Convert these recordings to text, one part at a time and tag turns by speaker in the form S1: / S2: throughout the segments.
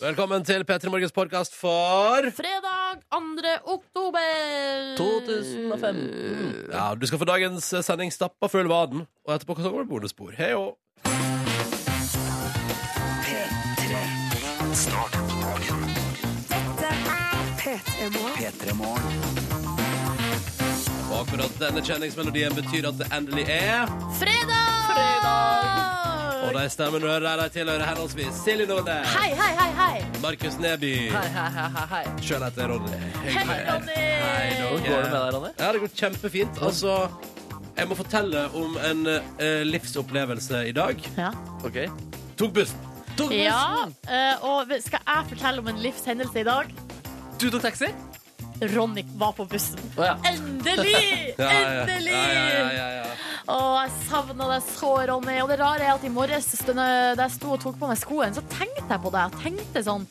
S1: Velkommen til P3 Morgens podkast for
S2: Fredag 2. oktober
S3: 2015.
S1: Ja, Du skal få dagens eh, sending stappa full av vaden, og etterpå kan det være bonusspor. Hei og Og akkurat denne kjenningsmelodien betyr at det endelig er
S2: Fredag!
S1: Og de stemmene du hører her, de tilhører henholdsvis Silje Nordnes,
S2: Hei, hei, hei, hei.
S1: Markus Neby
S3: Hei, hei, hei, hei, hei.
S1: Sjøl heter jeg Ronny.
S2: Hei, Ronny.
S3: Hvordan går det med deg, Ronny?
S1: Ja, det går kjempefint. Altså, jeg må fortelle om en eh, livsopplevelse i dag.
S2: Ja.
S3: Ok.
S1: Tok bussen.
S3: Tok
S2: ja, eh, og skal jeg fortelle om en livshendelse i dag?
S3: Du tok taxi?
S2: Ronny var på bussen.
S3: Å ja.
S2: Endelig!
S1: Ja, ja.
S2: Endelig!
S1: Ja, ja, ja, ja, ja.
S2: Og jeg savna deg så, Ronny. Og det rare er at i morges stund- da jeg sto og tok på meg skoene, så tenkte jeg på deg. Jeg tenkte sånn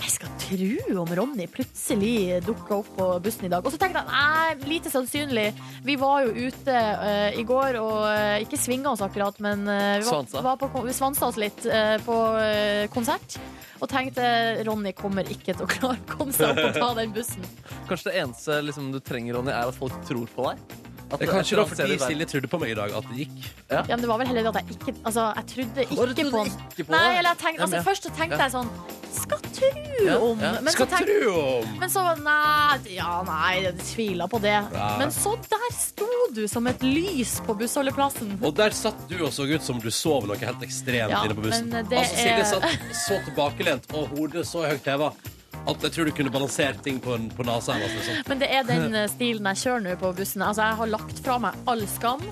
S2: Jeg skal tru om Ronny plutselig dukka opp på bussen i dag. Og så tenkte jeg nei, lite sannsynlig. Vi var jo ute eh, i går og eh, ikke svinga oss akkurat, men eh, vi,
S3: Svansa.
S2: var, var på, kon- vi svansa oss litt eh, på eh, konsert. Og tenkte Ronny kommer ikke til å klare å komme seg opp og ta den bussen.
S3: Kanskje det eneste liksom, du trenger, Ronny, er at folk tror på deg? At
S1: Det
S3: et
S1: er kanskje
S3: eller
S1: da
S3: annet sted
S1: fordi
S3: i verden-
S1: Silje trodde på meg i dag at det gikk.
S2: Ja, men det var vel heller det at jeg ikke Altså, jeg trodde ikke
S3: Å, du trodde
S2: på den.
S3: ikke på
S2: Nei,
S3: det?
S2: eller jeg tenkte,
S3: Ja, men
S2: altså,
S3: ja.
S2: Først så tenkte
S3: Ja.
S2: jeg sånn Skal tru
S3: Ja,
S2: om
S3: ja.
S2: Men så
S1: Skal
S2: tenkte
S1: tru om!
S2: men så Nei, ja, nei, jeg tviler på det.
S1: Ja.
S2: Men så der sto du som et lys på bussholdeplassen.
S1: Og der satt du og så ut som du sov noe helt ekstremt
S2: Ja,
S1: inne på bussen.
S2: men det
S1: Altså, Silje
S2: er-
S1: satt så tilbakelent og hodet så høyt heva at jeg tror du kunne balansert ting på, en- på nesa hennes. Liksom.
S2: Men det er den eh, stilen jeg kjører nå på bussen. Altså, jeg har lagt fra meg all skam.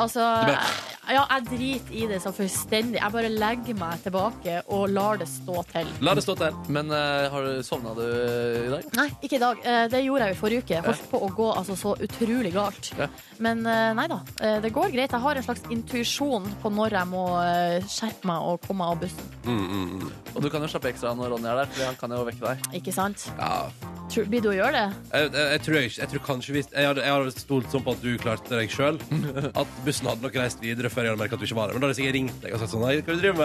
S2: Altså,
S1: Du
S2: jeg,
S1: bare-
S2: ja, jeg driter i det så fullstendig. Jeg bare legger meg tilbake og lar det stå til.
S1: La det stå til.
S3: Men eh, har du sovna du i dag?
S2: Nei, ikke i dag. Eh, Det gjorde jeg jo i forrige uke. Jeg Holdt på å gå altså, så utrolig galt.
S3: Ja.
S2: Men eh, nei da, eh, det går greit. Jeg har en slags intuisjon på når jeg må eh, skjerpe meg og komme av bussen.
S1: Mm, mm, mm.
S3: Og du kan jo slappe ekstra av når Ronny er der, for han kan jo vekke deg.
S2: Ikke sant?
S1: Ja.
S2: Tror- Blir du å gjøre det?
S1: Jeg, jeg, jeg, tror jeg, ikke- jeg tror kanskje hvis Jeg hadde, jeg hadde stolt sånn på at du klarte deg sjøl. At bussen hadde nok reist videre før jeg hadde merka at du ikke var der. Men da hadde jeg sikkert ringt deg og sagt sånn Nei, hva du driver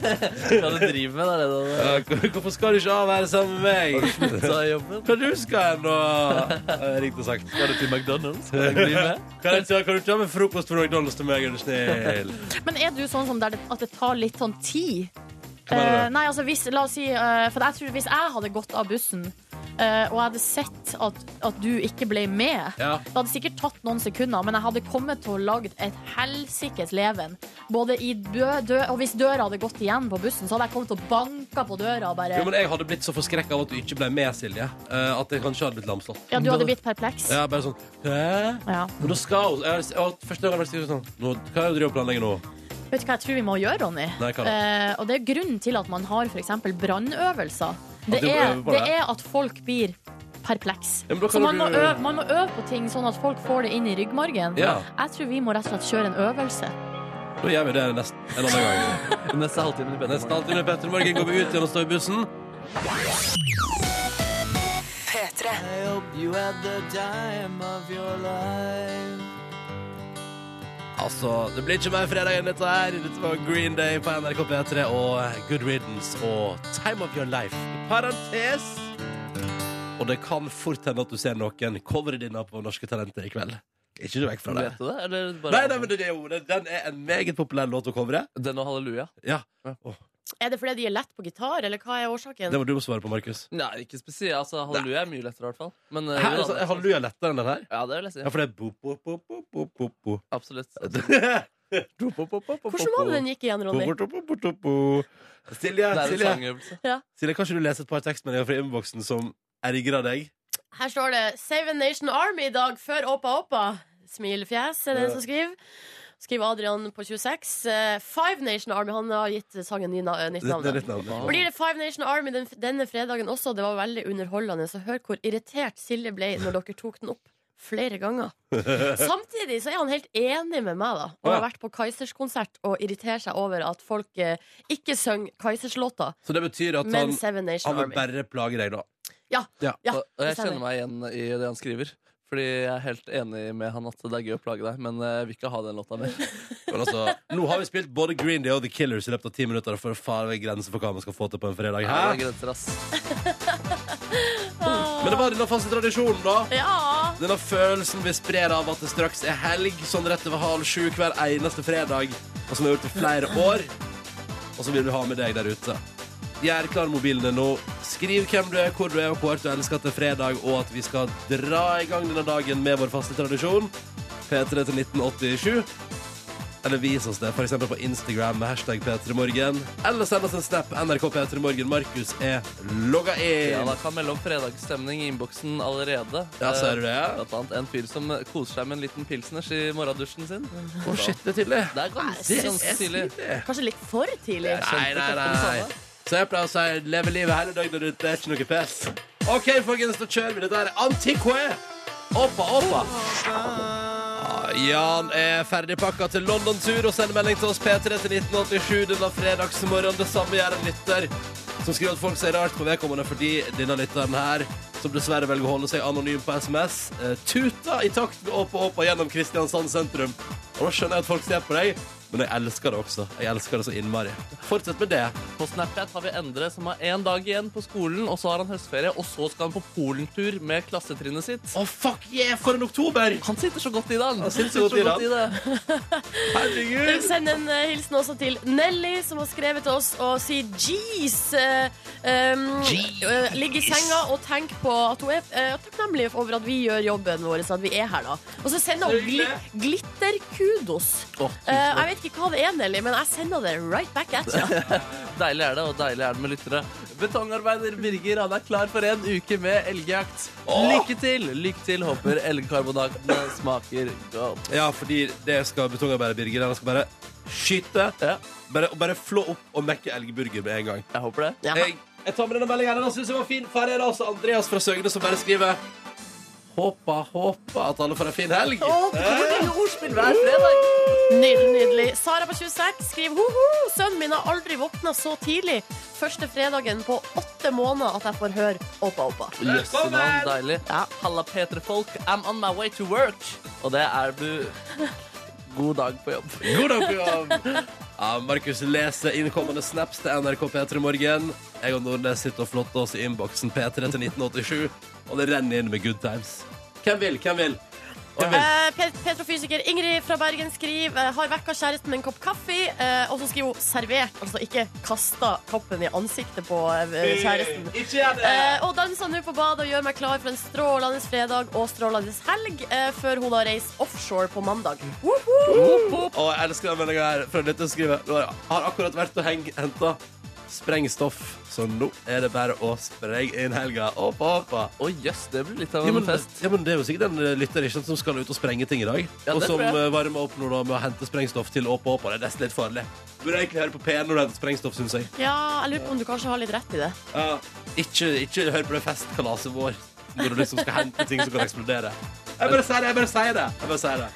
S1: med?
S3: Hva du driver med, det er det
S1: Ja, Hvorfor skal du ikke av her sammen med meg?
S3: du tar jobben.
S1: Hva du skal hen, da? Jeg hadde Ringt og sagt.
S3: Skal du til McDonald's? Kan du bli med?
S1: Kan, jeg, ta- kan du ta med frokost fra McDonald's til meg, er du snill?
S2: Men er du sånn som der det, at det tar litt sånn tid?
S1: Hva mener du?
S2: Eh, nei, altså hvis, la oss si eh, For jeg tror hvis jeg hadde gått av bussen eh, og jeg hadde sett at, at du ikke ble med
S1: Ja.
S2: Det hadde sikkert tatt noen sekunder, men jeg hadde kommet til å lage et helsikes leven. Både i dø, dø, og hvis døra hadde gått igjen på bussen, så hadde jeg kommet til å banke på døra og bare
S1: Jo, men jeg hadde blitt så forskrekka av at du ikke ble med, Silje. eh, At jeg kanskje hadde blitt lamslått.
S2: Ja, du hadde blitt perpleks.
S1: Ja, bare sånn Hæ?
S2: Ja.
S1: Men da skal hun jeg har- jeg har- Første gang jeg har vært sånn nå, Hva er det du driver og planlegger nå?
S2: Vet du hva jeg tror vi må gjøre, Ronny?
S1: Nei, hva da?
S2: Eh, og det er grunnen til at man har f.eks. brannøvelser. Det,
S1: du må
S2: er-
S1: øve på
S2: det
S1: det.
S2: er at folk blir perpleks.
S1: Ja, men da
S2: Så
S1: kan
S2: man
S1: du-
S2: må, øve, man må øve på ting sånn at folk får det inn i ryggmargen.
S1: Ja.
S2: Jeg tror vi må rett og slett kjøre en øvelse.
S1: Da gjør vi det nest, en annen gang.
S3: Neste halvtime i
S1: Nesten
S3: Petter
S1: alltid med Petter i Morgen går vi ut igjen og står i bussen.
S3: I hope you had the time of your life.
S1: Altså, det blir ikke mer fredag enn dette her. Dette var Green Day på NRK P3 og Good Riddance og Time of Your Life. I parentes. Og det kan fort hende at du ser noen covere dine på Norske Talenter i kveld. Ikke du vekk fra det.
S3: Vet du det? Eller bare
S1: Nei, nei, men det er jo, den den er en meget populær låt å covre.
S3: Den og halleluja?
S1: Ja.
S3: Ja.
S1: Åh,
S2: Er det fordi de er lett på gitar, eller hva er årsaken?
S1: det må du må svare på, Markus.
S3: Nei, ikke spesielt. Altså, halleluja er mye lettere, i hvert fall. Men, eh,
S1: Her,
S3: jo
S1: altså,
S3: da, det-
S1: halleluja er lettere enn den her.
S3: Ja, det vil jeg si.
S1: Ja, for det er bo, bo, bo, bo, bo, bo, bo.
S3: Absolutt.
S1: Eh,
S2: Hvordan var det den gikk igjen, Ronny?
S1: Bo, bo, bo, bo, bo, bo. Silje,
S3: Det er en
S1: Silje,
S3: sangøvelse.
S1: Silje, kan ikke du lese et par tekstmeldinger fra innboksen som ergrer deg?
S4: Her står det Save a Nation Army i dag før Åpa Åpa. Smilefjes er det
S1: Ja.
S4: en som skriver. Skriver Adrian på 26. Eh, Five Nation Army. Han har gitt sangen ny na eh, nytt
S1: Det,
S4: navn.
S1: det er
S4: da.
S1: litt navn.
S3: Wow.
S4: Blir det Five Nation Army den, denne fredagen også? Det var veldig underholdende. Så hør hvor irritert Silje ble når dere tok den opp flere ganger. Samtidig så er han helt enig med meg, da. Og har vært på Kaizers-konsert og irriterer seg over at folk eh, ikke synger Kaizers-låter,
S1: Så det betyr at
S4: men
S1: han,
S4: Seven Nation
S1: han vil
S4: Army.
S1: bare plage deg, da.
S4: Ja,
S3: og, og jeg
S4: det stemmer.
S3: kjenner meg igjen i det han skriver. Fordi jeg er helt enig med han at det er gøy å plage deg, men eh, jeg vil ikke ha den låta mer.
S1: Men altså, nå har vi spilt både Green Day og The Killers i løpet av ti minutter. For far er grense for hva man skal få til på en fredag.
S3: Ja, det
S1: Hæ?
S3: er grenser, ass.
S1: Men det var denne faste tradisjonen, da.
S2: Ja.
S1: Denne følelsen vi sprer av at det straks er helg, sånn rett over halv sju hver eneste fredag, og som vi har gjort i flere år. Og så vil vi ha med deg der ute. Gjør klar mobilen din nå. Skriv hvem du er, hvor du er, og hvor hardt du elsker at det er fredag, og at vi skal dra i gang denne dagen med vår faste tradisjon. P3 til 1987. Eller vis oss det, f.eks. på Instagram med hashtag P3morgen. Eller send oss en snap. NRK P3morgen. Markus er logga
S3: Ja,
S1: inn.
S3: da kan melde om fredagsstemning i innboksen allerede.
S1: Ja, ser du det?
S3: Eh, Blant annet en fyr som koser seg med en liten pilsners i morgendusjen sin.
S1: Å, shit, det er tidlig.
S3: Det er ganske, sånn ganske tidlig.
S5: Kanskje litt for tidlig.
S1: Nei, nei, nei. Så jeg pleier å si leve livet hele døgnet rundt. Det er ikke noe pes. OK, folkens, da kjører vi. Dette er Antiqué. Oppa, oppa. Ah, Jan er ferdigpakka til London-tur og sender melding til oss P3 til 1987 denne fredagsmorgenen. Det samme gjør en lytter som skriver at folk ser rart på vedkommende fordi denne lytteren her, som dessverre velger å holde seg anonym på SMS, eh, tuta i takt med Åpa Åpa gjennom Kristiansand sentrum. Og da skjønner jeg at folk ser på deg, men jeg elsker det også. Jeg elsker det så innmari. Fortsett med det.
S3: På Snapchat har vi Endre, som har én dag igjen på skolen, og så har han høstferie, og så skal han på polentur med klassetrinnet sitt.
S1: Å, fuck yeah, for en oktober!
S3: Han sitter så godt i det, han.
S1: Han sitter så godt i det,
S3: det.
S1: Herregud!
S2: Send en eh, hilsen også til Nelly, som har skrevet til oss og sier jeez. eh, um,
S1: Jeez.
S2: eh, Ligg i senga og tenk på at hun er eh, takknemlig over at vi gjør jobben vår. Så at vi er her da Og så sender hun gli glitterkudos.
S3: Å, tusen
S2: Eh, jeg
S3: takk.
S2: vet ikke hva det er, Nelly, men jeg sender det right back at you.
S3: Deilig er det, og deilig er det med lyttere. Betongarbeider Birger han er klar for en uke med elgjakt. Lykke til! Lykke til, håper elgkarbonatene smaker godt.
S1: Ja, fordi det skal betongarbeidere Birger. Han skal bare skyte.
S3: Ja,
S1: Bare, bare flå opp og mekke elgburger med en gang.
S3: jeg håper det.
S2: Ja.
S1: Jeg, jeg tar med denne meldingen. Den synes jeg var fin. Her er det altså Andreas fra Søgne som bare skriver Håper, håper at alle får en fin helg.
S2: Nydelig, nydelig. Sara på 26 skriver Hoho, sønnen min har aldri våkna så tidlig. Første fredagen på åtte måneder at jeg får høre Oppa Oppa.
S3: Jøsse navn, deilig.
S2: Ja.
S3: Halla, P3-folk. I'm on my way to work. Og det er du. God dag på jobb.
S1: God dag på jobb. Ja, Markus leser innkommende snaps til NRK P3 Morgen. Jeg og Nordnes sitter og flotter oss i innboksen P3 til 1987, og det renner inn med good times. Hvem vil? Hvem vil? Hvem vil?
S2: Eh, pet- Petrofysiker Ingrid fra Bergen skriver eh, Har vekka kjæresten med en kopp kaffe. Eh, og så skriver hun servert, altså ikke kasta koppen i ansiktet på eh, kjæresten.
S1: Ikke gjør det!
S2: Eh, og danser nå på badet og gjør meg klar for en strålende fredag og strålende helg eh, før hun da reiser offshore på mandag. Woho!
S1: Og jeg elsker den meldinga her. Fra dette skriver Nå har jeg akkurat vært og heng- henta sprengstoff, så nå er det bare å sprenge inn helga. Oppa, oppa.
S3: Å jøss, det blir litt av
S1: Ja
S3: en
S1: men,
S3: fest.
S1: ja, men Det er jo sikkert en eh, lytter ikke, sant, som skal ut og sprenge ting i dag.
S3: Ja,
S1: og
S3: det
S1: som
S3: tror jeg.
S1: eh, varmer opp nå da med å hente sprengstoff til Åpa Åpa. Det er nesten litt farlig. Burde egentlig høre på P1 når du henter sprengstoff, syns jeg.
S2: Ja, jeg lurer på om du kanskje har litt rett i det.
S1: Ja. Ikke, ikke hør på det festkalaset vår når du liksom skal hente ting som kan eksplodere. Jeg bare sier det. Jeg bare sier det. Jeg bare sier det.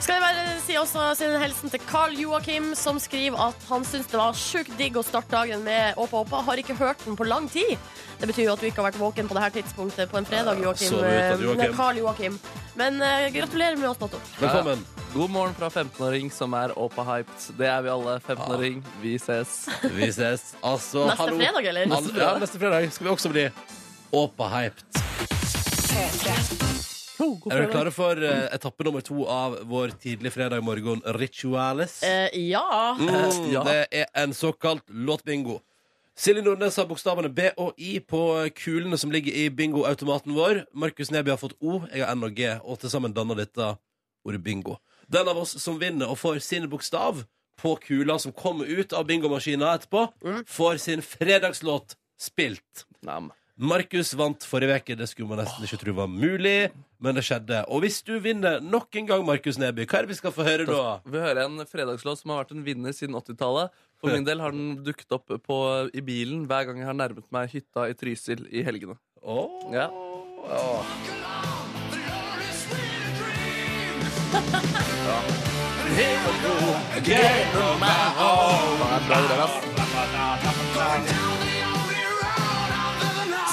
S2: Skal jeg bare si også sin helsen til Carl Joakim, som skriver at han syns det var sjukt digg å starte dagen med Åpa Åpa. Har ikke hørt den på lang tid. Det betyr jo at du ikke har vært våken på det her tidspunktet på en fredag, Joakim.
S1: så vet du, Joakim.
S2: Nei, Carl Joakim. Men eh, gratulerer med å ha stått opp.
S1: Velkommen.
S3: God morgen fra 15-åring som er åpa-hyped. Det er vi alle. 15-åring, vi ses.
S1: Vi ses. Altså,
S2: Neste
S1: hallo.
S2: fredag, eller?
S1: Alle- Ja, neste fredag skal vi også bli åpa-hyped. Er dere klare for eh, etappe nummer to av vår tidlig fredag morgen, Rituales?
S2: Eh, ja.
S1: Mm,
S3: ja.
S1: Det er en såkalt låtbingo. Silje Nordnes har bokstavene B og I på kulene som ligger i bingoautomaten vår. Markus Neby har fått O, jeg har N og G, og til sammen danner dette ordet bingo. Den av oss som vinner og får sin bokstav på kula som kommer ut av bingomaskina etterpå, får sin fredagslåt spilt.
S3: Nam.
S1: Markus vant forrige uke, det skulle man nesten ikke tro var mulig, men det skjedde. Og hvis du vinner nok en gang, Markus Neby, hva er det vi skal få høre da?
S3: Vi hører en fredagslåt som har vært en vinner siden 80-tallet. For min del har den dukket opp på, i bilen hver gang jeg har nærmet meg hytta i Trysil i helgene.
S1: Åh.
S3: Ja.
S1: Åh.
S3: Det er bra greier, ass.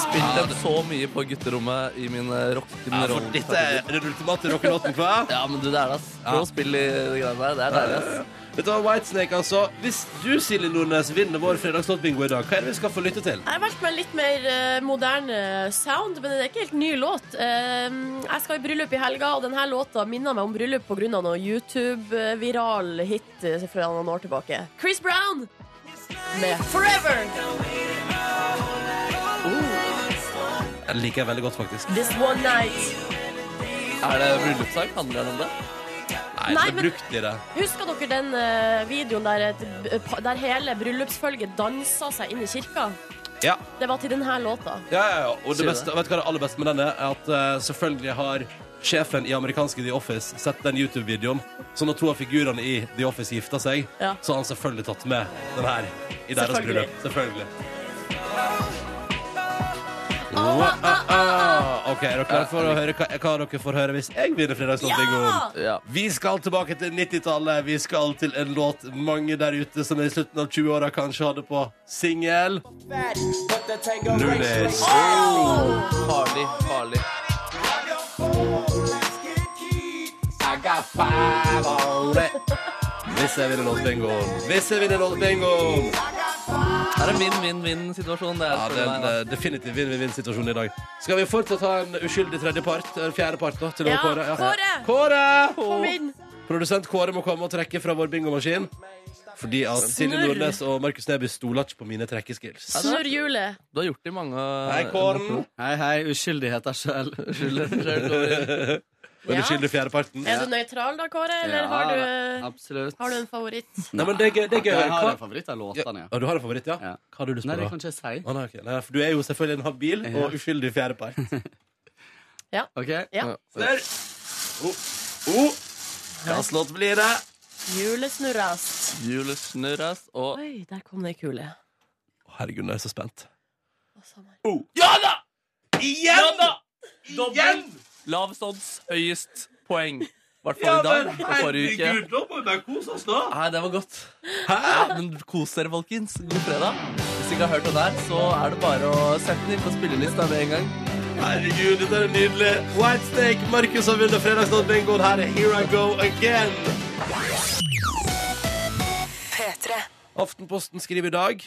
S3: spilt den så mye på gutterommet i min
S1: Ja, for
S3: rock'n'roll.
S1: dette er den ultimate rockelåten, hva?
S3: Ja, men du, det er det, ass.
S1: Ja.
S3: Prøv å spille i det greiene der. Det er deilig, ass.
S1: Dette var Whitesnake, altså. Hvis du, Silje Nordnes, vinner vår fredagslåtbingo i dag, hva er det vi skal få lytte til?
S2: Jeg har valgt meg litt mer eh, moderne sound, men det er ikke helt ny låt. Eh, jeg skal i bryllup i helga, og denne låta minner meg om bryllup pga. noe YouTube-viral hit eh, fra noen år tilbake. Chris Brown med 'Forever'.
S1: Den liker jeg veldig godt, faktisk.
S2: This one night.
S3: Er det bryllupssang? Handler den om det?
S1: Nei,
S2: Nei,
S1: det
S2: men-
S1: er brukt i det.
S2: Husker dere den eh, videoen der, et, eh, pa- der hele bryllupsfølget dansa seg inn i kirka?
S1: Ja.
S2: Det var til denne låta.
S1: Ja, ja, ja. Og
S3: Sier
S1: det
S3: det.
S1: beste, vet du hva det aller beste med denne er? At eh, selvfølgelig har sjefen i amerikanske The Office sett den YouTube-videoen. Så når to av figurene i The Office gifta seg,
S2: Ja.
S1: så har han selvfølgelig tatt med den her i deres
S2: Selvfølgelig.
S1: bryllup. Selvfølgelig.
S2: ah,
S1: Ah, OK, er dere klare for å høre hva, hva dere får høre hvis jeg vinner Fredagslåtbingoen?
S3: Ja.
S1: Vi skal tilbake til 90-tallet. Vi skal til en låt mange der ute som i slutten av 20-åra kanskje hadde på singel. Nunes.
S3: Farlig, farlig.
S1: Hvis jeg vinner låtbingoen. Hvis jeg vinner låtbingoen.
S3: Det er en vinn-vinn-vinn-situasjon. Det er
S1: Ja, det er en
S3: det,
S1: eh, definitivt vinn-vinn-situasjon i dag. Skal vi fortsatt ha en uskyldig tredjepart? Eller fjerdepart, da? Til å
S2: Ja,
S1: Kåre.
S2: Kåre!
S1: Kåre!
S2: Kom inn.
S1: Produsent Kåre må komme og trekke fra vår bingomaskin. Fordi at Silje
S2: Snurr.
S1: Nordnes og Markus Neby stoler ikke på mine trekkeskills.
S2: Snurr hjulet.
S3: du har gjort det i mange
S1: Hei, Kåren.
S6: Hei, hei. Uskyldighet er sjøl.
S1: Den
S2: Ja.
S1: uskyldige fjerdeparten.
S2: Er du nøytral da, Kåre, eller har du eh,
S6: Absolutt.
S2: Har du en favoritt?
S1: Nei, men det er gøy. Det er gøy.
S6: Jeg har en
S1: Hva-
S6: favoritt
S1: Ja.
S6: av låtene, ja.
S1: Ja, du har en favoritt, ja?
S6: Ja.
S1: Hva har du lyst
S6: Nei,
S1: på
S6: det
S1: da?
S6: kan ikke jeg si.
S1: Å, nei, ok. nei, for du er jo selvfølgelig en habil
S6: Ja.
S1: og uskyldig fjerdepart.
S6: OK?
S2: Ja.
S1: Der. Oh. Oh. Hvilken låt blir det?
S2: Julesnurrast.
S3: Julesnurras og
S2: Oi, der kom det ei kule.
S1: Å, Herregud, nå er jeg så spent.
S2: Å, samme.
S1: Oh. Ja da! Igjen!
S3: Ja da!
S1: Igjen!
S3: Lav odds, høyest poeng. I hvert
S1: Ja,
S3: fall i dag
S1: men
S3: og forrige uke.
S1: herregud, da må vi bare kose oss, da.
S3: Nei, det var godt.
S1: Hæ?
S3: Men kos dere, folkens. God fredag. Hvis ikke har hørt det der, så er det bare å sette den inn på spillelista med en gang.
S1: Herregud, dette er nydelig. Whitesnake, Markus har vunnet fredagsnått-bingoen. Her er Here I Go Again. Aftenposten skriver i dag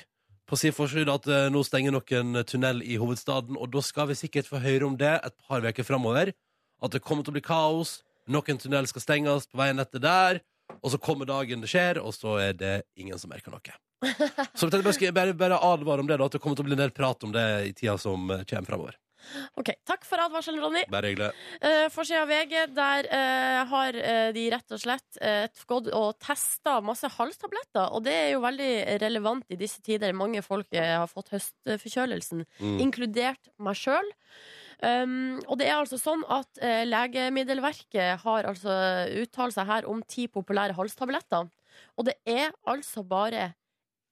S1: på sin forside at eh, nå stenger noen tunnel i hovedstaden, og da skal vi sikkert få høre om det et par uker framover. At det kommer til å bli kaos, noen tunnel skal stenges på veien etter der, og så kommer dagen det skjer, og så er det ingen som merker noe. Så jeg tenkte bare, skal jeg bare, bare advare om det, da, at det kommer til å bli en del prat om det i tida som eh, kommer framover.
S2: OK. Takk for advarselen, Ronny.
S1: Bare hyggelig.
S2: Uh, Forsida av VG, der eh, har eh, de rett og slett eh, gått og testa masse halstabletter. Og det er jo veldig relevant i disse tider. Mange folk eh, har fått høstforkjølelsen,
S1: Mm.
S2: inkludert meg sjøl. Um, og det er altså sånn at eh, Legemiddelverket har altså uttalt seg her om ti populære halstabletter. Og det er altså bare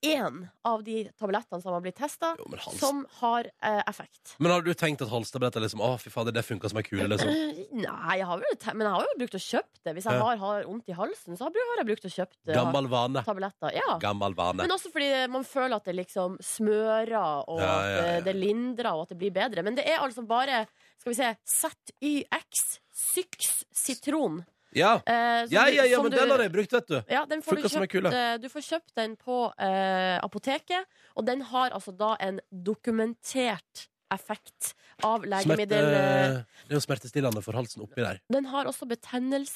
S2: én av de tablettene som har blitt testa,
S1: Jo, men hals-
S2: som har eh, effekt.
S1: Men har du tenkt at halstabletter liksom, Å, fy fader, det funka som ei kule, liksom?
S2: Eh, Nei, jeg har vel, te- men jeg har jo brukt å kjøpe det. Hvis jeg
S1: Ja.
S2: har, har vondt i halsen, så har bru- har jeg brukt å kjøpe det.
S1: Gammel vane.
S2: tabletter. Ja.
S1: Gammel vane.
S2: Men også fordi man føler at det liksom smører, og
S1: Ja,
S2: at
S1: ja, ja.
S2: eh, det lindrer, og at det blir bedre. Men det er altså bare skal vi se, ZYX Syx sitron.
S1: Ja,
S2: eh, som
S1: ja, ja, ja
S2: som
S1: men den har jeg brukt, vet du.
S2: ja, den får du,
S1: Funker som en
S2: kjøpt,
S1: kule.
S2: eh, du får kjøpt den på eh, apoteket, og den har altså da en dokumentert effekt av
S1: Smerte,
S2: legemiddel... eh,
S1: det er jo smertestillende for halsen oppi der.
S2: Den har også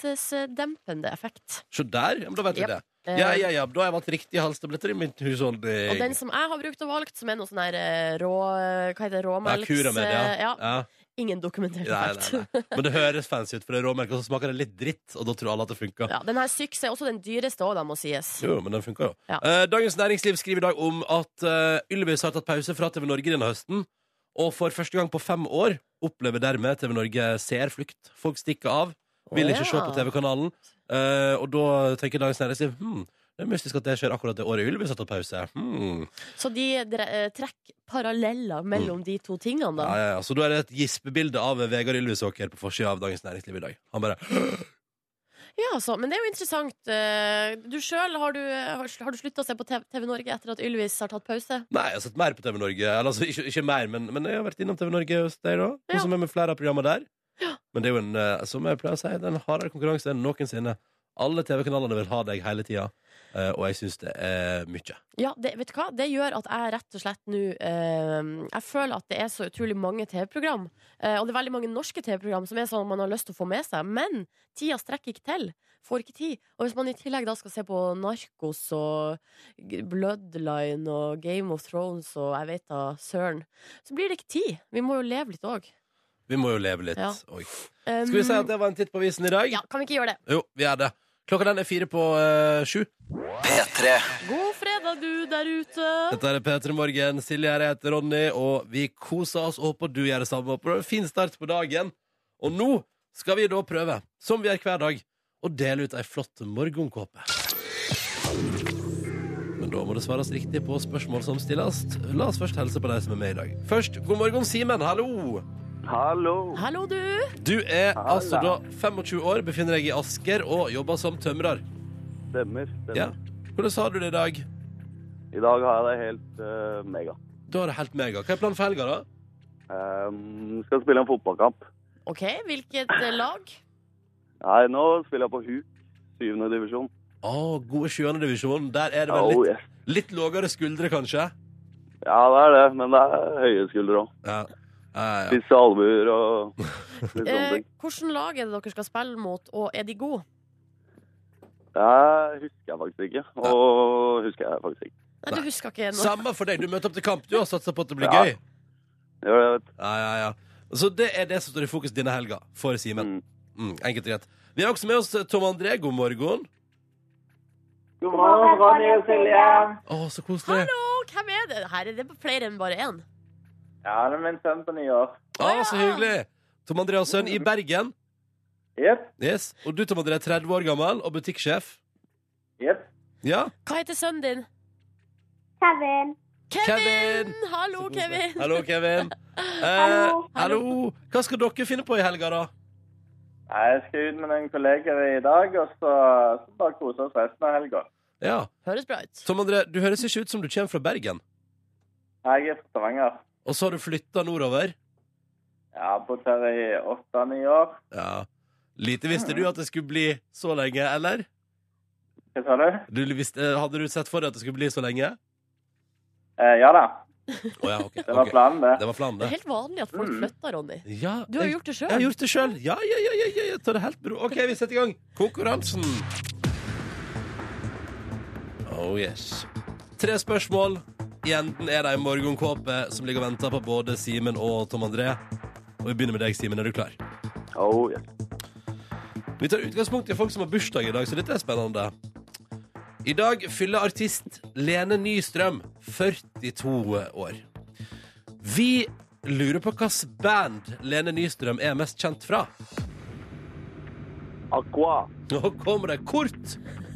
S2: betennelsesdempende effekt.
S1: Se der! Ja, men da vet vi
S2: Japp.
S1: det.
S2: Eh,
S1: Ja, ja, ja, Da har jeg valgt riktige halstabletter i min husholdning.
S2: Og den som jeg har brukt og valgt, som er noe sånn her eh, rå Hva heter det?
S1: ja,
S2: Råmelks...
S1: kura med det,
S2: eh, ja.
S1: ja. ja.
S2: Ingen dokumentert
S1: Nei,
S2: effekt.
S1: nei, nei. Men det høres fancy ut, for det er råmelk, og så smaker det litt dritt, og da tror alle at det funker.
S2: Ja, den her Syx er også den dyreste òg, må sies.
S1: Jo, men den funker jo.
S2: Ja.
S1: Eh, Dagens Næringsliv skriver i dag om at uh, Ylvis har tatt pause fra TV Norge denne høsten, og for første gang på fem år opplever dermed TV Norge seerflukt. Folk stikker av, vil
S2: Å,
S1: ikke se
S2: ja.
S1: på TV-kanalen, eh, og da tenker Dagens Næringsliv hm, det er mystisk at det skjer akkurat det året Ylvis har tatt pause. Hmm.
S2: Så de dre- eh, trekker paralleller mellom de to tingene,
S1: Mm. Ja,
S2: da.
S1: ja, ja. Så da er det et gispebilde av Vegard Ylvisåker på forsida av Dagens Næringsliv i dag. Han bare
S2: Ja, altså, men det er jo interessant. Eh, Du sjøl, har du, har du slutta å se på TV TV Norge etter at Ylvis har tatt pause?
S1: Nei, jeg har sett mer på TV Norge. Eller, altså, ikke, ikke mer, men, men jeg har vært innom TV Norge hos deg, da.
S2: Ja.
S1: Som er med flere av programmene der. Men det er jo en, eh, som jeg pleier å si, det er en hardere konkurranse enn noensinne. Alle TV-kanalene vil ha deg hele tida, eh, og jeg syns det er mye.
S2: Ja, det, vet du hva? Det gjør at jeg rett og slett nå eh, Jeg føler at det er så utrolig mange TV-program. Eh, og det er veldig mange norske TV-program som er sånn man har lyst til å få med seg. Men tida strekker ikke til. Får ikke tid. Og hvis man i tillegg da skal se på Narkos og G- Bloodline og Game of Thrones og jeg vet da søren, så blir det ikke tid. Vi må jo leve litt òg.
S1: Vi må jo leve litt.
S2: Ja.
S1: Oi. Skal vi si at det var en titt på avisen i dag?
S2: Ja, kan vi ikke gjøre det?
S1: Jo, vi er det. Klokka den er fire på eh, sju.
S2: God fredag, du der ute.
S1: Dette er P3 Morgen. Silje her, jeg heter Ronny, og vi koser oss og håper du gjør det samme. Og prøver en Fin start på dagen. Og nå skal vi da prøve, som vi gjør hver dag, å dele ut ei flott morgenkåpe. Men da må det svares riktig på spørsmål som stilles. La oss først helse på deg som er med i dag. Først, god morgen, Simen. Hallo!
S7: Hallo.
S2: Hallo, du.
S1: Du er
S7: Hallo.
S1: altså da 25 år, befinner deg i Asker og jobber som tømrer.
S7: Stemmer. stemmer.
S1: Ja. Hvordan har du det i dag?
S7: I dag har jeg det helt eh, mega.
S1: Du har det helt mega. Hva er planen for helga, da?
S7: Ehm, skal spille en fotballkamp.
S2: OK, hvilket eh, lag?
S7: Nei, nå spiller jeg på Huk, syvende divisjon.
S1: Å, gode sjuende divisjon. Der er det vel
S7: Oh,
S1: litt,
S7: yes.
S1: litt lågere skuldre, kanskje?
S7: Ja, det er det, men det er høye skuldre òg.
S1: Ja. Ja, ja.
S7: Spisse albuer og litt sånne
S2: Eh,
S7: ting.
S2: hvordan lag er det dere skal spille mot, og er de gode?
S7: Det husker jeg faktisk ikke. Og husker jeg faktisk ikke.
S2: Nei, du husker ikke noe.
S1: Samme for deg. Du møter opp til kamp, du, og satser på at det blir
S7: Ja.
S1: gøy.
S7: Gjør det, vet du.
S1: Ja, ja, ja. Så det er det som står i fokus denne helga for Simen. Mm, enkelt og greit. Vi har også med oss Tom André. God morgen.
S7: God morgen, Ronny og Silje.
S1: Å, så koselig.
S2: Hallo, hvem er det? Her er det flere enn bare én.
S7: Ja, det er min sønn på ni år.
S1: Å, så hyggelig. Tom André og
S2: Mm.
S1: sønn i Bergen.
S7: Jepp.
S1: Yes. Og du, Tom André, er 30 år gammel og butikksjef.
S7: Jepp.
S1: Ja.
S2: Hva heter sønnen din?
S8: Kevin.
S2: Kevin!
S1: Kevin!
S2: Hallo,
S1: Så koselig.
S2: Kevin.
S1: Hallo, Kevin. Eh,
S8: Hallo.
S1: hallo. Hva skal dere finne på i helga, da?
S7: Jeg skal ut med noen kolleger i dag, og så, bare kose oss resten av helga.
S1: Ja.
S2: Høres bra ut.
S1: Tom André, du høres ikke ut som du kommer fra Bergen.
S7: Jeg er fra Stavanger.
S1: Og så har du flytta nordover.
S7: Jeg har bodd her i åtte-ni år.
S1: Ja. Lite visste du at det skulle bli så lenge, eller?
S7: Hva sa du?
S1: Du visste, eh, hadde du sett for deg at det skulle bli så lenge?
S7: Eh, ja da,
S1: Å ja, OK.
S7: det var
S1: ok.
S7: planen, det.
S1: Det var planen,
S2: Det er
S1: det.
S2: helt vanlig at
S1: Mm.
S2: folk flytter, Ronny.
S1: Ja,
S2: Du har
S1: jeg-
S2: gjort det
S1: Jeg har
S2: sjøl.
S1: gjort det sjøl. Ja, ja, ja, ja, ja, jeg tar det helt med ro. OK, vi setter i gang konkurransen. Oh yes. Tre spørsmål. I enden er det ei morgenkåpe som ligger og venter på både Simen og Tom André. Og vi begynner med deg, Simen. Er du klar?
S7: Oh, yes.
S1: Vi tar utgangspunkt i folk som har bursdag i dag, så dette er spennende. I dag fyller artist Lene Nystrøm 42 år. Vi lurer på hvilket band Lene Nystrøm er mest kjent fra.
S7: Aqua.
S1: Nå kommer det kort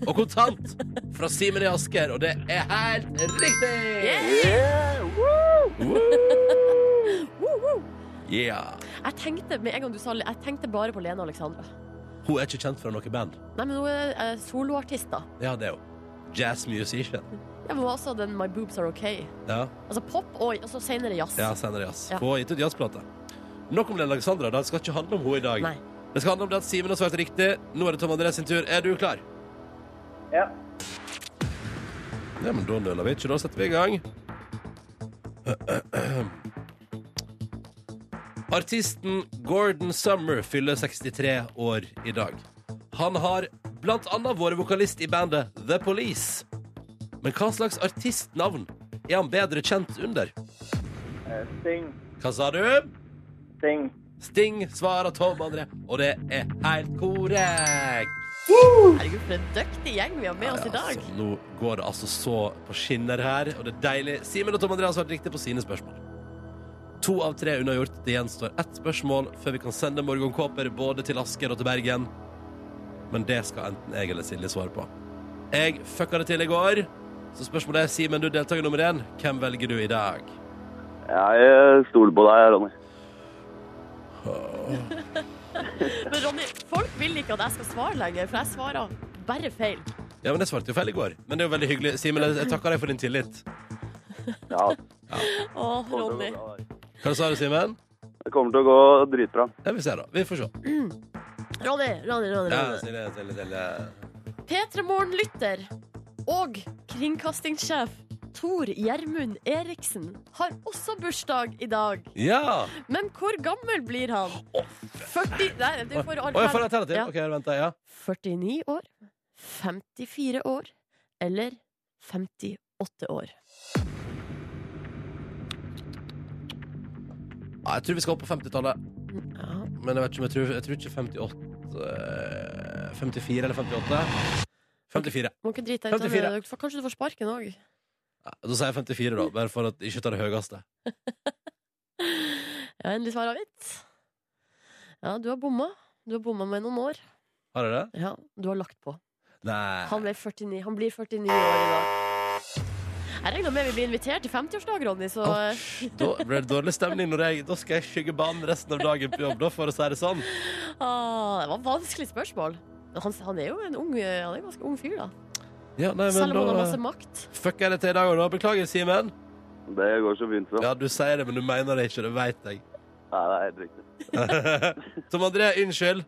S1: og kontant fra Simen i Asker, og det er helt riktig!
S7: Yeah, woo!
S2: Woo, woo.
S1: Yeah.
S2: Jeg tenkte med en gang du sa Jeg tenkte bare på Lene Alexandra.
S1: Hun er ikke kjent fra noe band.
S2: Nei, men hun er eh, soloartist, da.
S1: Ja, det er hun. Jazz musician.
S2: Ja, men hun har også den My Boobs Are OK.
S1: Ja.
S2: Altså pop og og så senere jazz.
S1: Ja, senere jazz.
S2: Ja.
S1: Hun har gitt ut jazzplate. Nok om Lene Alexandra. Det skal ikke handle om henne i dag.
S2: Nei.
S1: Det skal handle om det at Simen har svart riktig. Nå er det Tom André sin tur. Er du klar?
S7: Ja.
S1: Ja, men da nøler vi ikke. Da setter vi i gang. Artisten Gordon Summer fyller 63 år i dag. Han har blant annet vært vokalist i bandet The Police. Men hva slags artistnavn er han bedre kjent under?
S7: Eh, Sting.
S1: Hva sa du?
S7: Sting.
S1: Sting svarer Tom André, og det er helt korrekt.
S2: Herregud, for en dyktig gjeng vi har med oss i
S1: Ja,
S2: dag.
S1: altså, nå går det altså så på skinner her, og det er deilig. Simen og Tom Andreas har vært riktig på sine spørsmål. To av tre unnagjort. Det gjenstår ett spørsmål før vi kan sende morgenkåper både til Asker og til Bergen. Men det skal enten jeg eller Silje svare på. Jeg fucka det til i går, så spørsmålet er Simen, du er deltaker nummer én. Hvem velger du i dag?
S7: Ja, jeg stoler på deg, Ronny.
S2: Men Ronny, folk vil ikke at jeg skal svare lenger, for jeg svarer bare feil.
S1: Ja, men jeg svarte jo feil i går. Men det er jo veldig hyggelig. Simen, jeg jeg takker deg for din tillit.
S7: Ja,
S2: Å, Ronny.
S1: Hva sa du, Simen?
S7: det kommer til å gå dritbra.
S1: Ja, vi ser da. Vi får se.
S2: Ronny, Ronny, Ronny.
S1: Ja,
S2: Ronny.
S1: stille, stille, stille.
S2: P3 Morgen-lytter og kringkastingssjef Tor Gjermund Eriksen har også bursdag i dag.
S1: Ja!
S2: Men hvor gammel blir han? 40 Nei, du får
S1: Å, jeg får alternativ.
S2: Ja.
S1: Ok, vent da, ja.
S2: 49 år, 54 år eller 58 år.
S1: Ja, Jeg tror vi skal opp på 50-tallet.
S2: Ja.
S1: Men jeg vet ikke om jeg tror, jeg tror ikke 58 eh, 54 eller 58. 54.
S2: Må ikke drite deg ut av det.
S1: 54.
S2: Du får- Kanskje du får sparken òg.
S1: Ja, Da sier jeg 54, da, bare for at ikke ta det høyeste.
S2: Ja, endelig svar avgitt. Ja, du har bomma. Du har bomma med noen år.
S1: Har jeg det?
S2: Ja, du har lagt på. Han,
S1: Nei.
S2: ble 49. han blir 49 år i dag. Jeg regner med vi blir invitert til 50-årsdag, Ronny, så
S1: Åh, Da ble det dårlig stemning når jeg Da skal jeg skygge banen resten av dagen på jobb, da, for å si det sånn.
S2: ah, Det var et vanskelig spørsmål. Men han, han er jo en ung, eh, han er en ganske ung fyr, da.
S1: Ja, nei, men
S2: Selv om han har masse
S1: da
S2: makt.
S1: Fucker jeg det til i dag òg, da. Beklager, Simen.
S7: Det går så fint, så.
S1: Ja, du sier det, men du mener det ikke. Det veit jeg.
S7: Nei, det er helt riktig.
S1: Tom André, unnskyld.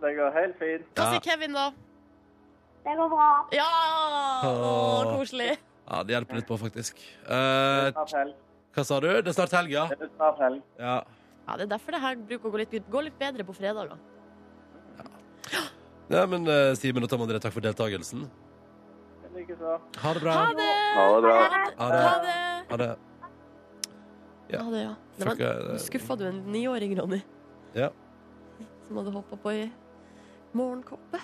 S7: Det går helt fint.
S2: Hva
S1: Ja.
S2: sier Kevin, da?
S8: Det går bra.
S2: Ja! Å,
S1: Åh.
S2: koselig.
S1: Ja, det hjelper litt på, faktisk. Eh,
S7: Snart helg.
S1: hva sa du? Det er snart helg, ja?
S7: Det er snart helg.
S1: Ja.
S2: Ja, Det er derfor det her bruker å gå litt, gå litt bedre på fredager.
S1: Nei, men eh, Simen og Tom André, takk for deltakelsen.
S7: Likeså.
S1: Ha det bra.
S2: Ha det!
S7: Ha det bra.
S1: Ha
S2: Ha
S1: det.
S2: det!
S1: Ha det. Ja.
S2: Ha det, ja. Det
S1: Fuck,
S2: var,
S1: eh,
S2: nå skuffa du en niåring, Ronny,
S1: Ja.
S2: som hadde hoppa på i morgenkåpe.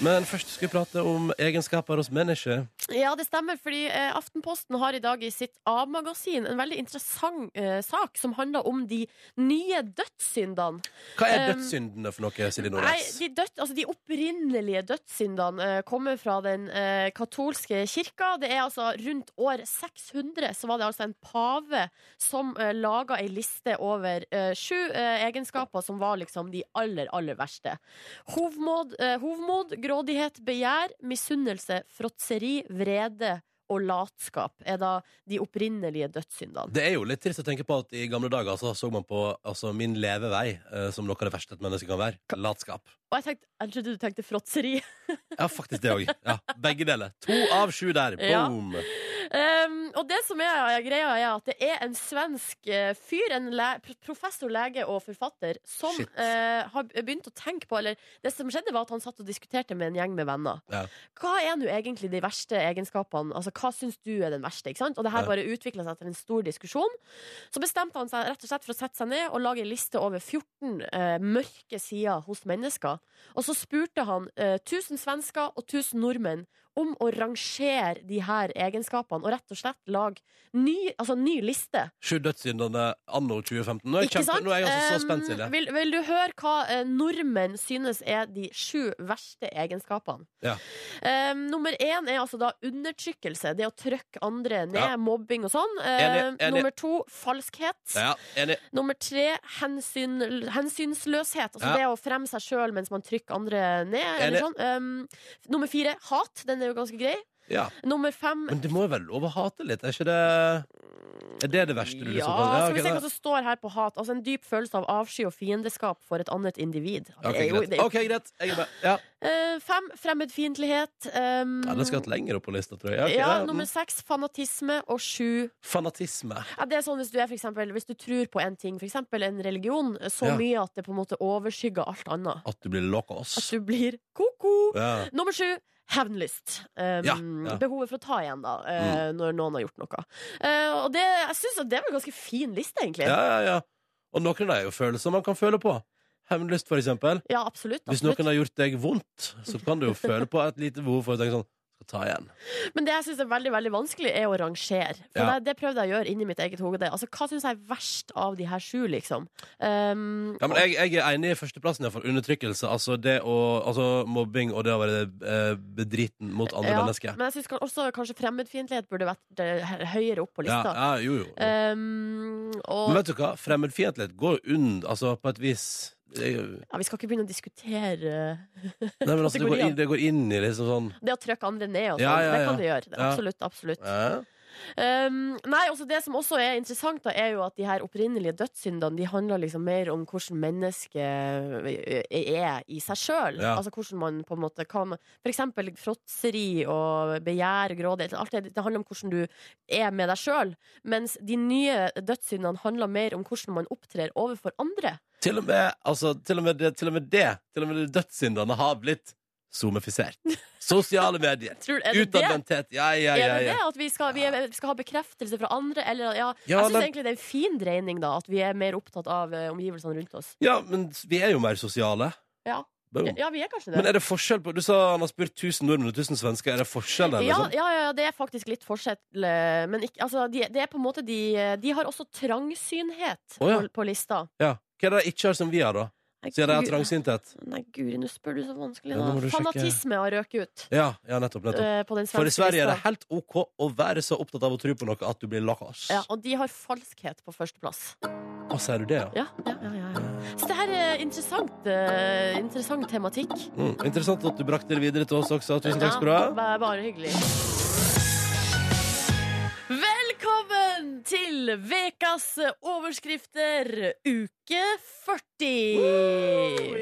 S1: Men først skal vi prate om egenskaper hos mennesker.
S2: Ja, det stemmer, fordi eh, Aftenposten har i dag i sitt A-magasin en veldig interessant eh, sak som handler om de nye dødssyndene.
S1: Hva er
S2: Um,
S1: dødssyndene for noe, Silje
S2: Nei,
S1: Nordnes?
S2: de, død, altså de opprinnelige dødssyndene eh, kommer fra den eh, katolske kirka. Det er altså Rundt år 600 så var det altså en pave som eh, laga ei liste over eh, sju eh, egenskaper som var liksom de aller, aller verste. Hovmod, eh, hovmod grådighet, begjær, misunnelse, fråtseri, vrede og latskap er da de opprinnelige dødssyndene.
S1: Det er jo litt trist å tenke på at i gamle dager så, så man på altså, min levevei eh, som noe av det verste et menneske kan være. Latskap.
S2: Og jeg, tenkte, jeg trodde du tenkte fråtseri.
S1: Ja, faktisk det òg. Ja, begge deler. To av sju der.
S2: Ja.
S1: Boom!
S2: Um, og det som er greia, er at det er en svensk eh, fyr, en le professor, lege og forfatter, som
S1: Shit.
S2: eh, har begynt å tenke på Eller det som skjedde, var at han satt og diskuterte med en gjeng med venner.
S1: Ja.
S2: Hva er nå egentlig de verste egenskapene? Altså, Hva syns du er den verste? ikke sant? Og det her
S1: Ja.
S2: bare utvikla seg til en stor diskusjon. Så bestemte han seg rett og slett for å sette seg ned og lage en liste over 14 eh, mørke sider hos mennesker. Og så spurte han eh, 1000 svensker og 1000 nordmenn om å rangere de her egenskapene og rett og slett lage ny, altså, ny liste.
S1: Sju dødssyndene anno 2015. Nå er jeg, kjempe, nå er jeg altså så
S2: Um,
S1: spent, Silje.
S2: vil, vil du høre hva eh, nordmenn synes er de sju verste egenskapene?
S1: Ja.
S2: Um, nummer én er altså da undertrykkelse. Det å trykke andre ned,
S1: Ja.
S2: mobbing og sånn.
S1: Enig,
S2: Eh,
S1: enig.
S2: Nummer to falskhet.
S1: Ja, enig.
S2: Nummer tre hensyn, hensynsløshet. Altså
S1: Ja.
S2: det å fremme seg sjøl mens man trykker andre ned.
S1: Enig.
S2: Eller sånn. Um, nummer fire hat. Den er jo ganske grei.
S1: Ja.
S2: Nummer fem
S1: Men det må jo være lov å hate litt? Er ikke det Er det det verste du
S2: ja, altså,
S1: liksom kan
S2: skal vi se
S1: ok,
S2: hva som står her på hat. Altså En dyp følelse av avsky og fiendeskap for et annet individ. Altså,
S1: da-
S2: Det er jo-
S1: ok,
S2: det
S1: greit.
S2: er-
S1: OK, greit. Jeg er med. Ja.
S2: Eh, fem fremmedfiendtlighet. Um,
S1: ja, den skal hatt lenger opp på lista, tror jeg. ok,
S2: ja,
S1: ja.
S2: nummer seks fanatisme. Og sju
S1: Fanatisme.
S2: ja, Det er sånn hvis du, er, for eksempel, hvis du tror på en ting, f.eks. en religion, så
S1: Ja.
S2: mye at det på en måte overskygger alt annet.
S1: At du blir
S2: At
S1: locos.
S2: du blir ko-ko.
S1: Ja.
S2: Nummer sju hevnlyst. Um,
S1: Ja, ja. Mm.
S2: Behovet for å ta igjen, da, eh, når noen har gjort noe. Eh, og det, jeg synes at det var en ganske fin liste, egentlig.
S1: Ja, ja, ja. Og noen av dem er jo følelser man kan føle på. Hevnlyst, for eksempel.
S2: Ja, absolutt.
S1: Hvis
S2: absolutt.
S1: noen har gjort deg vondt, så kan du jo føle på et lite behov for å tenke sånn
S3: skal ta igjen.
S2: Men det jeg syns er veldig veldig vanskelig, er å rangere. For
S1: Ja.
S2: det, det prøvde jeg å gjøre inni mitt eget hode. Altså, Hva syns jeg er verst av de her sju, liksom? Um,
S1: Ja, men jeg, jeg er enig i førsteplassen ja, for undertrykkelse. Altså det å Altså mobbing og det å være eh, bedriten mot andre
S2: ja,
S1: mennesker.
S2: Men jeg syns også kanskje fremmedfiendtlighet burde vært eh, høyere opp på
S1: Ja,
S2: lista.
S1: ja, jo, jo.
S2: Um, og
S1: Men vet du hva? Fremmedfiendtlighet går jo under, altså på et vis det, er jo-
S2: ja, vi skal ikke begynne å diskutere
S1: Nei, men altså, det, går inn, det går inn i liksom sånn
S2: det å trykke andre ned og sånn.
S1: Ja, ja,
S2: Det
S1: ja.
S2: kan det gjøre. Det,
S1: Ja.
S2: absolutt. absolutt.
S1: eh?
S2: Um, nei, også Det som også er interessant, da, er jo at de her opprinnelige dødssyndene De handler liksom mer om hvordan mennesket er i seg sjøl.
S1: Ja.
S2: Altså hvordan man på en måte kan For eksempel fråtseri og begjær og grådighet. Alt det, det handler om hvordan du er med deg sjøl. Mens de nye dødssyndene handler mer om hvordan man opptrer overfor andre.
S1: Til og med, altså, til og med, det, til og med det Til og med det dødssyndene har blitt zoomifisert. Sosiale medier.
S2: Tror, er det det?
S1: Utadvendthet. Ja, ja,
S2: Er
S1: ja.
S2: det
S1: ja.
S2: det? At vi skal, vi er- skal ha bekreftelse fra andre? Eller, ja.
S1: Ja,
S2: jeg syns
S1: men-
S2: egentlig det Altså, er en fin dreining, da. At vi er mer opptatt av eh, omgivelsene rundt oss.
S1: ja, men vi er jo mer sosiale.
S2: Ja.
S1: Boom.
S2: Ja, vi er kanskje det.
S1: Men er det forskjell på Du sa han har spurt 1000 nordmenn og 1000 svensker. Er det forskjell der?
S2: ja,
S1: Liksom?
S2: ja, ja, det er faktisk litt forskjell. eh, Men ikke, altså, de, det er på en måte de, de har også trangsynhet
S1: Å, ja.
S2: på, på lista.
S1: Ja. Hva er det de ikke har som vi har, da?
S2: Nei,
S1: Siden de har
S2: Gud-
S1: trangsynthet?
S2: Nei, guri, nå spør du så vanskelig,
S1: Ja, nå
S2: da.
S1: må du sjekke.
S2: Fanatisme har røket ut.
S1: Ja, ja, nettopp. nettopp.
S2: eh, På den
S1: For i
S2: svenske
S1: Sverige er det
S2: lista.
S1: helt OK å være så opptatt av å tro på noe at du blir lakkas.
S2: Ja, og de har falskhet på førsteplass.
S1: Å, sier du det, ja?
S2: Ja, ja, ja, ja, ja. Så det her er interessant, eh, interessant tematikk.
S1: Mm. Interessant at du brakte det videre til oss også. Tusen takk skal du
S2: Ja,
S1: ha.
S2: bare, bare hyggelig. Velkommen til ukas overskrifter, uke 40.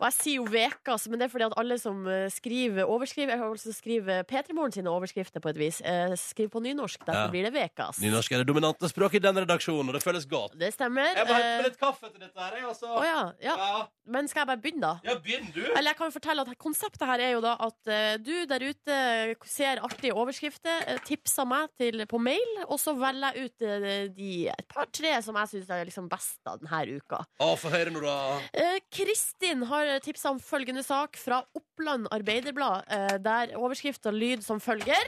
S2: Og jeg sier jo ukas, men det er fordi at alle som eh, skriver overskriver, jeg har også skriver P3morgen sine overskrifter på et vis, eh, skriver på nynorsk. Derfor
S1: Ja.
S2: blir det ukas.
S1: Nynorsk er det dominante språket i den redaksjonen, og det føles godt.
S2: Det stemmer.
S1: Jeg må hente
S2: Eh,
S1: meg litt kaffe til dette her, jeg, altså.
S2: Å ja, ja.
S1: Ja.
S2: Men skal jeg bare begynne, da?
S1: Ja, begynn du.
S2: Eller jeg kan jo fortelle at Konseptet her er jo da at eh, du der ute ser artige overskrifter, eh, tipser meg til, på mail, og så velger jeg ut eh, de et par-tre som jeg syns er liksom best av denne uka.
S1: Å, få høre nå, da.
S2: Eh, Kristin har tipsa om følgende sak fra Oppland Arbeiderblad, eh, der overskrifta lyd som følger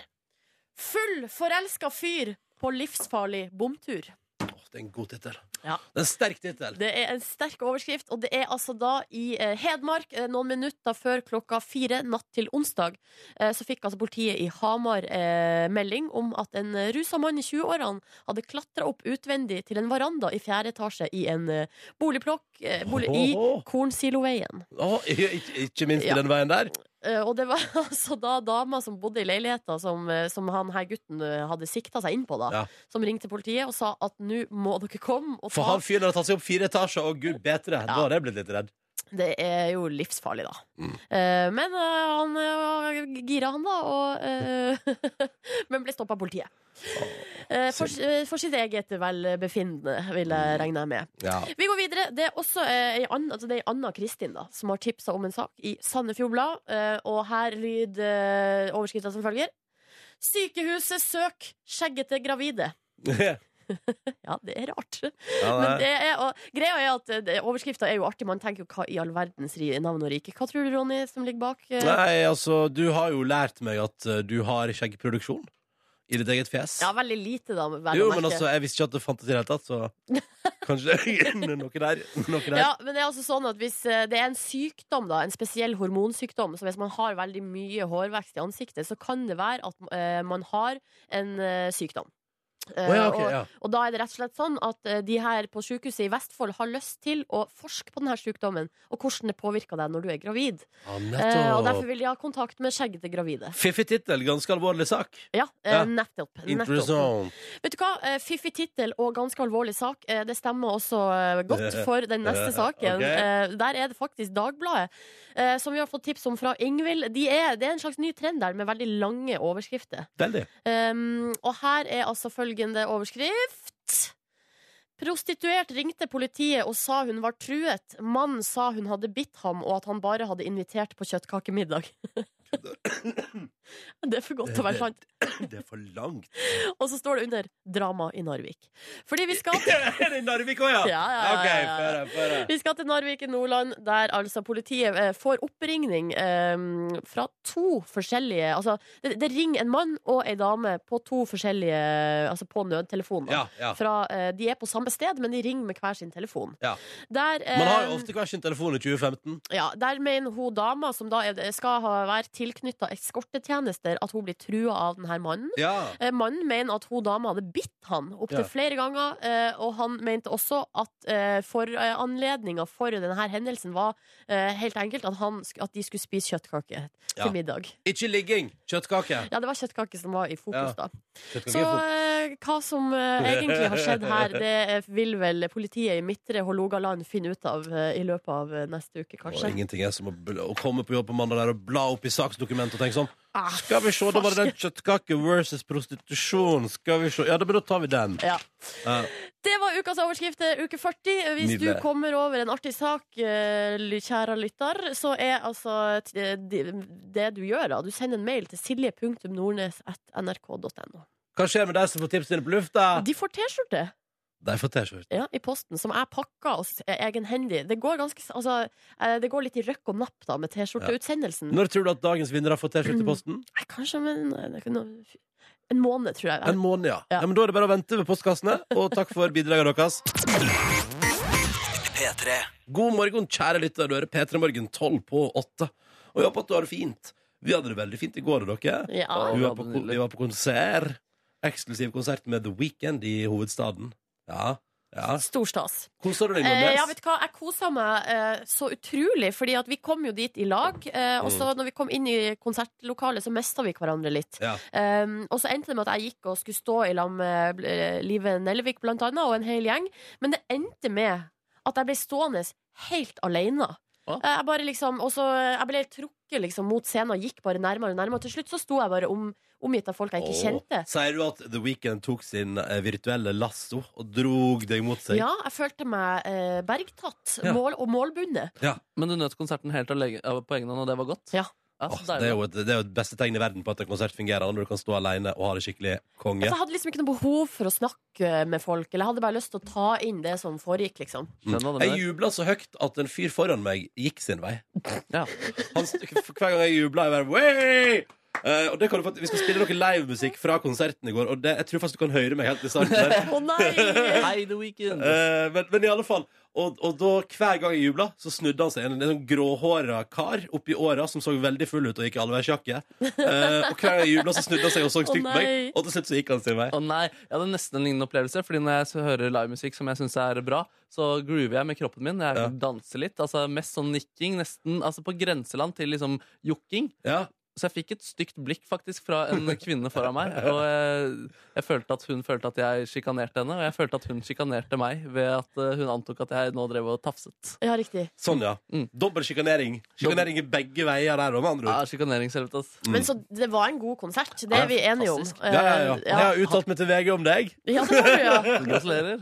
S2: Full forelska fyr på livsfarlig bomtur.
S1: Å, det er en god tittel.
S2: Ja.
S1: Det er en sterk tittel.
S2: Det er en sterk overskrift, og det er altså da i eh, Hedmark, eh, noen minutter før klokka fire natt til onsdag, eh, så fikk altså politiet i Hamar eh, melding om at en eh, rusa mann i 20-årene hadde klatra opp utvendig til en veranda i fjerde etasje i en eh, boligplokk eh, bolig, i
S1: Åhå.
S2: Kornsiloveien.
S1: Å, ikke, ikke minst
S2: Ja.
S1: i den veien der.
S2: Eh, og det var altså da dama som bodde i leiligheta som, eh, som han her gutten eh, hadde sikta seg inn på, da,
S1: Ja.
S2: som ringte politiet og sa at nå må dere komme og
S1: For
S2: ta
S1: han fyren har tatt seg opp fire etasjer, og gud bedre. Da har jeg blitt litt redd.
S2: Det er jo livsfarlig, da.
S1: Mm.
S2: Eh, men eh, han eh, gira, han, da. Og, eh, men ble stoppa av politiet. Eh, for, eh, for sitt eget velbefinnende, vil jeg regne med.
S1: Ja.
S2: Vi går videre. Det er også eh, ei anna, altså det er ei anna Kristin da, som har tipsa om en sak i Sandefjord Blad. Eh, og her lyder eh, overskrifta som følger. Sykehuset søk skjeggete gravide.
S1: ja,
S2: Ja, det er rart. Men
S1: nei.
S2: det er, og, greia er at eh, det- overskrifta er jo artig. Man tenker jo hva i all verdens ri- navn og rike. Hva tror du, Ronny, som ligger bak? eh?
S1: nei, altså, du har jo lært meg at eh, du har skjeggproduksjon i ditt eget fjes.
S2: Ja, veldig lite, da. vel å
S1: jo,
S2: merke.
S1: men altså, jeg visste ikke at det fantes i det hele tatt, så kanskje noe der. Noe der.
S2: Ja, men det er altså sånn at hvis eh, det er en sykdom, da, en spesiell hormonsykdom, så hvis man har veldig mye hårvekst i ansiktet, så kan det være at eh, man har en eh, sykdom. Eh,
S1: Å, ja, ok,
S2: og,
S1: ja.
S2: og da er det rett og slett sånn at eh, de her på sykehuset i Vestfold har lyst til å forske på denne sykdommen, og hvordan det påvirker deg når du er gravid.
S1: Ja,
S2: Eh,
S1: Ah,
S2: og derfor
S1: nettopp.
S2: vil de ha kontakt med skjeggete gravide.
S1: Fiffig tittel, ganske alvorlig sak.
S2: Ja, eh,
S1: Ja.
S2: nettopp. nettopp.
S1: Interessant.
S2: Vet du hva? Eh, Fiffig tittel og ganske alvorlig sak. Eh, Det stemmer også eh, godt for den neste saken.
S1: Ok.
S2: Eh, Der er det faktisk Dagbladet, eh, som vi har fått tips om fra Ingvild. De er, det er en slags ny trend der med veldig lange overskrifter.
S1: Veldig.
S2: Um, og her er altså følgende overskrift. Prostituert ringte politiet og sa hun var truet. Mannen sa hun hadde bitt ham, og at han bare hadde invitert på kjøttkakemiddag. Det er for godt til å være sant.
S1: Det er for langt.
S2: Og så står det under 'drama i Narvik'. Fordi vi skal
S1: Er det i Narvik òg, ja?
S2: Ja, ja, ja,
S1: OK,
S2: ja, ja.
S1: føre, føre.
S2: Vi skal til Narvik i Nordland, der altså politiet eh, får oppringning eh, fra to forskjellige Altså, det, det ringer en mann og ei dame på to forskjellige Altså på nødtelefonen. da.
S1: Ja, ja.
S2: Fra, eh, de er på samme sted, men de ringer med hver sin telefon.
S1: Ja.
S2: Der, eh,
S1: Man har jo ofte hver sin telefon i 2015.
S2: ja, der mener hun dama, som da er, skal ha, være tilknytta eskortetjenester, at hun blir trua av denne mannen.
S1: Ja.
S2: Eh, Mannen mener at hun dama hadde bitt han opptil
S1: Ja.
S2: flere ganger, eh, og han mente også at eh, for eh, anledninga for denne hendelsen var eh, helt enkelt at, han, sk- at de skulle spise kjøttkake
S1: Ja.
S2: til middag.
S1: Ikke ligging. Kjøttkake.
S2: Ja, det var kjøttkake som var i fokus, da.
S1: Kjøttkake
S2: Så
S1: er fort.
S2: eh, hva som eh, egentlig har skjedd her, det eh, vil vel politiet i Midtre Hålogaland finne ut av eh, i løpet av eh, neste uke,
S1: Og
S2: kanskje.
S1: ingenting er som å, bl å komme på jobb på mandag der og bla opp i saksdokumentet og tenke sånn
S2: Ah,
S1: Skal vi se, da var det den kjøttkake versus prostitusjon. Skal vi se. Ja, da, men da tar vi den.
S2: Ja.
S1: Ja.
S2: Det var ukas overskrift, eh, uke 40. Hvis
S1: Nydelig.
S2: du kommer over en artig sak, eh, ly- kjære lytter, så er altså t- eh, de- det du gjør, da Du sender en mail til silje.nordnes.nrk.no.
S1: Hva skjer med de som får tipsene dine på lufta?
S2: De får T-skjorte
S1: De får T-skjorte.
S2: ja, i posten, som jeg pakker og s- egenhendig. Det går, ganske, s- altså, eh, det går litt i røkk og napp da med T-skjorteutsendelsen.
S1: Når tror du at dagens vinnere får T-skjorte i posten?
S2: Nei, Kanskje eh, om en, en- en måned, tror jeg.
S1: En måned, ja.
S2: Ja.
S1: ja. Men da er det bare å vente ved postkassene. Og takk for bidragene deres. God morgen, kjære lytter. Du hører P3 Morgen 12 på 8. Og jeg håper at du har det fint. Vi hadde det veldig fint i går, dere.
S2: Ja.
S1: Vi var på, kon- vi var på konsert. Eksklusiv konsert med The Weekend i hovedstaden. Ja. ja.
S2: Stor stas.
S1: Koser du deg,
S2: Eh, ja,
S1: Nordnes?
S2: vet du hva? Jeg kosa meg eh, så utrolig, fordi at vi kom jo dit i lag. Eh, og så når vi kom inn i konsertlokalet, så mista vi hverandre litt.
S1: Mm. Ja.
S2: Um, og så endte det med at jeg gikk og skulle stå i lag med bl- eh, Live Nelvik blant annet, og en hel gjeng. Men det endte med at jeg ble stående helt alene.
S3: Å.
S2: Eh, Jeg bare liksom, og så eh, jeg ble trukket liksom mot scenen og gikk bare nærmere og nærmere. Til slutt så sto jeg bare om, omgitt av folk jeg ikke
S1: Åh.
S2: kjente.
S1: Sier du at The Weekend tok sin eh, virtuelle lasso og drog deg mot seg?
S2: Ja, jeg følte meg eh, bergtatt
S1: Ja.
S2: mål og målbundet.
S3: Men du nøt konserten helt alene, eh, på egen hånd, og det var godt?
S2: Ja.
S3: så
S1: Åh, det, er
S3: deilig.
S1: jo et, det er jo et beste tegn i verden på at en konsert fungerer, når du kan stå alene og ha det skikkelig konge.
S2: Altså, jeg hadde liksom ikke noe behov for å snakke med folk, eller jeg hadde bare lyst til å ta inn det som foregikk, liksom.
S3: Skjønner hva du
S1: Jeg
S3: mener.
S1: jubla så høyt at en fyr foran meg gikk sin vei.
S3: Ja.
S1: Han, st- for hver gang jeg jubla, jeg bare Way! Eh, og det kan du få, Vi skal spille noe livemusikk fra konserten i går, og det, jeg tror faktisk du kan høre meg helt i starten. der.
S2: Å nei!
S3: Hei, The Weekend!
S1: Eh, men, men i alle fall og, og da hver gang jeg jubla, så snudde han seg. En, en sånn gråhåra kar oppi åra som så veldig full ut og gikk i allværsjakke. Eh, og hver gang jeg jubla, så snudde han seg og så stygt på meg,
S2: nei.
S1: og til slutt så gikk han sin vei.
S3: Å nei, Jeg hadde nesten en lignende opplevelse. Fordi Når jeg så hører livemusikk som jeg syns er bra, så groover jeg med kroppen min. Jeg
S1: Ja.
S3: danser litt. altså Mest sånn nikking. Nesten altså på grenseland til liksom jokking.
S1: Ja,
S3: Så jeg fikk et stygt blikk faktisk fra en kvinne foran meg. Og jeg, jeg følte at hun følte at jeg sjikanerte henne, og jeg følte at hun sjikanerte meg ved at eh, hun antok at jeg nå drev og tafset.
S2: Ja, riktig.
S1: Sånn, ja.
S3: Mm.
S1: Dobbel sjikanering. Sjikanering i begge veier der, og med andre
S3: Ja,
S1: ord.
S3: Sjikaneringshelvete, ass.
S2: Men så det var en god konsert, det
S3: Ja,
S2: er vi enige om.
S3: fantastisk.
S1: Ja, ja, ja.
S2: Eh,
S1: Jeg har uttalt meg til VG om deg. Eh,
S2: Ja, det var du, ja.
S3: Gratulerer.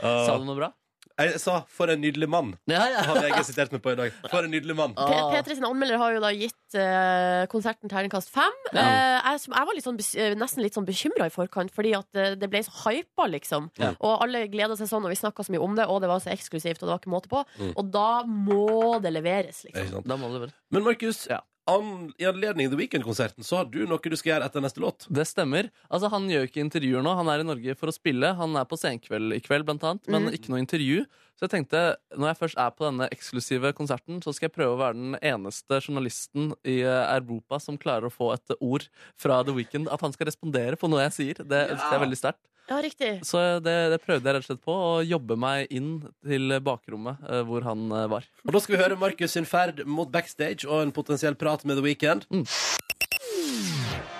S3: Sa du noe bra?
S1: Jeg sa 'for en nydelig mann'.
S3: Ja, ja.
S1: Har VG sitert meg på i dag. For en nydelig mann.
S2: P
S3: Ah.
S2: P3 sin anmelder har jo da gitt eh, konserten terningkast fem.
S3: Ja.
S2: Eh, jeg, som- jeg var litt sånn, bes- eh, nesten litt sånn bekymra i forkant, fordi at eh, det ble så hypa, liksom.
S3: Ja.
S2: Og alle gleda seg sånn, og vi snakka så mye om det, og det var så eksklusivt, og det var ikke måte på. Og da må det leveres,
S1: Ikke
S2: liksom.
S1: sant?
S3: Da må det vel.
S1: Men Markus,
S3: Ja.
S1: an, i anledning The Weekend-konserten så har du noe du skal gjøre etter neste låt.
S3: Det stemmer. Altså, han gjør ikke intervjuer nå. Han er i Norge for å spille. Han er på Senkveld i kveld, blant annet, men ikke noe intervju. Så jeg tenkte, når jeg først er på denne eksklusive konserten, så skal jeg prøve å være den eneste journalisten i eh, Europa som klarer å få et eh, ord fra The Weeknd. At han skal respondere på noe jeg sier. Det, det er veldig sterkt.
S2: Ja, riktig.
S3: Så det, det prøvde jeg rett og slett på, å jobbe meg inn til bakrommet eh, hvor han eh, var.
S1: Og da skal vi høre Markus sin ferd mot backstage og en potensiell prat med The Weeknd.
S3: Mm.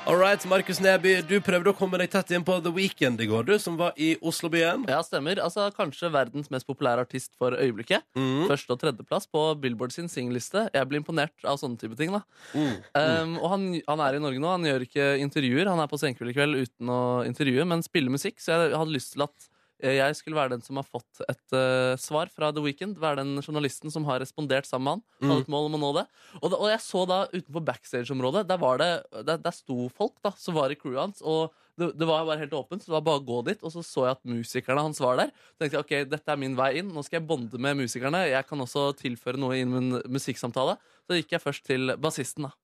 S1: All right, Markus Neby, du prøvde å komme deg tett inn på The Weeknd i går, du, som var i Oslobyen.
S3: Ja, stemmer. Altså, kanskje verdens mest populære artist for øyeblikket.
S1: Mm.
S3: Første- og tredjeplass på Billboard sin singelliste. Jeg blir imponert av sånne type ting. da
S1: Mm.
S3: Um, og han, han er i Norge nå, han gjør ikke intervjuer. Han er på Senkveld i kveld uten å intervjue, men spiller musikk. Så jeg hadde lyst til at eh, jeg skulle være den som har fått et eh, svar fra The Weeknd. Være den journalisten som har respondert sammen med han. Hadde et mål om å nå det. Og, da, og jeg så da utenfor backstage-området, der, var det, der, der sto folk da, som var i crewet hans. og det, det var bare helt åpent, så det var bare å gå dit. Og så så jeg at musikerne hans var der. Så tenkte jeg, ok, dette er min vei inn, nå skal jeg bonde med musikerne. Jeg kan også tilføre noe inn min musikksamtale. Så gikk jeg først til bassisten, da.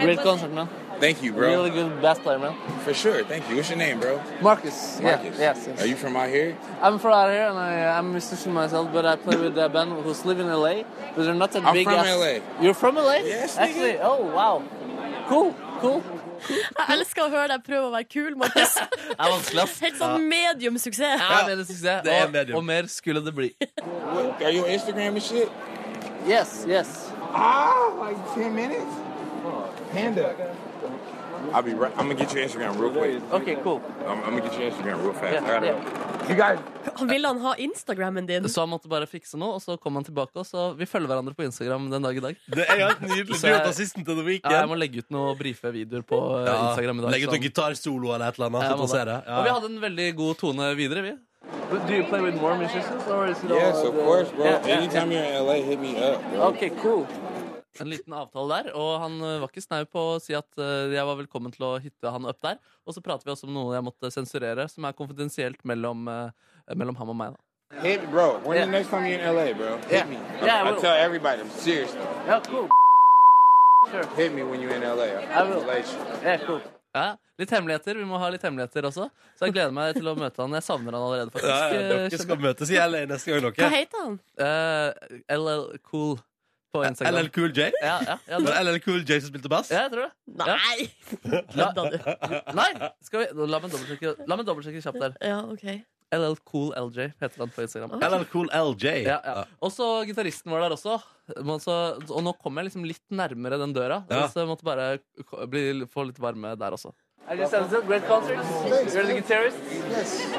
S3: Great concert, man.
S9: Thank you, bro.
S3: Really good bass player, man.
S9: For sure. Thank you. What's your name, bro?
S3: Marcus.
S9: Marcus.
S3: Yeah, yes, yes.
S9: Are you from out here?
S3: I'm from out here, and I, I'm a musician myself, but I play with a band who's live in LA, but they're not that
S9: I'm
S3: big
S9: from
S3: as...
S9: LA.
S3: You're from LA?
S9: Yes, nigga.
S3: Actually, oh, wow. Cool, cool.
S2: Jeg elsker å høre deg prøve å være kul, Markus.
S3: Det er vanskelig, ass.
S2: Helt sånn medium suksess.
S3: Ja, men det synes jeg.
S1: Det er
S3: Og,
S1: medium.
S3: og mer skulle det bli.
S9: What, are you on Instagram and shit?
S3: Yes, yes.
S9: Ah, like 10 minutes? Panda. I'll be right. I'm gonna get your Instagram real quick.
S3: Ok, cool.
S9: I'm, I'm gonna get your Instagram real fast.
S3: Yeah,
S9: I gotta go. You guys.
S2: Han ville han ha Instagrammen din.
S3: Så han måtte bare fikse noe, og så kom han tilbake, og så vi følger hverandre på Instagram den dag i dag.
S1: Det er jo helt nydelig. Du
S3: Så jeg-
S1: er bassisten til The
S3: Ja, jeg må
S1: Weekend.
S3: legge ut noen brife videoer på eh, Instagram i dag.
S1: Legge ut
S3: så-
S1: noen gitarsolo eller et eller annet.
S3: Ja,
S1: så
S3: jeg må
S1: får se det.
S3: det. Og vi hadde en veldig god tone videre, vi. Do you play with more musicians, or is it
S9: Yes, of course, bro. Anytime you're in LA, hit me up, bro.
S3: Ok, cool. En liten avtale der, og han eh, var ikke snau på å si at eh, jeg var velkommen til å hitte han opp der. Og så prater vi også om noe jeg måtte sensurere, som er konfidensielt mellom, eh, mellom ham og meg. da.
S9: Hit me, bro. When
S3: Yeah.
S9: the next time you're in LA, bro? Hit
S3: Yeah.
S9: me.
S3: Yeah, I
S9: I,
S3: will.
S9: tell everybody. I'm serious. though.
S3: Ja, cool.
S9: Hit me when you're in LA.
S3: I will.
S9: Relation.
S3: Ja, litt hemmeligheter. Vi må ha litt hemmeligheter også. Så jeg gleder meg til å møte han. Jeg savner han allerede, faktisk.
S1: Ja, ja,
S3: eh,
S1: dere skal
S3: skjønner.
S1: møtes i LA neste gang,
S2: Hva
S1: dere.
S2: heter han?
S3: Eh, LL Cool på Instagram.
S1: LL Cool J?
S3: Ja, ja, ja,
S1: Var
S3: det-
S1: det LL Cool J som spilte bass?
S3: ja, jeg tror det. Ja.
S2: Nei! Kødda du?
S3: Nei! Skal vi, la meg dobbeltsjekke La meg dobbeltsjekke kjapt der.
S2: Ja, OK.
S3: LL Cool LJ heter han på Instagram.
S1: LL Cool LJ.
S3: Ja, ja. Og så gitaristen var der også. Men så, og nå kom jeg liksom litt nærmere den døra.
S1: Ja.
S3: Så jeg måtte bare ko- bli, få litt varme der også. I just had a great concert. You're the guitarist.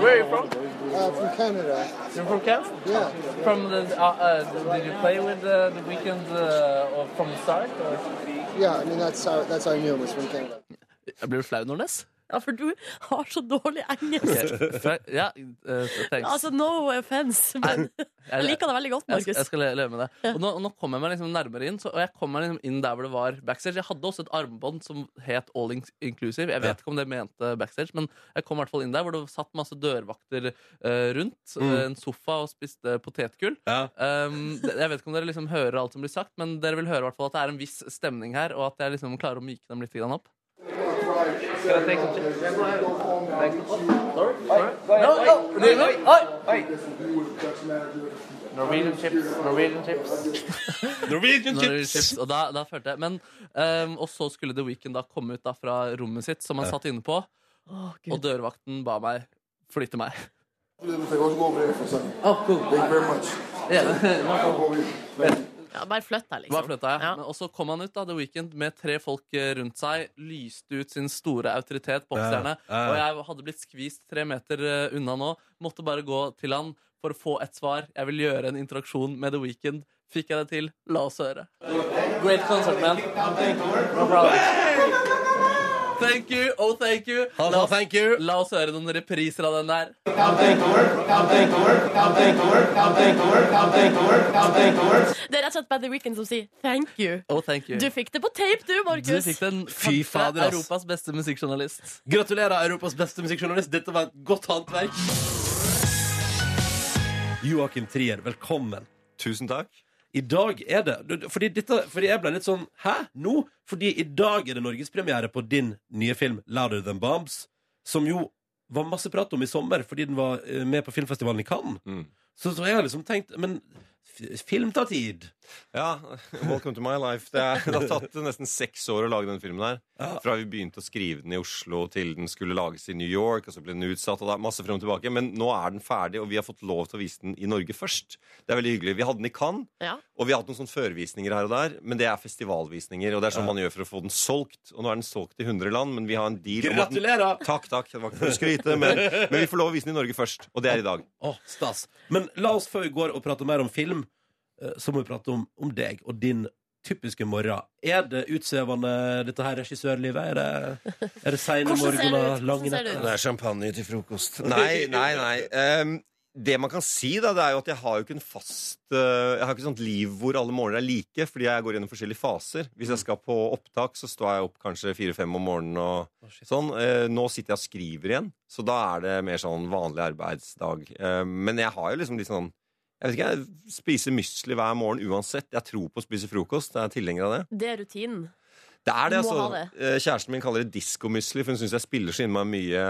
S3: Where are you from?
S10: Uh, from Canada.
S3: You're from Kansas?
S10: Yeah.
S3: From the, uh, did you play with the, weekend uh, or from the start?
S10: Yeah, I mean, that's how, that's how I knew him was from Canada.
S3: Jeg blir du flau, Nordnes?
S2: Ja, for du har så dårlig engelsk.
S3: Fra- Ja, eh, thanks.
S2: Altså, no offense, men jeg liker det veldig godt,
S3: Jeg, jeg
S2: Markus.
S3: skal le- leve med det. Og nå, og nå kom jeg meg liksom nærmere inn, så, og jeg kom meg liksom inn der hvor det var backstage. Jeg hadde også et armbånd som het All In- Inclusive. Jeg vet
S1: Ja.
S3: ikke om det mente backstage, men jeg kom i hvert fall inn der hvor det satt masse dørvakter eh, rundt. eh, En sofa og spiste potetgull.
S1: Ja.
S3: Um, det- jeg vet ikke om dere liksom hører alt som blir sagt, men dere vil høre i hvert fall at det er en viss stemning her, og at jeg liksom klarer å myke dem litt grann opp. Skal jeg tenke- No, no, no, no, Norwegian chips, Norwegian chips.
S1: Norwegian
S3: Når det gjelder
S1: Chips!
S3: chips, og da, da følte jeg Men ehm, Og så skulle The Weeknd da komme ut da fra rommet sitt, som han satt inne på,
S2: Å,
S3: og
S2: Gud.
S3: dørvakten ba meg flytte meg.
S10: Let's go over there for a second.
S3: Oh, cool.
S10: Thank you very much.
S2: Ja, bare flytt deg,
S3: Bare
S2: liksom.
S3: flytta jeg.
S2: Ja.
S3: Men- Og så kom han ut da, The Weeknd med tre folk eh, rundt seg, lyste ut sin store autoritet, bokserne,
S1: Ja,
S3: og
S1: ja.
S3: jeg hadde blitt skvist tre meter eh, unna nå. Måtte bare gå til han for å få et svar. Jeg vil gjøre en interaksjon med The Weeknd. Fikk jeg det til? La oss høre. Great concert, man. Thank you. Oh, thank you.
S1: Han sa thank you.
S3: La oss høre noen repriser av den der.
S2: Det er rett og slett bare The Weeknd som sier thank you.
S3: Oh, thank you.
S2: Du fikk det på tape, du,
S3: Du
S2: Markus.
S3: fikk den
S1: Fy
S3: kanskje
S1: fader, ass.
S3: Europas beste musikkjournalist.
S1: Gratulerer, Europas beste musikkjournalist. Dette var et godt håndverk. Joakim Trier, velkommen.
S11: Tusen takk.
S1: I dag er det du- du- fordi, dette, fordi jeg ble litt sånn Hæ? Nå? Fordi i dag er det norgespremiere på din nye film 'Louder Than Bombs', som jo var masse prat om i sommer fordi den var eh, med på filmfestivalen i Cannes.
S11: Mm.
S1: Så, så jeg har liksom tenkt Men f- film tar tid.
S11: Ja, Welcome to my life. Det, er, det har tatt nesten seks år å lage den filmen her.
S1: Ja.
S11: Fra vi begynte å skrive den i Oslo, til den skulle lages i New York, og så ble den utsatt, og det er masse frem og tilbake. Men nå er den ferdig, og vi har fått lov til å vise den i Norge først. Det er veldig hyggelig. Vi hadde den i Cannes,
S2: Ja.
S11: og vi har hatt noen sånne førvisninger her og der, men det er festivalvisninger, og det er sånn man gjør for å få den solgt. Og nå er den solgt i 100 land, men vi har en deal om at den
S1: Gratulerer!
S11: Takk, takk. Det var ikke for å skryte, men, men vi får lov å vise den i Norge først. Og det er i dag.
S1: Å, stas. Men la oss før vi går og prater mer om film, eh, så må vi prate om, om deg og din typiske morgener. Er det utsvevende, dette her regissørlivet? Er det, er det seine
S11: Hvordan ser det
S1: morgener,
S11: ut?
S1: lange
S11: Hvordan ser det
S1: netter?
S11: ut? Det er
S1: champagne til frokost.
S11: Nei, nei, nei. Ehm, det man kan si, da, det er jo at jeg har jo ikke en fast eh, Jeg har ikke et sånt liv hvor alle morgener er like, fordi jeg går gjennom forskjellige faser. Hvis jeg skal på opptak, så står jeg opp kanskje fire-fem om morgenen og sånn. Eh, nå sitter jeg og skriver igjen, så da er det mer sånn vanlig arbeidsdag. Eh, men jeg har jo liksom litt sånn Jeg vet ikke, jeg spiser mysli hver morgen uansett. Jeg tror på å spise frokost. Jeg er tilhenger av det.
S2: Det er rutinen.
S11: Det er det,
S2: Du må
S11: altså.
S2: ha det.
S11: Eh, Kjæresten min kaller det diskomusli, for hun syns jeg spiller så innmari mye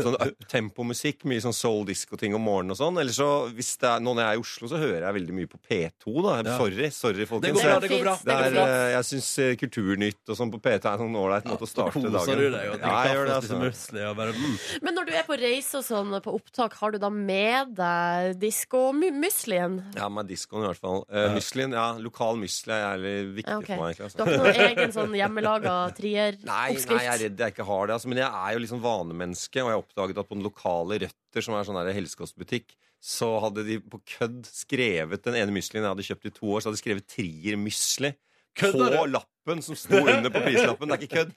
S11: sånn uptempo-musikk. Mye sånn soul disco-ting om morgenen og sånn. Eller så, hvis det er, nå når jeg er i Oslo, så hører jeg veldig mye på P2, da.
S1: Ja.
S11: Sorry, sorry, folkens.
S1: går bra, det går bra.
S11: Det
S1: Det går
S11: er,
S1: bra.
S11: eh, jeg syns Kulturnytt og sånn på P2 er en sånn ålreit måte å starte
S1: koser
S11: dagen
S1: du deg og drikker
S11: Ja, jeg gjør det,
S1: kaffe og spiser
S11: altså.
S1: musli og bare mm.
S2: Men når du er på reise og sånn, på opptak, har du da med deg disko-muslien?
S11: Ja, med diskoen i hvert fall. Eh, Muslin, ja, lokal musli er jævlig viktig
S2: Ja, ok.
S11: for meg. egentlig, altså.
S2: Du har ikke noen egen sånn hjemmelaga
S11: Nei, nei, jeg er
S2: trier-oppskrift?
S11: redd jeg ikke har det. Altså, men jeg er jo liksom vanemenneske, og jeg oppdaget at på den lokale Røtter, som er sånn der helsekostbutikk, så hadde de på kødd skrevet den ene muslien jeg hadde kjøpt i to år, så hadde de skrevet Trier Mysli.
S1: Kødder
S11: På
S1: du?
S11: lappen som sto under på prislappen. Det er ikke kødd.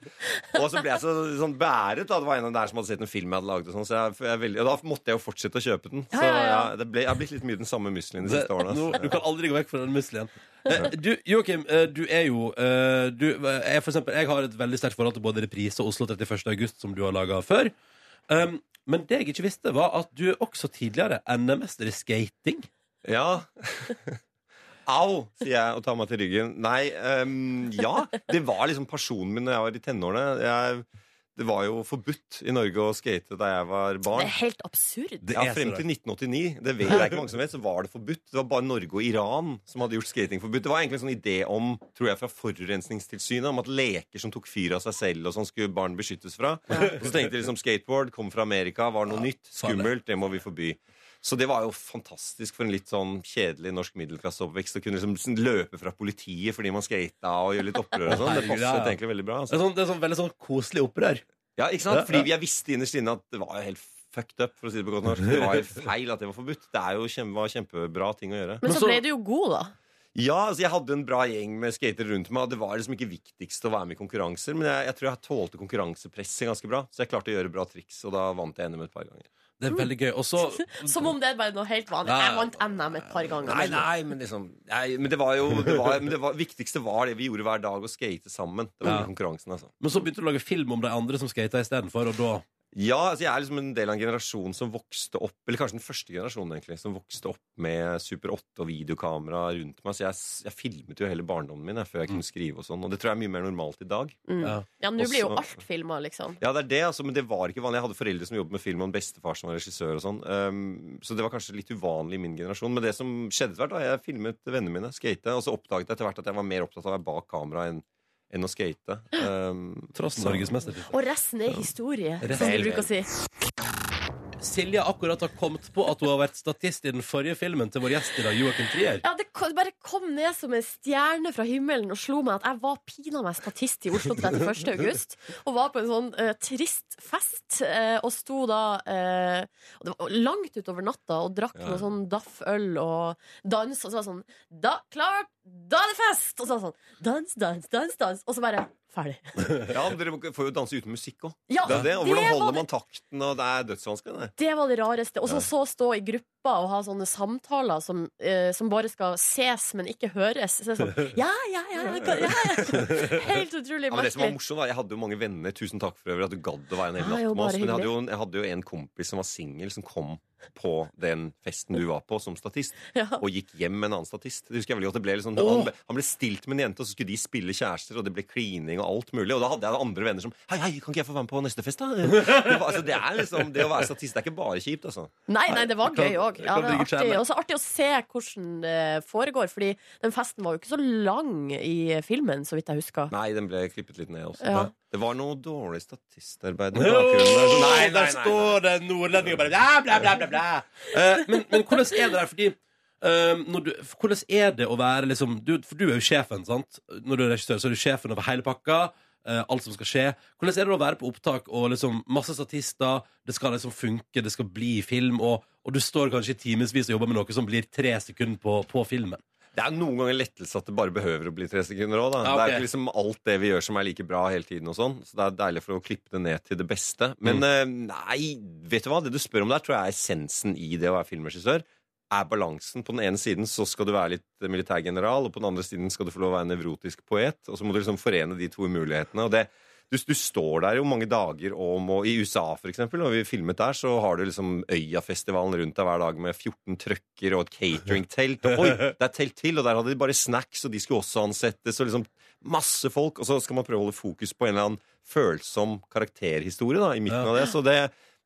S11: Og så ble jeg så sånn bæret. Da. Det var en av der som hadde sett en film jeg hadde laget. Og, sånn, så jeg, jeg er veldig, og da måtte jeg jo fortsette å kjøpe den. Så
S1: Ja, ja, ja.
S11: jeg- det ble, jeg har blitt litt mye den samme muslien de
S1: Det-
S11: siste årene.
S1: Eh, nå-
S11: altså.
S1: Du kan aldri gå vekk fra den muslien. Eh, Du, Joakim, eh, du er jo eh, du, jeg, for eksempel, jeg har et veldig sterkt forhold til både Reprise og Oslo 31. august, som du har laga før. Um, men det jeg ikke visste, var at du er også tidligere NM-mester i skating.
S11: Ja. Au, sier jeg og tar meg til ryggen. Nei, ehm, ja. Det var liksom personen min da jeg var i tenårene. Jeg, det var jo forbudt i Norge å skate da jeg var
S2: Det
S11: barn.
S2: er helt absurd.
S11: ja, frem til 1989 det vet jeg ikke mange som vet, så var det forbudt. Det var bare Norge og Iran som hadde gjort skating forbudt. Det var egentlig en sånn idé om, tror jeg, fra Forurensningstilsynet om at leker som tok fyr av seg selv og sånn, skulle barn beskyttes fra. Og så tenkte de liksom skateboard kom fra Amerika, var noe nytt, skummelt, det må vi forby. Så det var jo fantastisk for en litt sånn kjedelig norsk middelklasseoppvekst å kunne liksom løpe fra politiet fordi man skata og gjøre litt opprør og sånn. Det
S1: Herregud, ja, ja.
S11: passet egentlig veldig bra.
S1: Det er,
S11: Altså.
S1: sånn, det er sånn veldig sånn koselig opprør.
S11: Ja, ikke sant? Fordi jeg visste innerst inne at det var jo helt fucked up, for å si det på godt norsk. Det var jo feil at det var forbudt. Det er jo kjempe, var kjempebra ting å gjøre.
S2: Men så ble du jo god, da.
S11: Ja, altså jeg hadde en bra gjeng med skatere rundt meg, og det var liksom ikke viktigst å være med i konkurranser, men jeg, jeg tror jeg tålte konkurransepresset ganske bra, så jeg klarte å gjøre bra triks, og da vant jeg NM et par ganger.
S1: Det er veldig gøy. Og så
S2: Som om det er bare noe helt vanlig.
S11: Nei.
S2: Jeg vant NM et par ganger.
S11: Nei, nei, men liksom nei, Men det var jo det, var, men det var, viktigste var det vi gjorde hver dag, å skate sammen. Det var
S1: Ja.
S11: konkurransen, altså.
S1: Men så begynte du å lage film om de andre som skata istedenfor, og da
S11: Ja, altså jeg er liksom en del av en generasjon som vokste opp Eller kanskje den første generasjonen egentlig som vokste opp med Super 8 og videokamera rundt meg. Så jeg, s- jeg filmet jo hele barndommen min jeg, før jeg kunne skrive. og sånn Og det tror jeg er mye mer normalt i dag.
S2: Mm. Ja, nå blir jo
S11: Også-
S2: alt filma, liksom.
S11: Ja, det er det, altså, men det var ikke vanlig. Jeg hadde foreldre som jobbet med film, og en bestefar som var regissør. og sånn um, Så det var kanskje litt uvanlig i min generasjon. Men det som skjedde etter hvert, da jeg filmet vennene mine skate, og så oppdaget jeg etter hvert at jeg var mer opptatt av å være bak kamera enn, enn å skate. Um,
S1: Tross
S11: så-
S1: norgesmester.
S2: Og resten er historie,
S1: Resten-
S2: som du bruker å si.
S1: Silje akkurat har kommet på at hun har vært statist i den forrige filmen til vår gjest i dag, Joakim Trier.
S2: Ja, det ko- bare kom ned som en stjerne fra himmelen og slo meg at jeg var pina meg statist i Oslo 31. august. Og var på en sånn eh, trist fest, eh, og sto da eh, og Det var langt utover natta og drakk
S12: Ja.
S2: noe sånn Daff-øl og dans, og så var det sånn Da, klart, da er det fest! Og så var det sånn Dans, dans, dans, dans. Og så bare Ferdig.
S11: Ja, men Dere får jo danse uten musikk òg.
S2: Ja,
S11: det er det.
S2: Ah,
S11: Og
S2: det
S11: hvordan
S2: var
S11: holder
S2: det-
S11: man takten? Og det er dødsvanskelig. Det.
S2: Det var det rareste. Og så
S11: Ja.
S2: så stå i gruppa og ha sånne samtaler som, eh, som bare skal ses, men ikke høres. Så det er sånn, ja, ja, ja, ja, ja. Helt utrolig
S11: Ja, men det som var
S2: merkelig.
S11: morsomt da, Jeg hadde jo mange venner. Tusen takk for øvrig at du gadd å være en hel
S2: Ja,
S11: natt
S2: jo,
S11: med oss.
S2: bare
S11: Men jeg hadde, jo,
S2: hyggelig.
S11: jeg hadde jo en kompis som var singel, som kom på den festen du var på som statist,
S2: Ja.
S11: og gikk hjem med en annen statist. Det husker jeg veldig godt. Det ble litt sånn,
S1: Åh!
S11: han, ble, han ble stilt med en jente, og så skulle de spille kjærester, og det ble klining og alt mulig. Og da hadde jeg andre venner som Hei, hei, kan ikke jeg få være med på neste fest, da? Det, var, altså, det er liksom, det å være statist det er ikke bare kjipt, altså.
S2: Nei, nei, det var
S11: Kan-
S2: gøy òg. Ja, det
S11: kan
S2: var
S11: ligge skjermen.
S2: artig. Og så artig å se hvordan det foregår, fordi den festen var jo ikke så lang i filmen, så vidt jeg husker.
S11: Nei, den ble klippet litt ned også.
S2: Ja.
S11: Det var noe dårlig statistarbeid.
S1: Jo,
S11: Nei,
S1: sånn, der står det nordlendinger bare bla, bla, bla, bla, bla. Eh, men, men hvordan er det der? Fordi eh, når du, for hvordan er det å være liksom du, For du er jo sjefen, sant? Når du er regissør, så er du sjefen over hele pakka. eh, alt som skal skje. Hvordan er det å være på opptak og liksom masse statister? Det skal liksom funke, det skal bli film, og, og du står kanskje i timevis og jobber med noe som blir tre sekunder på, på filmen.
S11: Det er noen ganger lettelse at det bare behøver å bli tre sekunder òg.
S1: Ja, ok.
S11: Det er ikke liksom alt det vi gjør som er like bra hele tiden. og sånn Så det er deilig for å klippe det ned til det beste.
S1: Mm.
S11: Men eh, nei, vet du hva? Det du spør om der, tror jeg er essensen i det å være filmregissør. Er balansen. På den ene siden så skal du være litt militærgeneral, og på den andre siden skal du få lov å være en nevrotisk poet. Og så må du liksom forene de to umulighetene. Og det, du, du står der jo mange dager og må I USA, for eksempel, når vi filmet der, så har du liksom Øyafestivalen rundt deg hver dag med 14 trøkker og et cateringtelt. Og oi, det er telt til, og der hadde de bare snacks, og de skulle også ansettes, og liksom masse folk. Og så skal man prøve å holde fokus på en eller annen følsom karakterhistorie da, i midten av det. Så det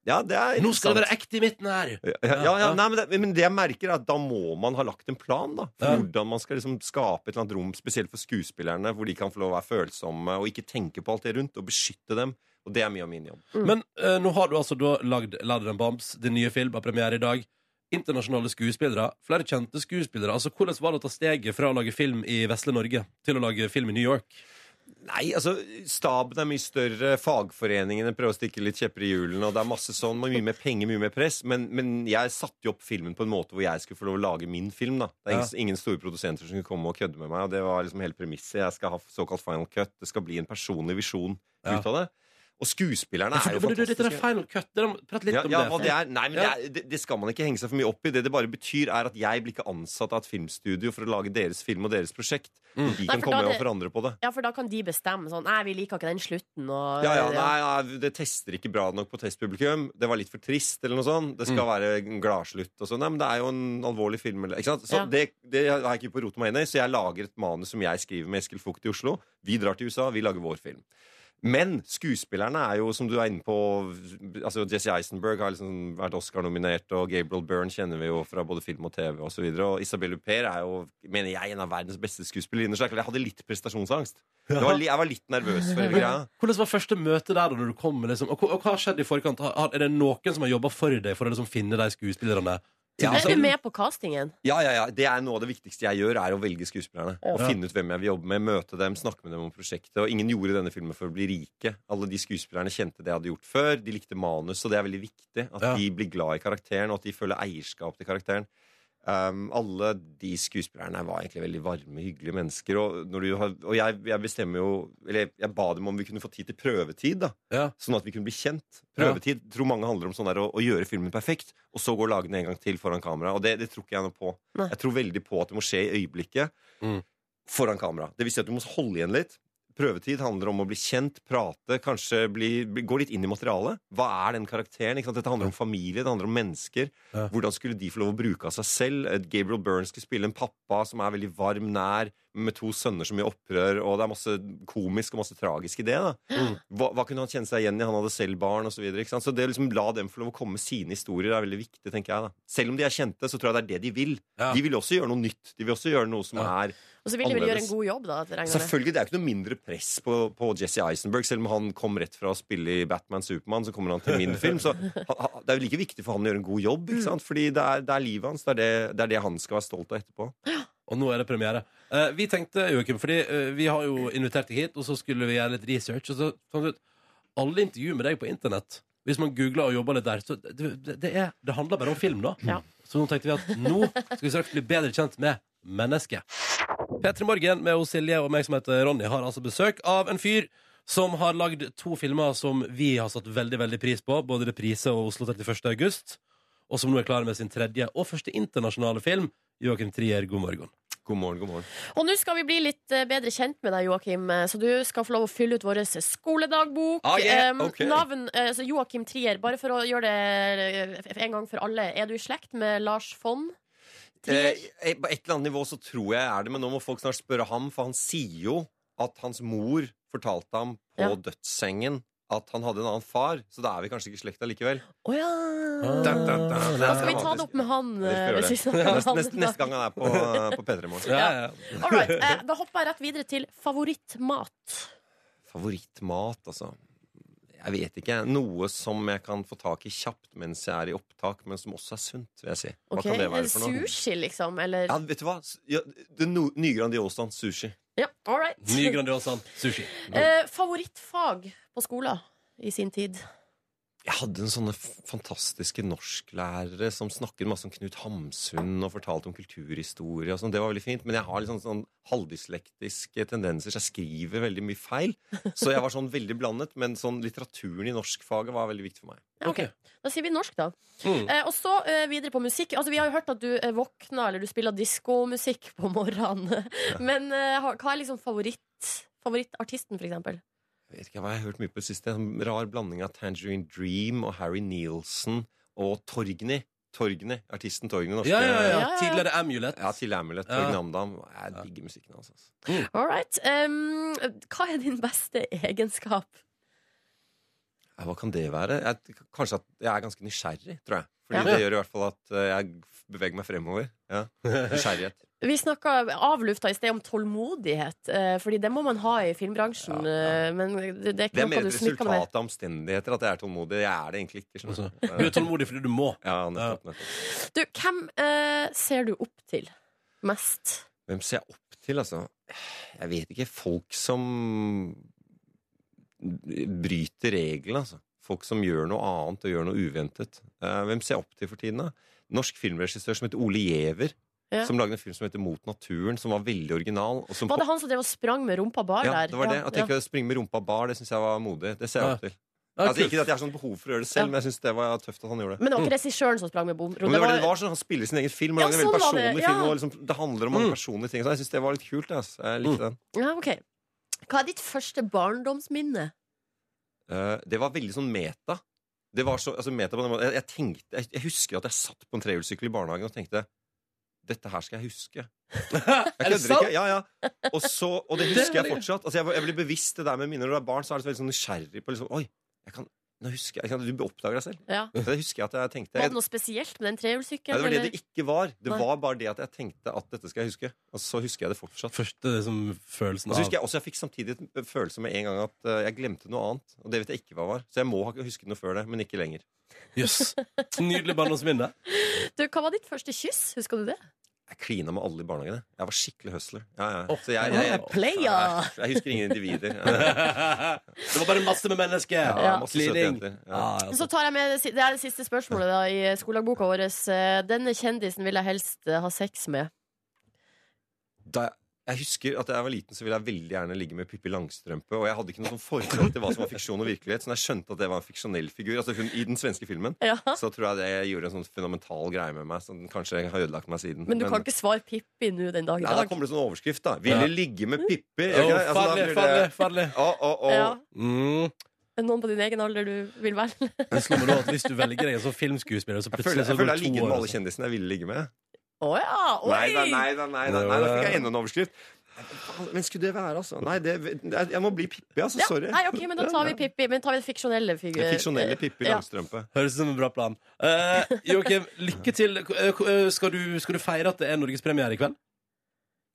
S11: ja, det er
S1: Nå skal det være
S11: interessant.
S1: ekte i midten her!
S11: Ja, ja, ja, nei, men, det, men det jeg merker er at da må man ha lagt en plan da, for hvordan man skal liksom skape et eller annet rom, spesielt for skuespillerne, hvor de kan få lov å være følsomme og ikke tenke på alt det rundt, og beskytte dem. Og det er mye av min jobb.
S1: Men eh, nå har du altså da lagd Ladder and Bombs, din nye film, har premiere i dag. Internasjonale skuespillere, flere kjente skuespillere. Altså, Hvordan var det å ta steget fra å lage film i vesle Norge til å lage film i New York?
S11: Nei, altså, staben er mye større, fagforeningene prøver å stikke litt kjepper i hjulene, og det er masse sånn, mye mer penger, mye mer press, men, men jeg satte jo opp filmen på en måte hvor jeg skulle få lov å lage min film, da. Det er ingen, ingen store produsenter som kunne komme og kødde med meg, og det var liksom hele premisset. Jeg skal ha såkalt final cut, det skal bli en personlig visjon
S1: Ja.
S11: ut av det. Og skuespillerne
S1: Nei,
S11: er jo
S1: for, men du, dette er
S11: fantastiske.
S1: final cut. det er om- Prat litt
S11: Ja,
S1: om
S11: ja,
S1: det.
S11: hva det er, nei, men
S1: Ja.
S11: det, er, det, det skal man ikke henge seg for mye opp i. Det det bare betyr, er at jeg blir ikke ansatt av et filmstudio for å lage deres film og deres prosjekt.
S1: Mm.
S11: Og De
S2: Nei,
S11: kan
S2: for da
S11: komme
S2: er
S11: og
S2: det-
S11: forandre på det.
S2: Ja, for da kan de bestemme sånn Nei, vi liker ikke den slutten og
S11: Ja, ja, nei, nei, det tester ikke bra nok på testpublikum. Det var litt for trist, eller noe sånt. Det
S2: Mm.
S11: skal være en gladslutt og sånn. Nei, men det er jo en alvorlig film, eller ikke sant? Så
S2: Ja.
S11: det, det har jeg ikke på rotet meg inn i, så jeg lager et manus som jeg skriver med Eskil Fugt i Oslo. Vi drar til USA, vi lager vår film. Men skuespillerne er jo, som du er inne på altså Jesse Eisenberg har liksom vært Oscar-nominert, og Gabriel Byrne kjenner vi jo fra både film og TV osv. Og, så videre, og Isabel Huper er jo, mener jeg, en av verdens beste skuespillerinner. Så det er klart jeg hadde litt prestasjonsangst. Det var, li- jeg var litt nervøs for hele greia.
S1: Hvordan var første møte der da når du kom? Liksom? Og, hva- og hva skjedde i forkant? Har- har- Er det noen som har jobba for deg for å liksom finne de skuespillerne?
S11: Ja,
S2: Er du med på castingen?
S11: Ja, ja, ja. Det er noe av det viktigste jeg gjør, er å velge skuespillerne. Og finne ut hvem jeg vil jobbe med, møte dem, snakke med dem om prosjektet. Og ingen gjorde denne filmen for å bli rike. Alle de skuespillerne kjente det jeg hadde gjort før. De likte manus, og det er veldig viktig. At
S1: Ja.
S11: de blir glad i karakteren, og at de føler eierskap til karakteren. Um, alle de skuespillerne var egentlig veldig varme, hyggelige mennesker. Og, når du har, og jeg, jeg bestemmer jo Eller jeg, jeg ba dem om vi kunne få tid til prøvetid, da.
S1: Ja.
S11: Sånn at vi kunne bli kjent. Prøvetid tror mange handler om sånn der, å, å gjøre filmen perfekt, og så gå og lage den en gang til foran kamera. Og det, det tror ikke jeg noe på.
S2: Nei.
S11: Jeg tror veldig på at det må skje i øyeblikket
S1: Mm.
S11: foran kamera. Det vil si at du må holde igjen litt. Prøvetid handler om å bli kjent, prate, kanskje bli, bli, gå litt inn i materialet. Hva er den karakteren? Ikke sant? Dette handler om familie, det handler om mennesker.
S1: Ja.
S11: Hvordan skulle de få lov å bruke av seg selv? Eh, Gabriel Byrne skulle spille en pappa som er veldig varm, nær, med to sønner som gjør opprør, og det er masse komisk og masse tragisk i det. da hva, hva kunne han kjenne seg igjen i? Han hadde selv barn osv. Så, videre, ikke sant? så det å liksom la dem få lov å komme med sine historier er veldig viktig. tenker jeg da. Selv om de er kjente, så tror jeg det er det de vil.
S1: Ja.
S11: De vil også gjøre noe nytt. De vil også gjøre noe som
S1: Ja.
S11: er
S2: Og så vil de vel gjøre en
S11: Annerledes.
S2: god jobb, da? regner jeg med.
S11: Selvfølgelig, Det er ikke noe mindre press på, på Jesse Eisenberg. Selv om han kom rett fra å spille i Batman Supermann, så kommer han til min film. Så han, han, det er jo like viktig for han å gjøre en god jobb. ikke sant? Fordi det er, det er livet hans. Det er det, det er det han skal være stolt av etterpå.
S1: Og nå er det premiere. Eh, vi tenkte, Joakim, fordi eh, vi har jo invitert deg hit, og så skulle vi gjøre litt research, og så fant vi ut alle intervju med deg på internett. Hvis man googler og jobber litt der, så det, det, det er, det handler bare om film, da.
S2: Ja.
S1: Så nå tenkte vi at nå skal vi straks bli bedre kjent med mennesket. P3 Morgen med oss Silje og meg som heter Ronny, har altså besøk av en fyr som har lagd to filmer som vi har satt veldig veldig pris på, både 'Reprise' og 'Oslo 31. august', og som nå er klar med sin tredje og første internasjonale film. Joakim Trier, god morgen.
S11: God morgen, god morgen.
S2: Og nå skal vi bli litt eh, bedre kjent med deg, Joakim. eh, Så du skal få lov å fylle ut vår eh, skoledagbok.
S11: Ah, yeah,
S2: Em,
S11: ok.
S2: Navn eh, så Joakim Trier. Bare for å gjøre det eh, en gang for alle. Er du i slekt med Lars Fonn? Trier?
S11: Eh, på et eller annet nivå så tror jeg er det, men nå må folk snart spørre ham, for han sier jo at hans mor fortalte ham på
S2: Ja.
S11: dødssengen at han hadde en annen far, så da er vi kanskje ikke i slekta likevel.
S2: Å ja!
S11: Dun, dun, dun.
S2: Da skal vi ta det opp med han.
S11: Ja, vi
S2: eh,
S11: får gjøre
S2: hvis vi
S11: det.
S2: snakker om
S11: Neste,
S2: han i
S11: neste,
S2: dag.
S11: neste gang han er på, på P3 i morgen.
S1: Ja, ja, ja.
S2: All right, eh, Da hopper jeg rett videre til favorittmat.
S11: Favorittmat, altså. Jeg vet ikke. Noe som jeg kan få tak i kjapt mens jeg er i opptak, men som også er sunt, vil jeg si. Hva
S2: Ok,
S11: kan det
S2: en
S11: være for noe?
S2: Sushi, liksom? Eller
S11: Ja, vet du hva? S- Ja, det no- nye Grandiosaen sushi.
S2: Ja, all right.
S1: Ny Grandiosaen sushi.
S2: Eh, favorittfag på skolen i sin tid?
S11: Jeg hadde en sånne f- fantastiske norsklærere som snakket masse om Knut Hamsun og fortalte om kulturhistorie. og sånn. Det var veldig fint, men jeg har litt sånn, sånn halvdyslektiske tendenser, så jeg skriver veldig mye feil. Så jeg var sånn veldig blandet, men sånn litteraturen i norskfaget var veldig viktig for meg.
S2: Ja, ok. Da sier vi norsk, da.
S11: Mm.
S2: Eh, og så eh, videre på musikk. Altså, vi har jo hørt at du eh, våkna, eller du spiller diskomusikk på morgenen. Men eh, har- hva er liksom favoritt, favorittartisten, for eksempel?
S11: Jeg vet ikke hva jeg har hørt mye på det siste. En sånn rar blanding av Tangerine Dream og Harry Nielsen og Torgny. Torgny, Artisten Torgny. norske-
S1: Ja, ja, ja. Tidligere Amulet.
S11: Ja, tidligere Amulet. Torgny Amdam. Jeg digger musikken hans. Altså.
S2: All right. Em, hva er din beste egenskap?
S11: Ja, Hva kan det være? Jeg, kanskje at jeg er ganske nysgjerrig, tror jeg. Fordi
S2: Ja.
S11: det gjør i hvert fall at eh, jeg beveger meg fremover. Ja. Nysgjerrighet.
S2: Vi snakka av lufta i sted om tålmodighet, eh, fordi det må man ha i filmbransjen. eh, Men det, det er
S11: Det
S2: ikke
S11: er mer
S2: noe du
S11: et
S2: smykker med.
S11: resultat av omstendigheter at jeg er tålmodig. Jeg er det egentlig ikke. skjønner du.
S1: Du er tålmodig fordi du må.
S11: Ja, nettopp, nettopp.
S2: Du, hvem eh, ser du opp til mest?
S11: Hvem ser jeg opp til, altså? Jeg vet ikke. Folk som bryter reglene, altså. Folk som gjør noe annet og gjør noe uventet. Eh, Hvem ser jeg opp til for tiden, da? Norsk filmregissør som heter Ole Giæver.
S2: Ja.
S11: Som lagde en film som heter Mot naturen, som var veldig original. Og som
S2: Var det han som drev og sprang med rumpa bar
S11: ja,
S2: der?
S11: det var det. At
S2: ja.
S11: jeg ikke springe med rumpa bar, det syns jeg var modig. Det ser jeg
S1: Ja.
S11: opp til.
S1: Ja,
S11: altså,
S1: kult.
S11: ikke at jeg har sånn behov for å gjøre det selv, men jeg syns det var tøft at han gjorde det.
S2: Men det var
S11: Mm.
S2: ikke regissøren som sprang med bom-
S11: Ja, men det var det det var, sånn, Han spiller sin egen film. Og
S2: Ja,
S11: lager en
S2: sånn
S11: veldig
S2: var det,
S11: personlig
S2: ja.
S11: film og liksom, Det handler om
S1: Mm.
S11: mange personlige ting. Så jeg syns det var litt kult. ass. Jeg likte den.
S2: Ja, ok. Hva er ditt første barndomsminne?
S11: Eh, det var veldig sånn meta. Det var så, altså meta på den måten. Jeg, jeg, tenkte, jeg, jeg husker at jeg satt på en trehjulssykkel i barnehagen og tenkte dette her skal jeg huske. Jeg kødder ikke.
S1: sant?
S11: Ja, ja. Og, så, og det husker jeg
S1: Det er-
S11: fortsatt. Altså, jeg, var- jeg blir bevisst det der med minner når du er barn, så er du så veldig sånn nysgjerrig på liksom, Oi, jeg kan, nå husker jeg, jeg kan, du oppdager deg selv.
S2: Ja.
S11: Så det husker jeg at jeg tenkte.
S2: Var det
S11: Jeg,
S2: noe spesielt med den
S11: ja,
S2: trehjulssykkelen?
S11: det var det
S2: eller?
S11: det ikke var. Det
S2: Nei.
S11: var bare det at jeg tenkte at dette skal jeg huske. Og så husker jeg det fortsatt.
S1: Første liksom, følelsen
S11: Og så
S1: av
S11: husker jeg også jeg fikk samtidig en følelse med en gang at eh, jeg glemte noe annet. Og det vet jeg ikke hva var. Så jeg må ha husket noe før det, men ikke lenger.
S1: Jøss. Nydelig barndomsminne.
S2: Du, hva var ditt første kyss? Husker du det?
S11: Jeg klina med alle i barnehagene. Jeg var skikkelig hustler. Ja, ja. Så jeg, jeg, jeg,
S2: Player!
S11: jeg, husker ingen individer.
S1: Det var bare masse med mennesker.
S11: Ja, masse søte
S1: Klining.
S11: jenter.
S1: Ja, ja,
S2: Så tar jeg med, det si- Det er det siste spørsmålet da, i skolelagboka vår. Eh, Denne kjendisen vil jeg helst eh, ha sex med.
S11: da, jeg husker at da jeg var liten, så ville jeg veldig gjerne ligge med Pippi Langstrømpe. Og jeg hadde ikke noe sånn forhold til hva som var fiksjon og virkelighet. Så når jeg skjønte at det var en fiksjonell figur altså hun, i den svenske filmen,
S2: Ja.
S11: så tror jeg det gjorde en sånn fundamental greie med meg som kanskje har ødelagt meg siden.
S2: Men du kan ikke svare Pippi nå den dag i
S11: Nei, da
S2: dag.
S11: kommer det sånn overskrift, da. 'Ville ligge med Pippi'.
S1: Å,
S11: Ok, altså, da
S1: farlig,
S11: blir det-
S1: farlig, farlig.
S11: Å, å, å.
S2: Ja.
S1: Mm.
S2: Er det Noen på din egen alder du vil velge?
S1: Det slo meg nå at Hvis du velger deg en sånn filmskuespiller, så
S11: Jeg
S1: plutselig
S11: føler
S1: så
S11: jeg,
S1: går
S11: føler
S1: det to
S11: jeg ligger
S1: år.
S11: med
S1: altså.
S11: alle kjendisene jeg ville ligge med.
S2: Å ja! Oi!
S11: Nei da, nei da, nei da. Nei, da fikk jeg enda en overskrift. Men skulle det være, altså? Nei, det, jeg jeg må bli Pippi, altså.
S2: Ja,
S11: Sorry.
S2: Nei, ok, men da tar vi Pippi. Men tar vi den fikksjonelle
S11: Den
S2: figuren.
S11: Fiksjonelle Pippi
S2: Ja.
S11: Langstrømpe.
S1: Høres ut som en bra plan. Eh, Joakim, lykke til. Eh, k- eh, Skal du, skal du feire at det er norgespremiere i kveld?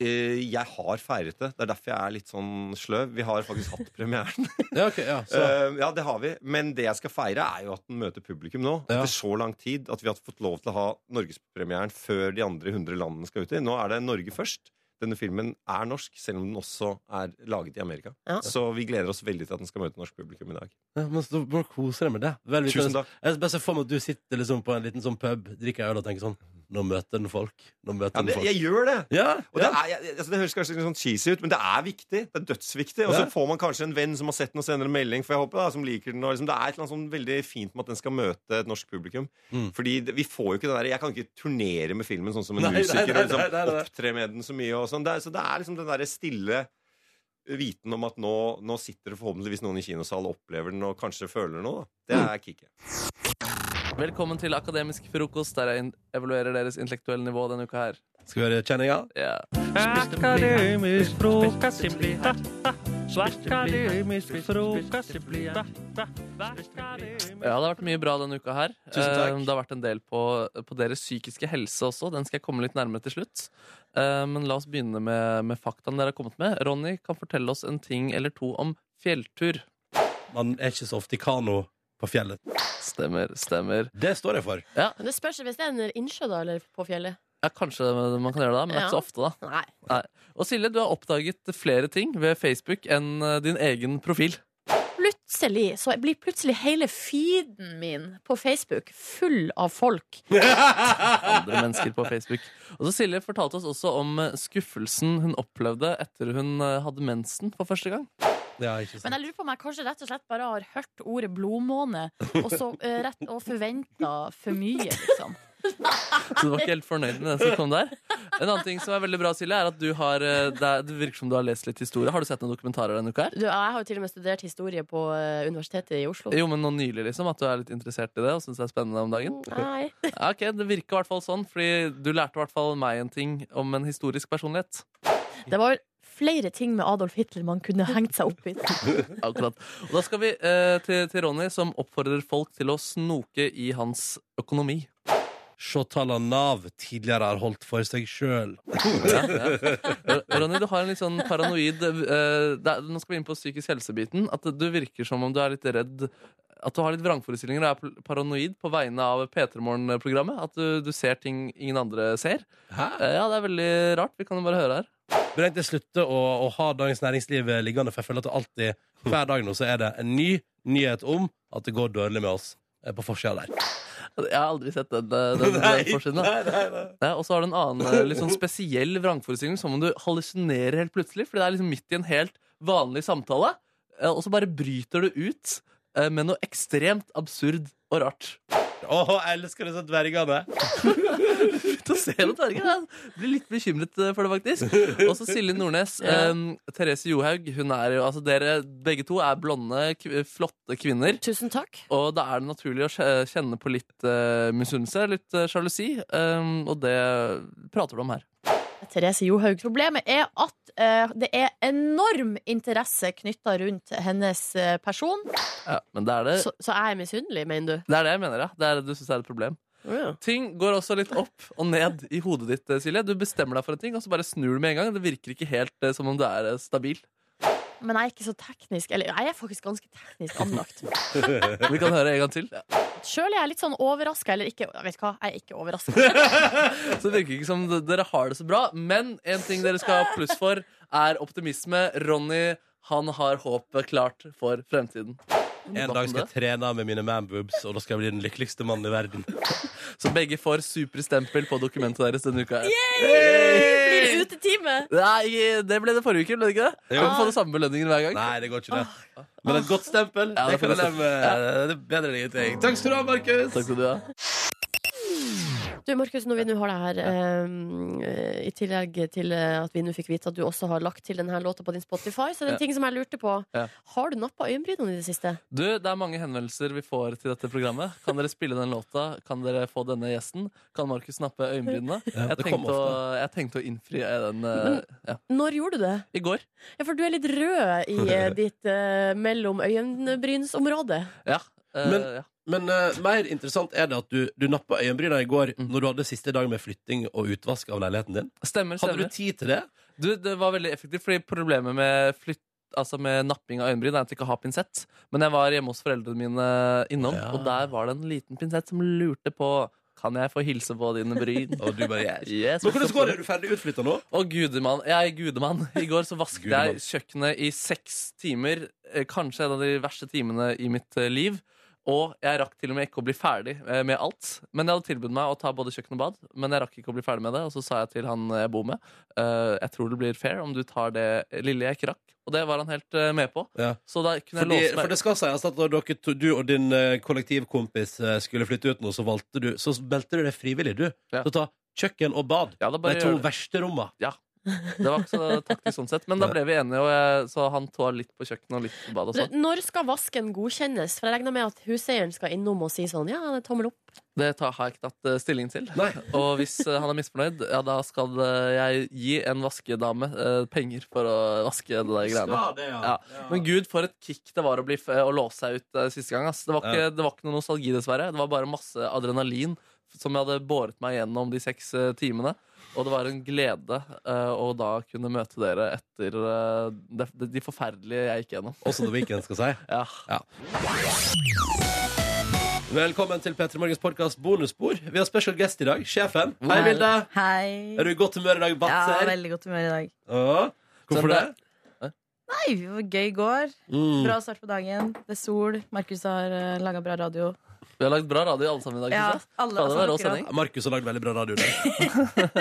S11: Eh, Jeg har feiret det. Det er derfor jeg er litt sånn sløv. Vi har faktisk hatt premieren.
S1: Ja, ok, ja, så.
S11: Eh, ja, det har vi. Men det jeg skal feire, er jo at den møter publikum nå.
S1: Ja.
S11: Etter så lang tid at vi har fått lov til å ha norgespremieren før de andre 100 landene skal ut i. Nå er det Norge først. Denne filmen er norsk, selv om den også er laget i Amerika.
S2: Ja.
S11: Så vi gleder oss veldig til at den skal møte norsk publikum i dag.
S1: Ja, men så bare koser deg med det. Vel,
S11: Tusen takk.
S1: Jeg ser bare for meg at du sitter liksom på en liten sånn pub, drikker øl og tenker sånn Nå møter den folk. Nå møter
S11: Ja,
S1: den
S11: det,
S1: folk.
S11: jeg gjør det!
S1: Ja,
S11: Og det, er, jeg, altså det høres kanskje litt sånn cheesy ut, men det er viktig. Det er dødsviktig. Og så
S1: Ja.
S11: får man kanskje en venn som har sett den og sender en melding, for jeg håper da, som liker den. Og liksom, det er et eller annet sånn veldig fint med at den skal møte et norsk publikum.
S1: Mm.
S11: Fordi det, vi får jo ikke den der, Jeg kan ikke turnere med filmen sånn som en
S1: Nei, nei,
S11: musiker.
S1: nei,
S11: og liksom,
S1: nei, nei, nei.
S11: Opptre med den så mye og sånn. Det er, så det er liksom den derre stille viten om at nå, nå sitter det forhåpentligvis noen i kinosalen og opplever den og kanskje føler noe. Da. Det
S1: Mm.
S11: er kicket.
S3: Velkommen til Akademisk frokost, der jeg in- evaluerer deres intellektuelle nivå denne uka her.
S1: Skal vi høre kjenninga?
S3: Ja.
S12: Akademisk frokost det blir Akademisk frokost det blir
S3: Ja, det har vært mye bra denne uka her.
S1: Tusen takk.
S3: Eh, Det har vært en del på, på deres psykiske helse også. Den skal jeg komme litt nærmere til slutt. Eh, Men la oss begynne med, med faktaene dere har kommet med. Ronny kan fortelle oss en ting eller to om fjelltur.
S1: Man er ikke så ofte i kano på fjellet.
S3: Stemmer, stemmer.
S1: Det står jeg for.
S2: Men det spørs hvis det er en innsjø, da, eller på fjellet.
S3: Ja, kanskje man kan gjøre det, men det er ikke så ofte, da.
S2: Nei.
S3: Nei. Og Silje, du har oppdaget flere ting ved Facebook enn eh, din egen profil.
S2: plutselig Så blir plutselig hele feeden min på Facebook full av folk.
S3: andre mennesker på Facebook. Og så Silje fortalte oss også om eh, skuffelsen hun opplevde etter hun eh, hadde mensen for første gang.
S13: Ja, ikke
S2: Men jeg lurer på om jeg kanskje rett og slett bare har hørt ordet blodmåne og, så, eh, rett- og forventa for mye, liksom.
S3: Så du var ikke helt fornøyd med den som kom der. En annen ting som er veldig bra, Silje, er at du har, eh, det er- det virker som du har lest litt historie. Har du sett noen dokumentarer denne uka her?
S14: Du, jeg har jo til og med studert historie på eh, Universitetet i Oslo.
S3: Jo, men nå nylig, liksom. At du er litt interessert i det og syns det er spennende om dagen?
S2: Mm.
S14: Nei.
S3: Ja, ok, Det virker i hvert fall sånn, fordi du lærte i hvert fall meg en ting om en historisk personlighet.
S2: Det var flere ting med Adolf Hitler man kunne hengt seg opp i.
S3: Akkurat. Og da skal vi eh, til, til Ronny, som oppfordrer folk til å snoke i hans økonomi.
S13: Se tallene Nav tidligere har holdt for seg sjøl.
S3: Ja, ja. Ronny, du har en litt sånn paranoid eh, det er, Nå skal vi inn på psykisk helse-biten. At du virker som om du er litt redd At du har litt vrangforestillinger og er pl- paranoid på vegne av P3 Morgen-programmet. At du, du ser ting ingen andre ser. Eh, ja, det er veldig rart. Vi kan jo bare høre her.
S13: Men jeg slutter å, å ha Dagens Næringsliv liggende, for jeg føler at det alltid, hver dag nå, så er det en ny nyhet om at det går dårlig med oss eh, på forsida der.
S3: Jeg har aldri sett den, den, den,
S13: Nei,
S3: den forsiden. da. Ja, og så har du en annen eh, litt sånn spesiell vrangforestilling, som om du hallusinerer helt plutselig. Fordi det er liksom midt i en helt vanlig samtale, eh, og så bare bryter du ut eh, med noe ekstremt absurd og rart.
S13: Å, jeg elsker disse dvergene!
S3: Slutt å se noen dverger! Jeg blir litt bekymret eh, for det, faktisk. Og så Silje Nordnes.
S13: Ja.
S3: eh, Therese Johaug. Hun er jo, altså dere begge to er blonde, kv flotte kvinner.
S14: Tusen takk
S3: Og da er det naturlig å kje- kjenne på litt eh, misunnelse, litt eh, sjalusi. eh, og det prater du om her.
S2: Therese Johaug. Problemet er at eh, det er enorm interesse knytta rundt hennes eh, person.
S3: Ja, men det er det
S14: Så, så jeg er misunnelig, mener du?
S3: Det er det jeg mener, ja. Det er det du syns er et problem. Ting går også litt opp og ned i hodet ditt, eh, Silje. Du bestemmer deg for en ting, og så bare snur du med en gang. Det virker ikke helt eh, som om du er eh, stabil.
S2: Men jeg er ikke så teknisk. Eller jeg er faktisk ganske teknisk anlagt.
S3: Vi kan høre en gang til.
S2: Sjøl er jeg litt sånn overraska, eller ikke Vet du hva, jeg er ikke overraska.
S3: Så det virker ikke som d- dere har det så bra. Men en ting dere skal ha pluss for, er optimisme. Ronny, han har håpet klart for fremtiden.
S13: En dag skal jeg trene med mine manboobs, og da skal jeg bli den lykkeligste mannen i verden.
S3: Så begge får superstempel på dokumentet deres denne uka. her.
S14: Blir det utetime?
S3: Nei, det ble det forrige uke, ble det ikke det?
S13: Jo.
S3: Kan du få det samme belønningen hver gang?
S13: Nei, det går ikke det. Men et godt stempel,
S3: Ja,
S13: det
S3: det
S13: kan
S3: får
S13: jeg
S3: jeg
S13: leve med. Det er bedre enn ingenting. Takk skal du ha, Markus!
S3: Takk skal du ha.
S14: Du, Markus, når vi nå har deg her, eh, i tillegg til eh, at vi nå fikk vite at du også har lagt til denne låta på din Spotify, så er det
S3: Ja.
S14: en ting som jeg lurte på.
S3: Ja.
S14: Har du nappa øyenbrynene i det siste?
S3: Du, Det er mange henvendelser vi får til dette programmet. Kan dere spille den låta? Kan dere få denne gjesten? Kan Markus nappe øyenbrynene?
S13: Ja,
S3: jeg,
S13: det kommer
S3: tenkte å, jeg tenkte å innfri eh, den eh, ja.
S14: Når gjorde du det?
S3: i går.
S14: Ja, for du er litt rød i eh, ditt eh, mellom øyenbrynsområde.
S3: Ja. eh,
S13: Men-
S3: ja.
S13: Men eh, mer interessant er det at du, du nappa øyenbryna i går
S3: Mhm.
S13: når du hadde siste dag med flytting og utvask av leiligheten din.
S3: Stemmer,
S13: Hadde du
S3: stemmer.
S13: tid til det?
S3: Du, det var veldig effektivt, fordi problemet med flytt Altså med napping av øyenbryn er at jeg ikke har pinsett. Men jeg var hjemme hos foreldrene mine innom,
S13: Ja.
S3: og der var det en liten pinsett som lurte på Kan jeg få hilse på dine bryn.
S13: Og du bare yes.
S3: Yes,
S13: Men hvordan går det? Er du ferdig utflytta nå?
S3: Å, gudemann. Jeg er gudemann. I går så vasket
S13: Gudemann.
S3: jeg kjøkkenet i seks timer. eh, Kanskje en av de verste timene i mitt eh, liv. Og jeg rakk til og med ikke å bli ferdig eh, med alt. Men jeg hadde tilbudt meg å ta både kjøkken og bad, men jeg rakk ikke å bli ferdig med det. Og så sa jeg til han jeg bor med, eh, jeg tror det blir fair om du tar det lille jeg ikke rakk. Og det var han helt eh, med på.
S13: Ja.
S3: Så da kunne jeg
S13: Fordi,
S3: låse
S13: for
S3: meg
S13: det skal sies at da dere, to- du og din eh, kollektivkompis eh, skulle flytte ut nå, så valgte du Så meldte du deg frivillig, du.
S3: Ja.
S13: Til å ta kjøkken og bad.
S3: ja, da
S13: De
S3: bare
S13: to
S3: gjør det.
S13: verste romma.
S3: det var ikke så taktisk sånn sett. Men da ble vi enige, og jeg, så han tåla litt på kjøkkenet og litt på badet. og sånn.
S14: Når skal vasken godkjennes? For jeg regner med at huseieren skal innom og si sånn, ja, det er tommel opp.
S3: Det tar, har jeg ikke tatt eh, stilling til.
S13: Nei.
S3: Og hvis eh, han er misfornøyd, ja, da skal eh, jeg gi en vaskedame eh, penger for å vaske det der greiene.
S13: det,
S3: Ja. Men gud, for et kick det var å, bli, f- å låse seg ut eh, siste gang. Ass. Det, var ikke, det var ikke noe nostalgi, dessverre. Det var bare masse adrenalin som jeg hadde båret meg gjennom de seks eh, timene. Og det var en glede eh, å da kunne møte dere etter eh, de, de forferdelige jeg gikk gjennom.
S13: Også The Weekend skal si.
S3: Ja.
S13: Velkommen til P3 Morgens podkast bonusbord. Vi har special guest i dag. Sjefen. Hei, Vilde.
S15: Hei.
S13: Er du i godt humør i dag,
S15: Ja,
S13: Batser?
S15: veldig godt humør i dag.
S13: Ja, Hvorfor
S3: Sånn
S13: det?
S3: der.
S16: Nei, det var gøy i går.
S3: Mm.
S16: Bra start på dagen. Det er sol. Markus har uh, laga bra radio.
S3: Vi har lagd bra radio alle sammen i dag.
S16: Ja,
S3: synes jeg. Fader, det
S16: alle,
S3: var
S16: altså,
S3: rå
S16: akkurat.
S3: sending.
S13: Markus har lagd veldig bra radio. i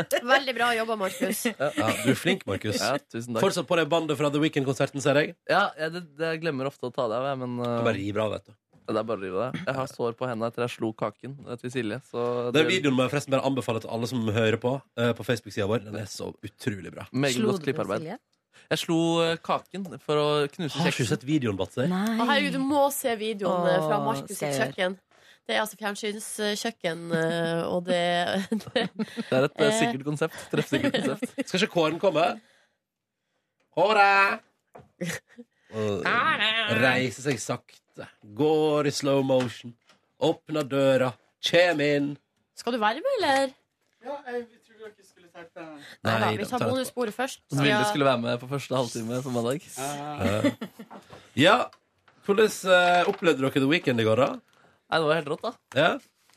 S13: dag.
S2: Veldig bra jobba, Markus.
S13: Ja, du er flink, Markus.
S3: Ja, tusen takk.
S13: Fortsatt på det bandet fra The Weekend-konserten, ser jeg.
S3: Ja, jeg, det, det, jeg glemmer ofte å ta det av, jeg, men uh,
S13: Bare riv av, vet du.
S3: Det er bare å rive det. Jeg har sår på hendene etter jeg slo kaken eh, til Silje. Så
S13: Den videoen må jeg forresten bare anbefale til alle som hører på. eh, På Facebook-sida vår. Den er så utrolig bra.
S3: Meget godt klipparbeid. Jeg slo eh, kaken for å knuse kjeksen.
S13: Har ikke du sett videoen, Batser?
S2: Å, herregud, du må se videoen eh, fra Markus sitt
S3: ser.
S2: kjøkken. Det er altså fjernsynskjøkken, eh, og det, det
S3: Det er et eh,
S2: Eh.
S3: sikkert konsept. Treffsikkert konsept.
S13: Skal ikke Kåren komme? Håret! Og reiser seg sakte. Går i slow motion. Åpner døra. Kjem inn.
S2: Skal du være med, eller?
S1: Ja, jeg trodde dere skulle sagt det.
S2: Nei da,
S13: Nei,
S2: vi
S13: da,
S2: tar
S13: ta det
S2: bonussporet først.
S3: Så Vilde
S2: Ja.
S3: skulle være med på første halvtime på mandag.
S13: Ja, hvordan eh, opplevde dere The Weekend i går, da?
S3: Nei, det var helt rått, da.
S13: Ja?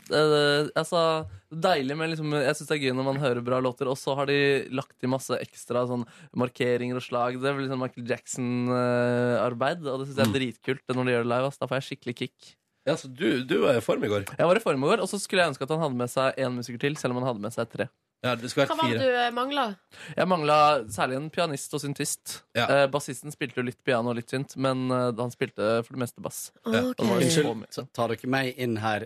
S3: Det, det, altså, deilig med liksom, Jeg syns det er gøy når man hører bra låter, og så har de lagt i masse ekstra sånn, markeringer og slag. Det er vel liksom Michael Jackson-arbeid, og det syns jeg er dritkult det når de gjør det live. Ass. Da får jeg skikkelig kick.
S13: Ja, så du, du var i form i går?
S3: Jeg var i form i går, og så skulle jeg ønske at han hadde med seg én musiker til, selv om han hadde med seg tre.
S13: Ja, det skulle
S2: Hva var det du eh, mangla?
S3: Jeg mangla særlig en pianist og syntist. Eh, bassisten spilte jo litt piano og litt synt, men eh, han spilte for det meste bass.
S2: Ja. Ok.
S3: Og det var jo så
S1: Unnskyld,
S3: mye.
S1: så tar dere meg inn her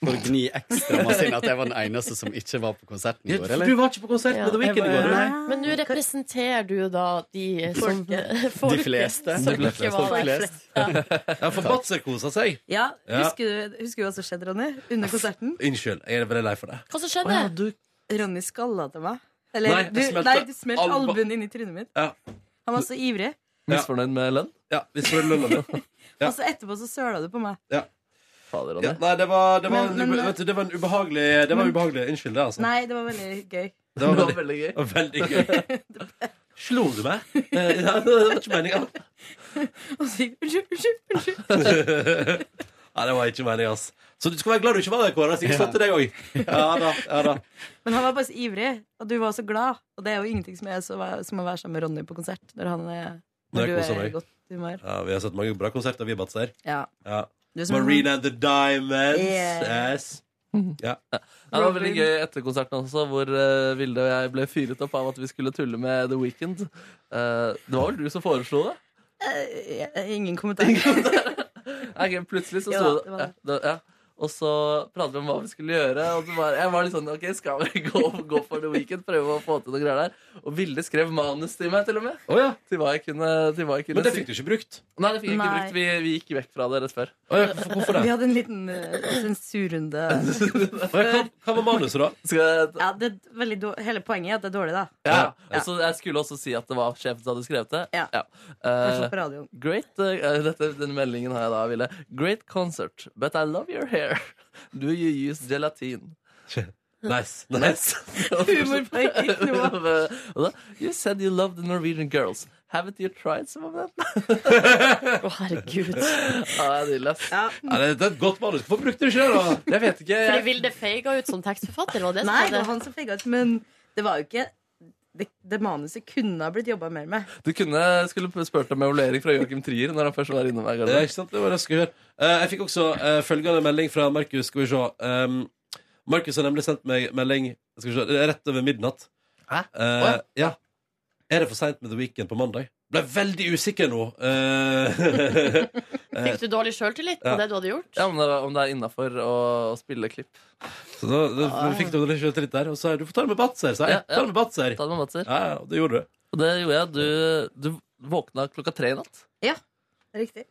S1: for å gni ekstra masse inn at jeg var den eneste som ikke var på konserten i går, eller?
S13: var ikke på konsert
S1: med The Weeknd i går, eller?
S2: Men nå representerer du da de som eh,
S1: De fleste.
S2: Som
S1: De
S2: ikke
S1: fleste.
S2: var
S1: De
S2: der.
S1: fleste.
S13: Ja, for Batser kosa seg.
S16: Ja,
S13: Ja.
S16: Husker, du, husker du hva som skjedde, Ronny? Under konserten?
S13: Unnskyld, jeg er veldig lei for det.
S2: Hva som
S16: Å ja, du- Ronny skalla til meg. Eller,
S13: Nei, jeg
S16: du,
S13: smelte
S16: nei, du smelte
S13: alba-
S16: albuen inn i trynet mitt.
S13: Ja.
S16: Han var så ivrig.
S3: Misfornøyd med lønn?
S13: Ja, misfornøyd med lønn. Ja.
S16: Og så etterpå så søla du på meg.
S13: Ja.
S3: Fader,
S13: Ja, nei, det var, det, var,
S16: Men- men-
S13: ube- vet du, det var en ubehagelig Det var ubehagelig. Unnskyld, det, altså.
S16: Nei, det var veldig gøy.
S13: Det var veldig,
S3: veldig gøy.
S13: det var veldig gøy. Slo du meg? Eh, ja, det var ikke meninga.
S16: Og så gikk unnskyld, unnskyld, unnskyld.
S13: Nei, det var ikke meninga, ass. Så du skal være glad du ikke var der, Kåre. Jeg sikkert
S1: Ja.
S13: slått til deg òg. Ja da. ja da
S16: Men han var bare så ivrig, og du var så glad. Og det er jo ingenting som er så, som å være sammen med Ronny på konsert når han er,
S13: Når jeg
S16: når du
S13: koser
S16: er i
S13: meg.
S16: godt humør.
S13: ja, Vi har sett mange bra konserter, vi, Batser.
S16: Ja.
S13: Ja.
S16: Du er som-
S13: Marina and the Diamonds.
S16: Mm. Yeah.
S13: Yes. Ja.
S3: Ja, det var veldig gøy etter konserten også, hvor eh, Vilde og jeg ble fyret opp av at vi skulle tulle med The Weeknd. Eh, det var vel du som foreslo det?
S16: Eh, eh, ingen kommentar.
S3: Ok, plutselig så
S16: Jo
S3: sto
S16: da, det
S3: det,
S16: var
S3: ja, det ja. Og så pratet vi om hva vi skulle gjøre. Og så var, jeg var litt sånn OK, skal vi gå, gå for The Weeknd? Prøve å få til noe greier der. Og Vilde skrev manus til meg, til og med. Til hva jeg kunne, til hva jeg kunne
S13: Men det fikk du ikke brukt?
S3: Nei, det fikk jeg ikke
S16: Nei.
S3: brukt. Vi, vi gikk vekk fra det rett før.
S16: Vi hadde en liten eh, sensurrunde.
S13: Hva var manuset, da?
S3: Skal jeg
S16: Ja, det er veldig dår- Hele poenget er at det er dårlig, da.
S3: Ja, og så Jeg skulle også si at det var sjefen som hadde skrevet det.
S16: Ja.
S3: Eh,
S16: Kanskje på radioen.
S3: great, eh, dette, denne meldingen har jeg da, Ville. Great concert, but I love your hair. Do you use gelatin?
S13: Nice. nice.
S16: Humor på høyt nivå.
S3: Og da, you said you loved the Norwegian girls. Haven't you tried some of them?
S2: Å, herregud.
S3: Ja, det er nydelig, ass.
S13: Ja, det, det er et godt manus. Hvorfor brukte du ikke det, da?
S3: Jeg vet ikke.
S2: Fordi
S3: Jeg,
S2: Vilde feiga ut som tekstforfatter, var det som
S16: Nei, det
S2: skjedde?
S16: var han som feiga ut, men det var jo ikke det, det manuset kunne ha blitt jobba mer med.
S3: du kunne skulle spurt om evaluering fra Joakim Trier når han først var innom hver
S13: Det er ikke sant, det var det jeg skulle høre. Eh, jeg fikk også eh, følgende melding fra Markus. Skal vi se. Um, Markus har nemlig sendt meg melding skal vi se, det er rett over midnatt.
S3: Hæ?
S13: Eh, ja. Er det for seint med The Weekend på mandag? Ble veldig usikker nå. Eh, eh,
S2: Fikk du dårlig sjøltillit på
S13: Ja.
S2: det du hadde gjort?
S3: Ja, om det, om det er innafor å, å spille klipp.
S13: så da, da fikk du litt litt der, og så sa jeg, du får ta det med Batzer, sa jeg.
S3: Ja, ja.
S13: Ta det med Batzer.
S3: Ta det med Matser.
S13: Ja, ja, og det gjorde du.
S3: Og det gjorde jeg. Du, du våkna klokka tre i natt.
S16: Ja, riktig.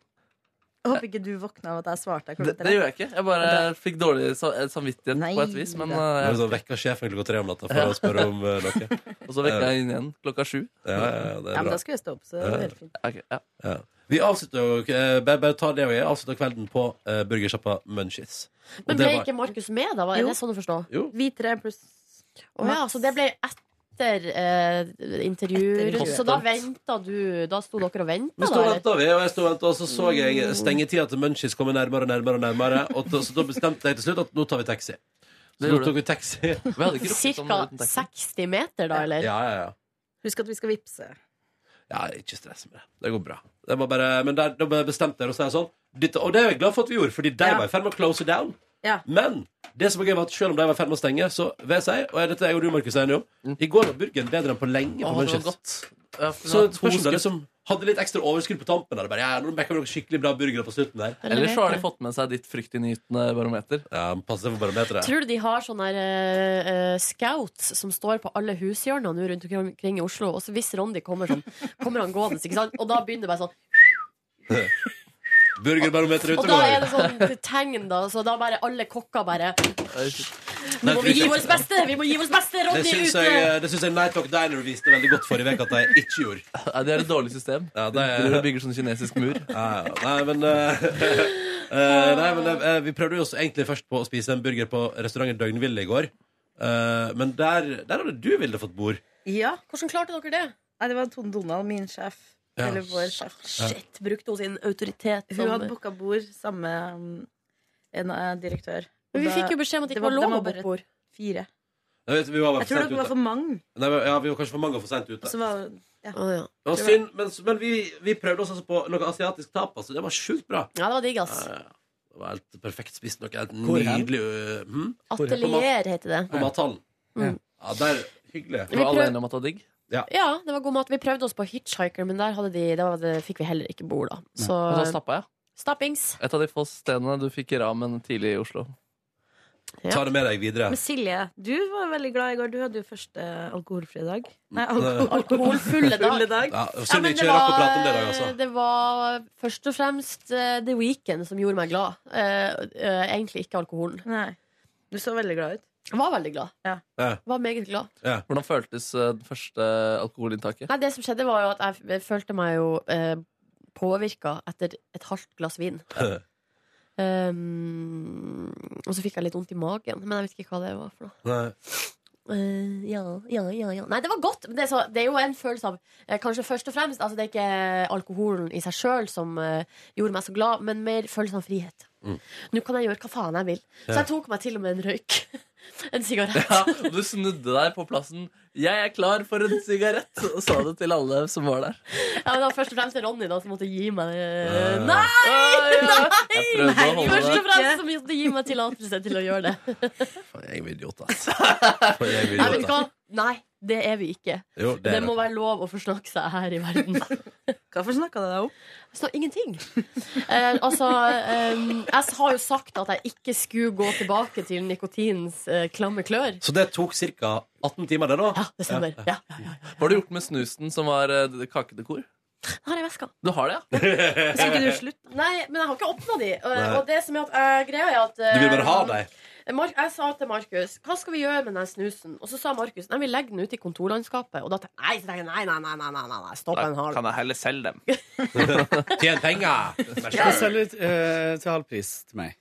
S16: Jeg håper ikke du våkna av at jeg svarte deg
S3: Det,
S16: klokka
S3: det gjorde jeg ikke. Jeg bare
S16: Da-
S3: fikk dårlig sa- eh, samvittighet på et vis. Men,
S13: Det
S3: eh,
S13: var sånn, Vekka sjefen klokka tre om natta for
S3: Ja.
S13: å spørre om eh, noe.
S3: og så vekka jeg inn igjen klokka sju.
S13: Ja, ja, ja, det
S16: Ja,
S13: er
S16: men
S13: bra.
S16: da skulle jeg stå opp, så det var helt fint.
S3: Ok, ja.
S13: Ja. Vi avslutter jo eh, bare, bare ta det og jeg avslutter kvelden på eh, burgersjappa Munchies. Og
S2: Men
S13: det
S2: ble
S13: var-
S2: ikke Markus med, da? Var
S16: Jo.
S2: er det sånn å forstå?
S13: Jo.
S16: Vi tre pluss
S2: Å ja, så det ble etter eh, intervjuer.
S16: Etter intervjuer.
S2: Så da venta du Da sto dere og
S13: Men
S2: venta,
S13: så
S2: da? eller?
S13: venta vi, og jeg sto og ventet, og så så jeg stengetida til Munchies komme nærmere og nærmere. og nærmere Og da- Så da bestemte jeg til slutt at nå tar vi taxi. Så
S3: Det
S13: nå
S3: gjorde
S13: tok vi taxi.
S3: Vi hadde ikke rukket om
S2: Cirka
S3: uten taxi.
S2: 60 meter, da, eller?
S13: Ja, ja, ja.
S16: Husk at vi skal vippse.
S13: Ja, ikke stress med det. Det går bra. Det var bare, men der, da bestemte jeg å si sånn. Dette, og det er jeg glad for at vi gjorde, fordi de
S16: Ja.
S13: var i ferd med å close it down.
S16: Ja.
S13: Men det som er gøy var at selv om de var i ferd med å stenge, så vil jeg si, og dette er jeg og du, Markus, er enige om, i går var burgeren bedre enn på lenge på
S3: Å, det var
S13: Manchester.
S3: godt. Ja, for
S13: Så
S3: det var to
S13: spørs om det
S3: skudd.
S13: liksom hadde litt ekstra overskudd på tampen. Der. Bare, ja, nå mekker vi noen skikkelig bra burgere på slutten der.
S3: Eller så har de fått med seg ditt fryktinngytende barometer.
S13: Ja, pass deg for barometeret.
S2: Tror du de har sånne her, eh, eh, scouts som står på alle hushjørnene nå rundt omkring i Oslo? Og så hvis Rondi kommer sånn, kommer han gående, ikke sant? Og da begynner det bare sånn.
S13: Burgerbarometeret
S2: Og
S13: ute
S2: da
S13: går.
S2: er det sånn tegn, da. Så da bare alle kokker bare
S13: Nei,
S2: Nå må
S13: tror
S2: vi gi
S13: ikke-
S2: vårt beste! Vi må gi vårt beste!
S13: Det
S2: Ronny er
S13: syns
S2: ute!
S13: jeg, det syns jeg Night Talk Diner viste veldig godt forrige uke at de ikke gjorde.
S3: Ja, det er et dårlig system.
S13: Ja,
S3: De bygger sånn kinesisk mur.
S13: Ja, ja. Nei, men, eh, eh, nei, men eh, Vi prøvde jo oss egentlig først på å spise en burger på restauranten Døgnville i går. Eh, men der, der hadde du ville fått bord.
S16: Ja.
S2: Hvordan klarte dere det?
S16: Nei, Det var Tone Donald, min sjef.
S13: Ja.
S16: Eller vår sjef.
S2: Shit, brukte hun sin autoritet
S16: Hun
S2: som-
S16: hadde booka bord sammen med um, en eh, direktør.
S2: Men vi
S16: Og
S2: fikk jo beskjed om at det ikke var lov
S16: var- det
S2: å
S16: bare
S2: booke bord.
S16: Fire.
S13: Jeg, vet, vi var bare
S16: Jeg
S13: for
S16: tror
S13: sent
S16: dere var
S13: ute.
S16: for mange.
S13: Nei, men- ja, vi var kanskje for mange og for seint ute.
S16: Så var, ja.
S13: Det var synd, men, men vi, vi prøvde oss altså på noe asiatisk tapas, og det var sjukt bra.
S2: Ja, det var digg, ass.
S13: Ja, ja. Det var helt perfekt spist noe helt
S2: Hvor hen?
S13: nydelig. øh, hm? På mat-
S2: Atelier heter det.
S13: På mathallen.
S2: Ja.
S16: Mm.
S13: Ja, der, hyggelig.
S2: Vi Var alle prøv- enige
S13: om
S3: at det var digg?
S13: Ja.
S2: Ja, det var god mat. Vi prøvde oss på Hitchhiker, men der, hadde de, da hadde- fikk vi heller ikke bord, da. Så,
S3: Og da stappa jeg.
S2: Stappings.
S3: Et av de få stedene du fikk i ramen tidlig i Oslo.
S13: Ta det med deg videre.
S16: Men Silje, du var veldig glad i går. Du hadde jo første alkoholfrie dag. Nei,
S13: Nei.
S16: alko
S2: Alkoholfulle dag.
S13: Ja,
S2: Ja,
S13: Synd vi
S2: men
S13: ikke
S2: det
S13: rakk å
S2: var-
S13: prate om det i dag, altså.
S2: Det var først og fremst eh, The Weekend som gjorde meg glad. Eh, eh, egentlig ikke alkoholen.
S16: Du så veldig glad ut.
S2: Jeg var veldig glad.
S13: Ja.
S2: Var meget glad.
S3: Hvordan føltes eh, det første alkoholinntaket?
S2: Nei, det som skjedde, var jo at jeg f- følte meg jo eh, påvirka etter et halvt glass vin. Um, og så fikk jeg litt vondt i magen, men jeg vet ikke hva det var for noe.
S13: Nei.
S2: Eh, ja, ja, ja, ja. Nei, det var godt. Men det er, så, det er jo en følelse av eh, Kanskje først og fremst altså Det er ikke alkoholen i seg sjøl som eh, gjorde meg så glad, men mer følelsen av frihet.
S3: Mm.
S2: Nå kan jeg gjøre hva faen jeg vil.
S3: Ja.
S2: Så jeg tok meg til og med en røyk. en sigarett.
S3: Ja, og du snudde deg på plassen. 'Jeg er klar for en sigarett', og sa det til alle som var der.
S2: Ja, men det var først og fremst Ronny da som måtte gi meg
S3: Ja.
S2: Nei! Nei!
S3: Jeg prøvde å
S2: Nei!
S3: holde
S2: Først
S3: det.
S2: og fremst som måtte gi meg tillatelse til å gjøre det.
S13: Faen, jeg er en idiot, altså. Faen, jeg er en idiot,
S2: Nei, vet du hva?
S13: altså.
S2: Nei, det er vi ikke.
S13: Jo, det
S2: det,
S13: er det.
S2: må være lov å forsnakke seg her i verden.
S16: Hvorfor snakka du deg om?
S2: Så, ingenting. Eh, altså, eh, jeg har jo sagt at jeg ikke skulle gå tilbake til nikotinens eh, klamme klør.
S13: Så det tok ca. 18 timer, det, da?
S2: Ja, det stemmer. Ja.
S3: Hva har du gjort med snusen som var eh, kakedekor?
S2: Den har jeg i veska.
S3: Du har det, ja?
S2: Nei, men jeg har ikke åpna de. Og,
S3: Nei.
S2: og det som er at eh, greia er at
S13: Du vil bare ha
S16: Ehm.
S2: eh,
S13: dem?
S2: Mark, jeg sa til Markus Hva skal vi gjøre med den snusen? Og så sa Markus Nei, vi legger den ute i kontorlandskapet. Og da tenkte jeg, nei, så tenkte jeg, nei, nei, nei, nei, nei, nei, nei, stopp en halv.
S3: jeg heller selge dem?
S13: Tjen penger! Vær
S17: Skal jeg selge ut eh, til halv pris til meg?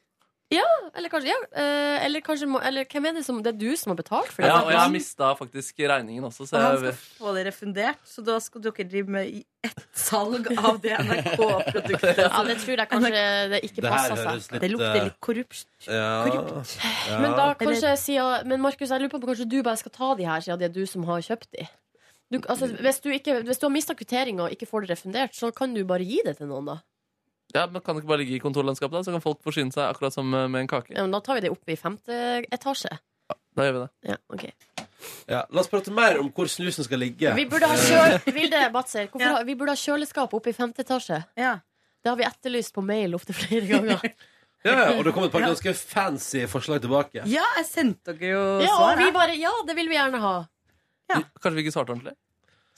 S2: Ja, eller kanskje, ja, eh, eller kanskje må- eller, Hvem er det som Det er du som har betalt for det?
S3: Ja, og jeg har mista faktisk regningen også, så
S16: Og han
S3: jeg,
S16: skal få det refundert, så da skal dere drive med i ett salg av det NRK-produktet.
S2: Ja, det tror jeg kanskje det ikke
S13: Det her
S2: passer
S13: høres
S2: seg.
S13: litt, Det lukter litt
S16: korrupt.
S13: Ja. ja.
S2: Men da kanskje jeg sier Men Markus, jeg lurer på om kanskje du bare skal ta de her, siden det er du som har kjøpt de. Du, altså, hvis, du ikke, hvis du har mista kvitteringa og ikke får det refundert, så kan du bare gi det til noen, da.
S3: ja, men Kan det ikke bare ligge i kontorlandskapet, da? Så kan folk forsyne seg akkurat som eh, med en kake.
S2: Ja, men da tar vi det opp i femte etasje.
S3: Da gjør vi det.
S2: Ja, ok
S13: Ja, La oss prate mer om hvor snusen skal ligge.
S2: Vi burde ha kjøl... Vilde Batzer, hvorfor har- vi burde ha kjøleskap oppe i femte etasje. Det har vi etterlyst på mail opptil flere ganger.
S13: Ja, ja, og det kom et par ganske fancy forslag tilbake.
S16: Ja, jeg sendte dere jo
S2: Ja, og
S16: svar.
S2: vi
S16: jeg.
S2: bare Ja, det vil vi gjerne ha.
S3: Kanskje vi ikke svarte ordentlig?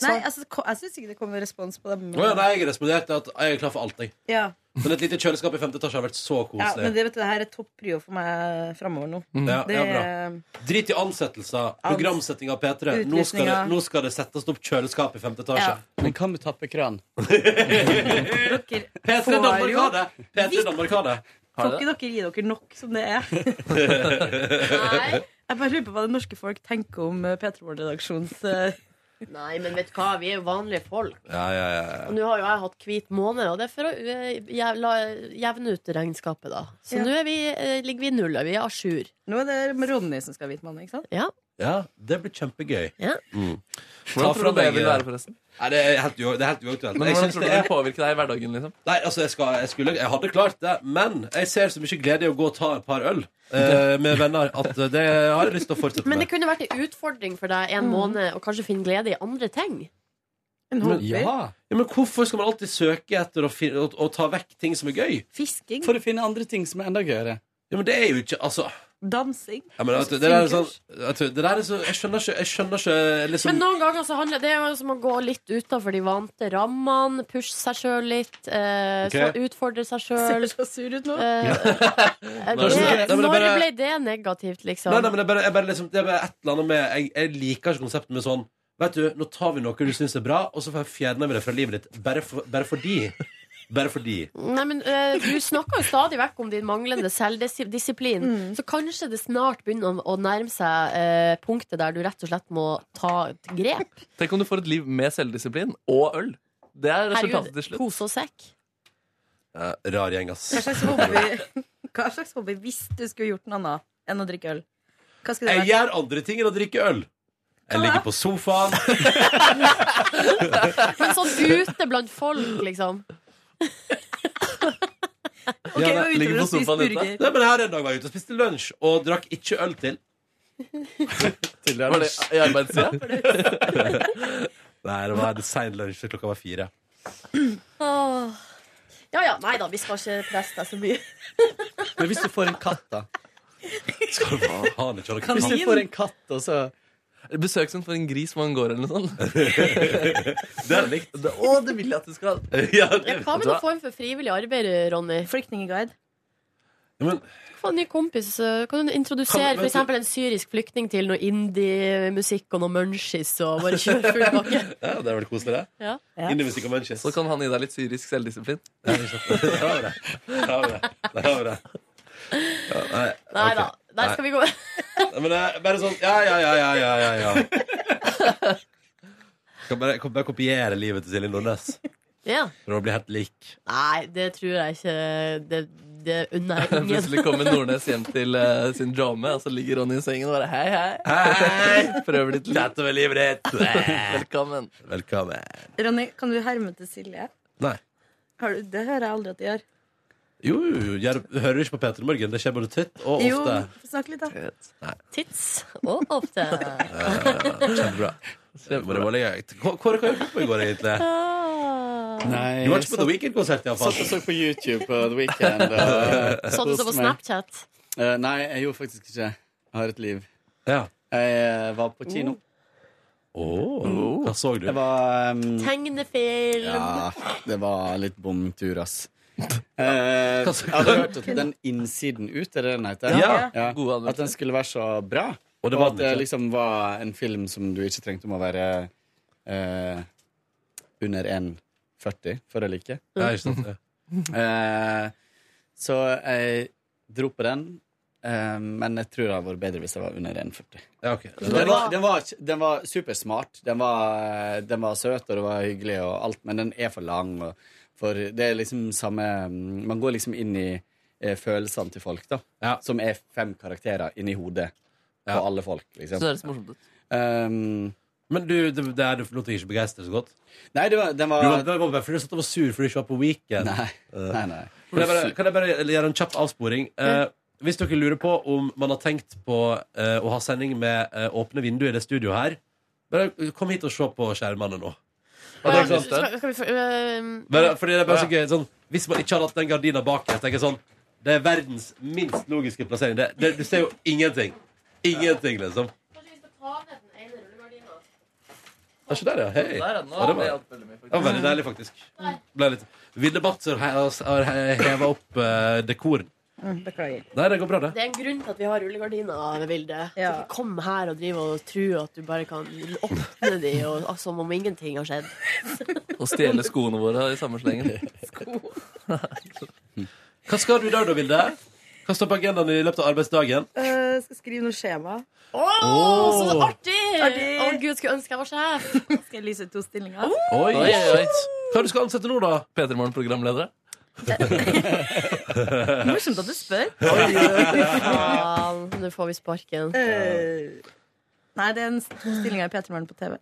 S16: Nei, altså, ko- jeg syns ikke det kom en respons på dem.
S13: Å ja, nei, jeg har respondert at jeg er klar for alt, jeg.
S16: Ja.
S13: Men et lite kjøleskap i femte etasje har vært så
S16: Ja, men
S13: koselig.
S16: det, vet du, det her er topp prio for meg framover nå.
S13: Ja,
S16: det
S13: ja,
S16: er
S13: bra. Drit i ansettelser, programsetting av P3. Nå skal, det,
S16: Utlysninger.
S13: nå skal det settes opp kjøleskap i femte etasje.
S16: Ja.
S17: Men kan du tappe kran?
S16: eh,
S13: P3 Danmark har det! P3 Danmark har det.
S16: Får ikke dere gi dere nok som det er? Jeg bare lurer på hva det norske folk tenker om eh, P3 Morgen-redaksjonens eh,
S2: Nei, men vet du hva, vi er jo vanlige folk.
S13: Ja, ja, ja.
S2: Og nå har jo jeg hatt hvit måned, og det er for å eh, jævla, jevne ut regnskapet, da. Så
S16: Ja.
S2: nå er vi, eh, ligger vi i null, og vi er à jour.
S16: Nå er det med Ronny som skal ha hvitmann, ikke sant?
S2: Ja.
S13: Ja, det blir kjempegøy. Mm.
S3: Hvordan
S13: Ta
S3: tror
S13: fra
S3: du det
S13: deg-
S3: vil være, forresten?
S13: Nei, det er helt, u- det er helt uaktuelt.
S3: Men
S13: Jeg
S3: hvordan
S13: synes
S3: tror du
S13: det
S3: det
S13: er-
S3: vil påvirke deg i hverdagen? liksom?
S13: Nei, altså, jeg, skal, jeg, skulle, jeg hadde klart det, men jeg ser så mye glede i å gå og ta et par øl eh, med venner at det har jeg lyst til å fortsette
S2: Men
S13: med.
S2: det kunne vært en utfordring for deg en måned å kanskje finne glede i andre ting.
S13: Men, ja. ja, men hvorfor skal man alltid søke etter å, finne, å, å ta vekk ting som er gøy?
S16: Fisking.
S6: For å finne andre ting som er enda gøyere.
S13: Ja, men det er jo ikke Altså
S16: Dansing.
S13: ja, men, vet du, det der er sånn vet du, det der er så, Jeg skjønner ikke, jeg skjønner ikke liksom,
S2: Men noen ganger så handler det er jo som å gå litt utenfor de vante rammene, pushe seg sjøl litt, eh,
S13: Ok.
S2: så utfordre seg sjøl.
S16: Ser så sur ut nå.
S2: Eh.
S13: Nei, men det er
S2: Når
S13: bare-
S2: ble det negativt, liksom?
S13: Nei, nei, men det er bare, jeg bare liksom, det er bare et eller annet med jeg, jeg liker ikke konseptet med sånn Vet du, nå tar vi noe du syns er bra, og så fjerner vi det fra livet ditt. Bare, for, bare fordi. Bare fordi.
S2: Nei, men eh, Du snakker jo stadig vekk om din manglende selvdisiplin. Så kanskje det snart begynner å, å nærme seg eh, punktet der du rett og slett må ta et grep.
S3: Tenk om du får et liv med selvdisiplin og øl. Det er resultatet til
S2: Herregud,
S3: slutt.
S2: kose og sekk.
S13: Eh, rar gjeng, ass.
S16: Hva slags hobby, hva slags hobby hvis du skulle gjort noe annet enn å drikke øl? Hva skulle
S13: Jeg
S16: det vært?
S13: gjør andre ting enn å drikke øl. Jeg ligger på sofaen.
S2: Men sånn ute blant folk, liksom.
S16: Ok,
S13: Ja,
S16: og
S13: nei,
S16: ute
S13: ligger
S16: og
S13: på
S16: spist
S13: sofaen ute.
S16: burger.
S13: Nei, men her en dag var jeg ute og spiste lunsj, og drakk ikke øl til. til
S3: Var det i arbeidstida?
S13: Nei, det var en sein lunsj, så klokka var fire.
S2: Åh. Ja ja, nei da, vi skal ikke presse deg så mye.
S6: Men hvis du får en katt, da?
S13: Skal du ha den ikke
S6: Hvis du får en katt, og så
S3: Besøksvenn for en gris hvor han går, eller noe sånt.
S13: det er likt.
S3: Å, det vil jeg at du skal.
S13: Ja,
S2: Ja, hva med noen form for frivillig arbeid, Ronny?
S16: Flyktningguide.
S13: Ja, men-
S2: Få en ny kompis. eh, Kan du introdusere
S13: Kan-
S2: for eksempel en syrisk flyktning til noe indie-musikk og noe munchies og bare kjøre full bakke?
S13: Ja, det er vel koselig, det.
S2: Ja.
S13: Inn i musikk og munchies.
S3: Så kan han gi deg litt syrisk selvdisiplin.
S13: Ja, det er sant. Der har vi det. Der har vi det. Der har vi det. Ja, nei,
S2: Nei
S13: ok.
S2: da. Der skal vi gå.
S13: Nei, Men det er bare sånn Ja, ja, ja, ja, ja, ja, ja. Kan bare, kan bare kopiere livet til Silje Nordnes.
S2: Ja.
S13: For å bli helt lik.
S2: Nei, det tror jeg ikke Det, det unner jeg ingen.
S3: Plutselig kommer Nordnes hjem til eh, sin drame, og så ligger Ronny i sengen og bare hei, hei. Prøver ditt liv.
S13: Dette var livet ditt.
S3: Velkommen.
S13: Velkommen.
S16: Ronny, kan du herme til Silje?
S13: Nei.
S16: Har du, det hører jeg aldri at du gjør.
S13: Jo, jo, jo, jeg hører ikke på Peter i morgen. Det skjer både titt og
S16: Jo,
S13: ofte.
S16: snakk litt, da.
S2: Tits og ofte.
S13: Kjempebra. Kjempebra. Hva har du gjort på i går, egentlig?
S6: Nei,
S13: Du var ikke på The Weekend-konsert,
S6: Jeg satt og
S13: iallfall.
S6: så på YouTube på The Weekend. uh, og
S2: Sånn som på
S6: koste meg.
S2: Snapchat.
S6: Eh, Nei, jeg gjorde faktisk ikke det. Jeg har et liv.
S13: Ja.
S6: Jeg eh, var på kino.
S13: Mm. Åh, hva så du?
S6: Jeg var em,
S2: Tegnefilm.
S6: Ja, det var litt bomtur, ass. Eh,
S13: Hva sa
S6: jeg hadde hørt at den innsiden ut, er det den heter?
S13: Ja.
S3: God anmeldelse.
S6: At den skulle være så bra.
S13: Og
S6: Og,
S13: det var
S6: at
S13: den
S6: det
S13: ikke.
S6: liksom var en film som du ikke trengte om å være eh, under 1,40 for å like.
S13: Ja, ikke sant? Ja.
S6: Eh, så jeg dro på den, eh, men jeg tror det hadde vært bedre hvis jeg var under 1,40.
S13: Ja, ok.
S6: Den var, den, var, den var supersmart. Den var, eh, den var søt, og det var hyggelig, og alt, men den er for lang. Og for det er liksom samme Man går liksom inn i eh, følelsene til folk, da.
S13: Ja.
S6: Som er fem karakterer inni hodet
S13: Ja.
S6: på alle folk,
S3: Så
S6: liksom.
S3: høres morsomt ut.
S6: Um,
S13: Men du, det, det er, du lot deg ikke begeistre så godt?
S6: nei, det var, den
S13: Du var,
S6: var
S13: det var bare fordi du satt og var sur fordi du ikke var på Weekend?
S6: Nei, nei. nei.
S13: Kan jeg, bare, kan jeg bare gjøre en kjapp avsporing? Eh, hvis dere lurer på om man har tenkt på eh, å ha sending med eh, åpne vinduer i det studioet her, bare kom hit og se på skjermene nå. Og det er
S2: Skal,
S13: sånn,
S2: skal vi få øh,
S13: bare, fordi det er bare så gøy sånn, Hvis man ikke hadde hatt den gardina bak jeg tenker sånn, Det er verdens minst logiske plassering. Det, det, du ser jo ingenting. Ingenting, liksom.
S2: Kanskje vi skal ta ned den ene rullegardina?
S13: Det er ikke der, ja. Hei.
S3: Der er den,
S13: Ja, det var-
S3: Det hjalp veldig mye,
S13: Det var veldig deilig, faktisk. Ble litt. Vilde Batzer har heva opp eh, dekoren.
S16: Mm, Beklager.
S13: Nei, det går bra, det.
S2: Det er en grunn til at vi har rullegardiner, Vilde.
S16: Ja.
S2: Så ikke kom her og drive og tro at du bare kan åpne de og, ah, som om ingenting har skjedd.
S3: faktisk. Å stjele skoene våre i samme slengen.
S13: Hva skal du i dag, da, Vilde? Hva står på agendaen i løpet av arbeidsdagen?
S16: Eh, skal skrive noe skjema.
S2: Å, så artig!
S16: Artig!
S2: Å gud, skulle ønske jeg var sjef.
S16: Skal jeg lyse ut to stillinger?
S13: Oi,
S3: Oi, oi, oi.
S13: Hva du skal ansette nå, da?
S3: P3 Morgen-programledere.
S16: Morsomt at du spør.
S2: Faen, nå får vi sparken.
S16: Eh, Nei, det er en stilling i P3 Morgen på TV.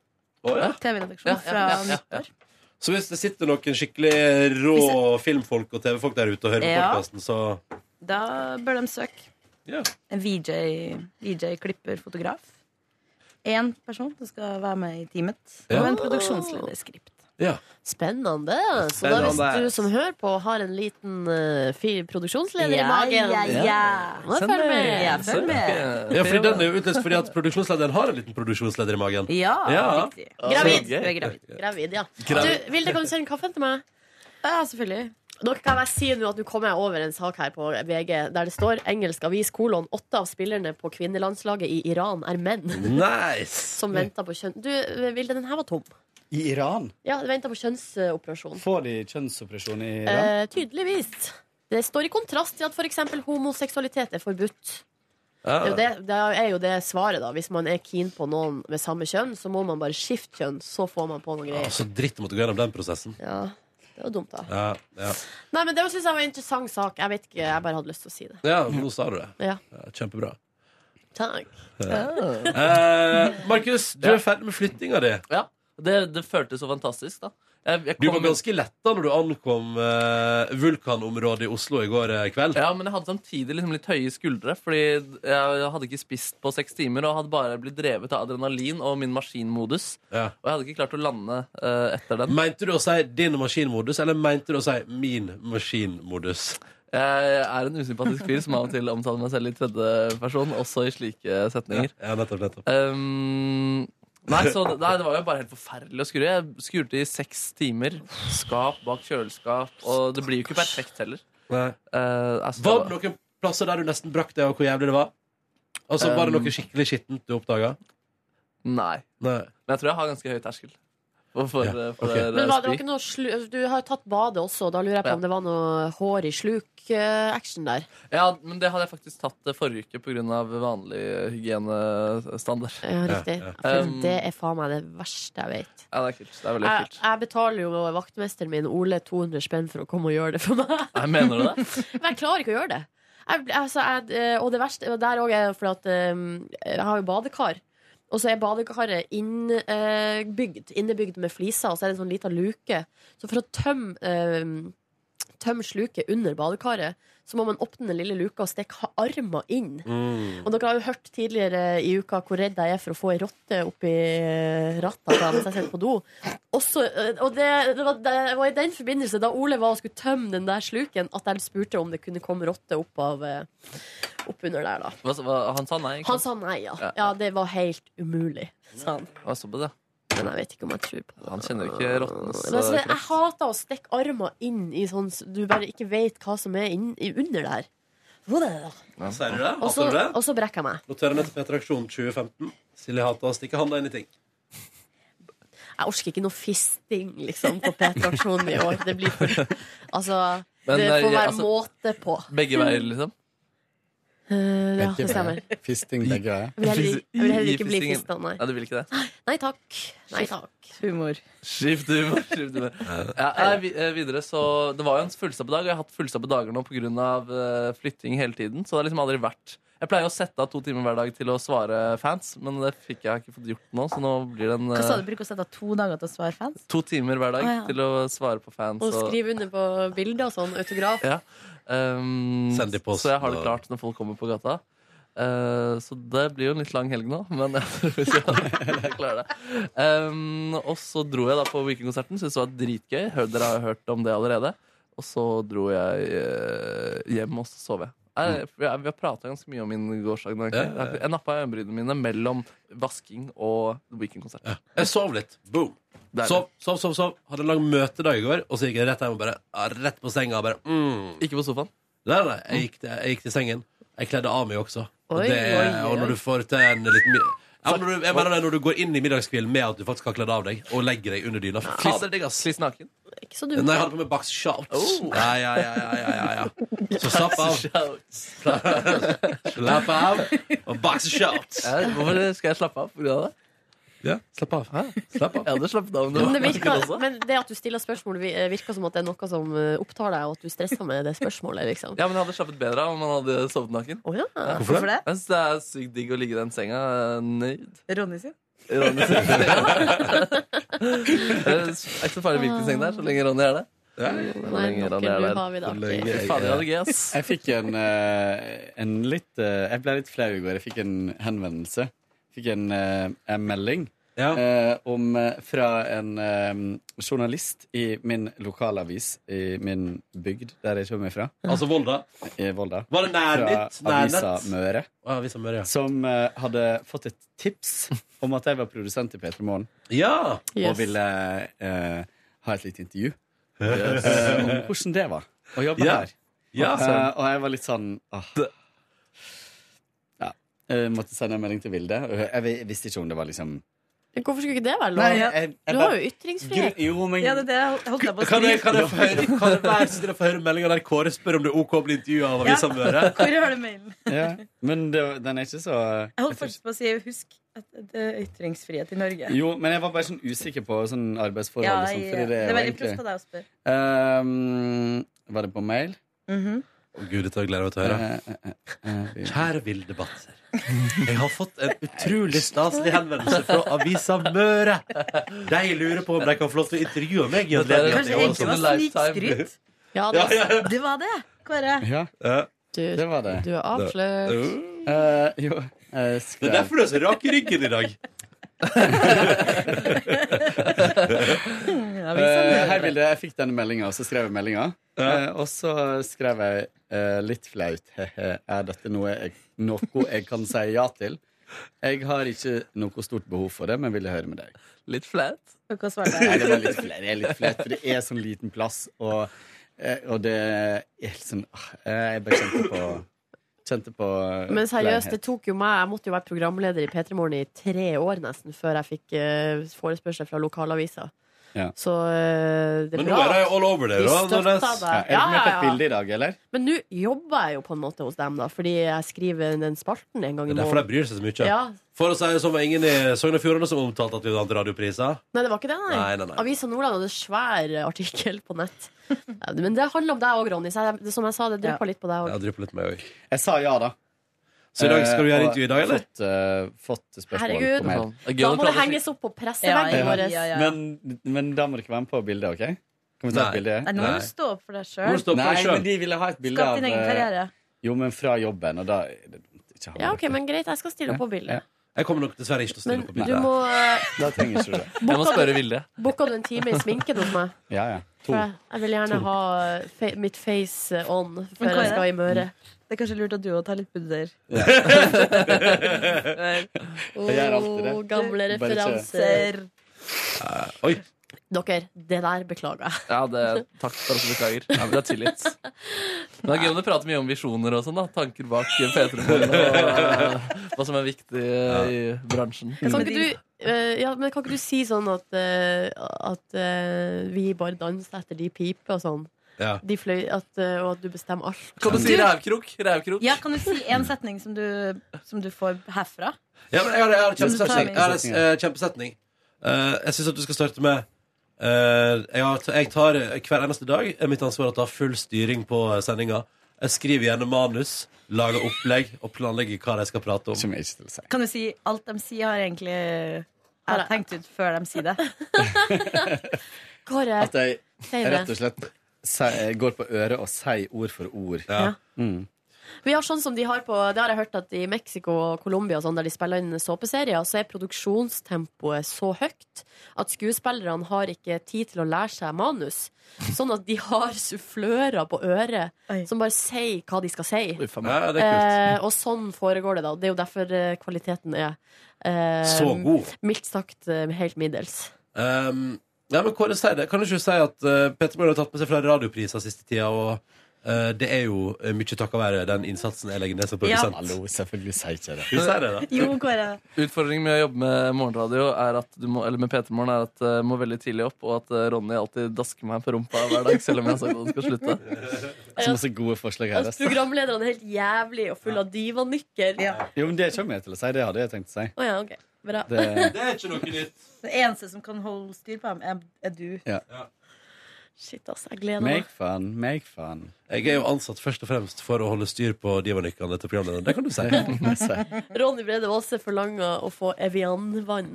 S13: Å, ja.
S16: TV-redaksjon
S13: Ja, ja,
S16: fra
S13: ja, ja, ja.
S16: nyttår.
S13: Så hvis det sitter noen skikkelig rå filmfolk og TV-folk der ute og hører på
S16: Ja.
S13: podkasten, så
S16: um, Da bør de søke.
S13: Ja.
S16: En VJ, VJ klipper fotograf. Én person som skal være med i teamet.
S2: Ja.
S16: Og en produksjonslederskript.
S13: Ja.
S2: Spennende. Så da
S16: Spennende.
S2: hvis du som hører på, har en liten eh, fi- produksjonsleder i
S16: Ja,
S2: magen
S16: ja, ja.
S2: Må jeg følge med.
S16: Ja, følg med.
S13: Ja, fordi den er jo utløst fordi at produksjonslederen har en liten produksjonsleder i magen.
S2: riktig.
S13: Så
S2: Gravid.
S13: gøy.
S2: Du er gravid. Gravid, ja.
S13: Gravid.
S2: Du, Vilde, kan du sende kaffen til meg?
S16: Ja, selvfølgelig.
S2: Dere kan jeg si nå at Nå kommer jeg over en sak her på VG der det står engelsk avis kolon åtte av spillerne på kvinnelandslaget i Iran er menn.
S13: Nice.
S2: Som venter på kjønn... Du, eh, Vilde, den her var tom.
S6: I Iran?
S2: Ja, det venter på kjønnsoperasjon.
S6: Får de kjønnsoperasjon i Iran?
S2: Eh, tydeligvis. Det står i kontrast til at f.eks. homoseksualitet er forbudt. Det er, jo det, det er jo det svaret, da. Hvis man er keen på noen med samme kjønn, så må man bare skifte kjønn. Så får man på noen
S13: Ja,
S2: greier.
S13: Ah, så dritt å måtte gå gjennom den prosessen.
S2: Ja, det var dumt, da.
S13: Ja, ja.
S2: Nei, men Det syns jeg var en interessant sak. Jeg vet ikke, jeg bare hadde lyst til å si det.
S13: ja nå sa du det.
S2: Ja,
S13: Ja, kjempebra.
S2: takk.
S13: Eh, Markus, du er ferdig med flyttinga di.
S3: Ja, det, det føltes så fantastisk, da. Jeg, jeg
S13: Du
S3: kom-
S13: var ganske letta når du ankom eh, vulkanområdet i Oslo i går eh, kveld.
S3: Ja, men jeg hadde samtidig liksom litt høye skuldre, fordi jeg hadde ikke spist på seks timer og hadde bare blitt drevet av adrenalin og min maskinmodus. Og jeg hadde ikke klart å lande eh, etter den.
S13: Mente du å si din maskinmodus, eller mente du å si min maskinmodus?
S3: Jeg er en usympatisk fyr som av og til omtaler meg selv i tredje person, også i slike setninger.
S13: Ja, nettopp, nettopp.
S3: Um, nei, så, det- nei, det var jo bare helt forferdelig å skure. Jeg skurte i seks timer. Skap bak kjøleskap. Og det blir jo ikke perfekt heller.
S13: Nei.
S3: altså,
S13: var det noen plasser der du nesten brakk deg, og hvor jævlig det var? Altså, Var det
S3: Um,
S13: noe skikkelig skittent du oppdaga?
S3: Nei.
S13: Nei.
S3: Men jeg tror jeg har ganske høy terskel. For, for, for eh,
S13: ok.
S2: Men hva, det var
S3: spy.
S2: ikke noe slu altså, Du har jo tatt badet også, og da lurer jeg på
S3: Ja.
S2: om det var noe hår i sluk-action der.
S3: Ja, men det hadde jeg faktisk tatt eh, forrige uke pga. vanlig eh, hygienestandard.
S2: Ja, Eh, riktig. For
S3: Um,
S2: det er faen meg det verste jeg vet.
S3: ja, det er kult. Det er veldig
S16: Eh,
S2: Jeg,
S3: kult.
S2: jeg betaler jo vaktmesteren min Ole 200 spenn for å komme og gjøre det for meg.
S16: eh,
S3: Nei, mener du det?
S2: Men jeg klarer ikke å gjøre det. Jeg, altså, jeg, eh, og det verste og der òg er jo fordi at eh, jeg har jo badekar. Og så er badekaret innebygd, innebygd med fliser, og så er det en sånn lita luke. Så for å tømme eh, Tømme sluket under badekaret, så må man åpne den lille luka og stikke ha- armen inn. Og dere har jo hørt tidligere i uka hvor redd jeg er for å få ei rotte oppi rattet da, mens jeg sitter på do. Også, eh, og det, det, var, det var i den forbindelse, da Ole var og skulle tømme den der sluken, at jeg spurte om det kunne komme rotte opp, av, eh, opp under der, da.
S3: Hva, hva, han sa nei? ikke
S2: Han
S3: sant?
S2: sa nei, ja.
S3: Ja.
S2: Ja, det var helt umulig, sa han.
S3: Hva så på det?
S2: Men jeg vet ikke om jeg tror på
S3: det. Han kjenner jo ikke rottens
S2: Men altså,
S3: eh,
S2: jeg
S3: kraft.
S2: hater å stikke armer inn i sånn s- Du bare ikke vet hva som er inn, i- under der. Hvor er det da?
S13: Sier du det?
S2: Og så
S13: Hater du det?
S2: og så brekker jeg meg.
S13: Noterer ned til Peter Aksjon 2015. Silje hater å stikke handa inn i ting.
S2: Jeg orker ikke noe fisting liksom, på P-traksjonen i år. Det blir for Altså,
S3: Men,
S2: det får
S3: eh,
S2: være
S3: altså,
S2: måte på.
S3: Begge veier, liksom?
S2: Eh, ja, det stemmer.
S6: Fisting begge veier.
S2: Jeg vil heller, jeg vil heller
S3: I
S2: ikke bli
S3: fistingen.
S2: fista, nei.
S3: Ja, du vil ikke det?
S2: Nei takk. Nei takk.
S16: Humor.
S3: Skift humor. Skift humor. Ja, nei, vi- eh, videre, så det var jo en fullstappet dag, og jeg har hatt fullstappede dager nå pga. eh, flytting hele tiden. Så det har liksom aldri vært Jeg pleier å sette av to timer hver dag til å svare fans, men det fikk jeg ikke fått gjort nå, så nå blir det en
S16: Hva sa du?
S3: eh,
S16: Bruker å sette av to dager til å svare fans?
S3: to timer hver dag
S16: Å, ja.
S3: til å svare på fans.
S2: Og skrive under på bilder og sånn. Autograf.
S3: ja. um, Så jeg har det klart når folk kommer på gata. Eh, så det blir jo en litt lang helg nå, men jeg tror vi skal- jeg klarer det. Um, og så dro jeg da på weekendkonserten. Syntes det var dritgøy. Hør, dere har jo hørt om det allerede. Og så dro jeg eh, hjem, og så sov jeg. Jeg, jeg, vi har prata ganske mye om min gårsdag. nå,
S13: Mm.
S3: egentlig.
S13: Ja, ja, ja.
S3: Jeg, jeg nappa øyenbrynene mine mellom vasking og weekendkonsert.
S13: Jeg sov litt. Boom.
S3: Deilig.
S13: Sov, sov, sov, sov. Hadde en lang møtedag i går, og så gikk jeg rett hjem og bare ah, Rett på senga. og Bare, mm.
S3: Ikke på sofaen?
S13: Nei, nei. Jeg gikk, til, jeg gikk til sengen. Jeg kledde av meg også. Og,
S3: Oi,
S13: det,
S3: oi, oi.
S13: og når du får til en liten mid- ja, men når du, jeg mener det, når du går inn i middagskvelden med at du faktisk har kledd av deg, og legger deg under dyna. Fy fader, digg, ass.
S3: Kliss naken?
S2: Ikke så
S13: Nei,
S2: dumt.
S13: jeg hadde på meg boxshorts.
S3: Oh.
S13: Ja, ja, ja, ja, ja, ja, ja. Så slapp av. Slapp av. Og boxshorts.
S3: Ja, Hvorfor skal jeg slappe av pga. det?
S1: Ja, slapp av. Slapp av.
S3: Jeg hadde slappet av om det
S2: Men
S3: var
S2: det,
S3: marked
S2: virker,
S3: også.
S2: men det at du stiller spørsmål, vi- eh, virker som at det er noe som eh, opptar deg, og at du stresser med det spørsmålet. liksom
S3: Ja, men jeg hadde slappet bedre av om man hadde sovet naken.
S2: Hvorfor det? Hvorfor det?
S3: Jeg synes det er sykt digg å ligge i den senga eh, nøyd.
S16: Ronny sin.
S3: Ronny sin. Det er ikke så farlig hvilken seng det er, så lenge Ronny er det.
S2: Hvor lenge Ronny er der. har vi det artig. Hvor lenge jeg-
S3: Fader, jeg hadde gøy, ass.
S6: Jeg fikk en, eh, en litt eh, Jeg ble litt flau i går. Jeg fikk en henvendelse. Fikk en, eh, en melding eh, om, eh, fra en eh, journalist i min lokalavis i min bygd, der jeg kommer fra.
S1: Altså Volda?
S6: I Volda.
S1: Var det nærnytt?
S6: Fra
S1: Nærnett?
S6: Avisa Møre.
S1: Å, Avisa Møre, ja.
S6: Som eh, hadde fått et tips om at jeg var produsent i P3 Morgen.
S1: Ja!
S6: Og
S1: Yes.
S6: ville eh, ha et lite intervju.
S1: Yes.
S6: Eh, om hvordan det var å jobbe
S1: Ja.
S6: her.
S1: Ja.
S6: Eh, og jeg var litt sånn åh. Ja. Jeg måtte sende en melding til Vilde. og Jeg vi- visste ikke om det var liksom
S2: Men Hvorfor skulle ikke det være lov?
S6: Nei, jeg- jeg- jeg
S2: du har
S6: bare-
S2: jo ytringsfrihet.
S6: Gru- jo, men- Ja, det er
S16: det jeg holdt på å
S1: Kan jeg, kan jeg få høre, kan jeg være så snill å få høre meldinga der Kåre spør om det er OK å bli intervjua av Avisa Møre?
S16: Hvor har du mailen?
S6: ja. Men det, den er ikke så
S16: Jeg holdt faktisk på å si husk at det er ytringsfrihet i Norge.
S6: Jo, men jeg var bare sånn usikker på sånn arbeidsforhold
S16: Ja,
S6: og sånn.
S16: ja.
S6: Fordi det,
S16: Det er
S6: var
S16: veldig proft av deg å spørre.
S6: egentlig Eh, Var det på mail?
S16: Mhm.
S1: Å, Gud, dette gleder jeg meg til å
S6: høre. eh,
S1: Kjære Vilde Batzer. Jeg har fått en utrolig staselig henvendelse fra Avisa Møre. De lurer på om de kan få lov til å intervjue meg. i anledning
S16: Kanskje det
S1: til
S16: egentlig
S6: sånn
S16: var
S1: Lifetime.
S16: snikskryt?
S2: Ja,
S1: det- Ja, ja.
S16: det var det, Kåre.
S6: Ja.
S2: Du-
S6: det var det.
S2: du er avslørt.
S6: Eh, jo. jeg
S1: Det
S6: skrev-
S1: er derfor du er så rak i ryggen i dag.
S6: Eh, Hei, Vilde. Jeg fikk denne meldinga, og så skrev jeg meldinga. Eh, og så skrev jeg eh, litt flaut. Hehe, er dette noe jeg, noe jeg kan si ja til? Jeg har ikke noe stort behov for det, men ville høre med deg.
S3: Litt flaut.
S16: Og hva svarte
S6: Nei, det var
S16: jeg?
S6: litt flaut. Det er litt flaut, for det er sånn liten plass, og, eh, og det er helt sånn ah, eh, Jeg bare kjente på Kjente på
S2: Men seriøst, det
S6: flauhet.
S2: tok jo meg Jeg måtte jo være programleder i P3 Morgen i tre år nesten før jeg fikk eh, forespørsel fra lokalavisa.
S6: Ja.
S2: Så eh, det er
S1: Men nå
S2: bra.
S1: er de all over det, da.
S2: De støtta
S1: Nordnes.
S2: deg.
S6: ja, Er det
S2: Ja,
S6: med på
S2: ja,
S6: et
S2: ja.
S6: bilde i dag, eller?
S2: Men nå jobber jeg jo på en måte hos dem, da, fordi jeg skriver den spalten en gang
S1: Det
S2: i
S1: er derfor de
S2: måneden.
S1: bryr seg så mye.
S2: Ja.
S1: For å si
S13: sånn,
S1: det som var ingen i Sogn og Fjordane som omtalte at vi vant radiopriser.
S2: Nei, det var ikke det, nei.
S1: Nei, nei, nei.
S2: Avisa Nordland hadde en svær artikkel på nett. Ja, Men det handler om deg òg, Ronny. Så jeg, som jeg sa, det dryppa litt på deg
S1: Jeg
S2: òg.
S1: drypper litt meg òg.
S6: Jeg sa ja, da.
S1: Så i dag skal du
S6: Eh,
S1: gjøre
S6: og
S1: intervju i dag, eller?
S6: Fått, eh, fått spørsmål
S2: Herregud.
S6: på
S3: sånn.
S6: mail.
S2: Da må det henges opp på presseveggen vår.
S6: Men, men da må dere være med på bildet, OK? Kan vi ta et bilde?
S16: Nei, nå må du stå opp for deg sjøl.
S6: Nei, men de ville ha et bilde
S16: Skap din
S6: av,
S16: egen
S6: eh,
S16: karriere.
S6: Jo, men fra jobben, og da er det dumt ikke å ha
S2: Ja,
S6: med.
S2: ok, men greit, jeg skal stille opp på bildet.
S1: Jeg kommer nok dessverre ikke til å
S2: Men
S1: stille opp på
S2: du
S1: bildet.
S2: må eh,
S6: Da trenger ikke du det.
S2: Jeg må spørre
S3: Vilde.
S2: Booka du en time i sminken hos meg?
S6: Ja, ja. To.
S2: For jeg, jeg vil gjerne
S6: To.
S2: ha fe, mitt face eh, on
S16: Men
S2: før jeg
S16: Kåre?
S2: skal i Møre.
S16: Det er kanskje lurt at du òg tar litt pudder.
S6: Ja. Jeg gjør alltid det.
S2: Åh, gamle
S6: Bare ikke-
S2: referanser.
S1: Oi.
S2: Dere, det der beklager jeg.
S3: Ja, det, takk for at du beklager. Ja, men det er tilgitt. Men det er gøy om du prater mye om visjoner og sånn, da. Tanker bak P3-morgen og eh, hva som er viktig eh, i bransjen.
S6: Mm.
S2: Kan ikke du, eh, ja, men kan ikke du si sånn at, eh, at eh, vi bare danser etter de piper og sånn?
S1: Ja.
S2: De fløy, at, eh, og at du bestemmer alt.
S3: Kan du si rævkrok? Rævkrok.
S16: Ja, kan du si en setning som du, som du får herfra?
S1: Ja, men jeg har, jeg har en
S16: Som du tar
S1: kjempesetning.
S16: med.
S1: Jeg har en eh, kjempesetning. Eh, jeg syns at du skal starte med eh, jeg, har, jeg tar eh, hver eneste dag er mitt ansvar å ta full styring på eh, sendinga. Jeg skriver gjerne manus, lager opplegg og planlegger hva de skal prate om.
S16: Kan du si alt de sier, har egentlig jeg har tenkt ut før de sier det?
S2: Kåre,
S6: At jeg
S2: si
S6: jeg rett
S2: det.
S6: og slett si- går på øret og sier ord for ord.
S1: Ja.
S6: Mm.
S2: Vi har sånn som de har på Det har jeg hørt at i Mexico og Colombia, og sånn, der de spiller inn såpeserier, så er produksjonstempoet så høyt at skuespillerne har ikke tid til å lære seg manus. Sånn at de har sufflører på øret som bare sier hva de skal si.
S1: Ja, det er
S2: Eh,
S1: kult.
S2: og sånn foregår det, da. Det er jo derfor eh, kvaliteten er eh,
S16: Um.
S1: Så god.
S2: Mildt sagt eh, helt middels.
S1: Um, ja, men Kåre, si det. Kan du ikke si at eh, Petter Moen har tatt med seg flere radiopriser siste tida, og eh, det er jo eh, mye takket være den innsatsen jeg legger ned som
S16: Ja.
S1: produsent.
S6: Hallo, selvfølgelig sier ikke det.
S1: Du sier det, da?
S16: Jo, Kåre.
S3: Utfordringen med å jobbe med morgenradio er at du må, eller med P3-morgen er at jeg må veldig tidlig opp, og at eh, Ronny alltid dasker meg på rumpa hver dag, selv om jeg har sagt at han skal slutte.
S6: Så masse gode forslag her.
S2: Altså,
S6: Altså.
S2: programlederne er helt jævlig og full av divanykker. Å ja.
S6: Jo, men Det kommer jeg til å si. Det hadde jeg tenkt å si.
S2: ok. Bra.
S6: Det-
S13: Det er ikke noe nytt.
S16: Den eneste som kan holde styr på ham, er, er du.
S6: Ja.
S2: Shit, ass. Jeg gleder meg.
S6: Make fun, make fun.
S13: Jeg er jo ansatt først og fremst for å holde styr på divanykkene til programlederen. Det kan du si.
S2: Ronny Brede Aase forlanger å få Evian-vann.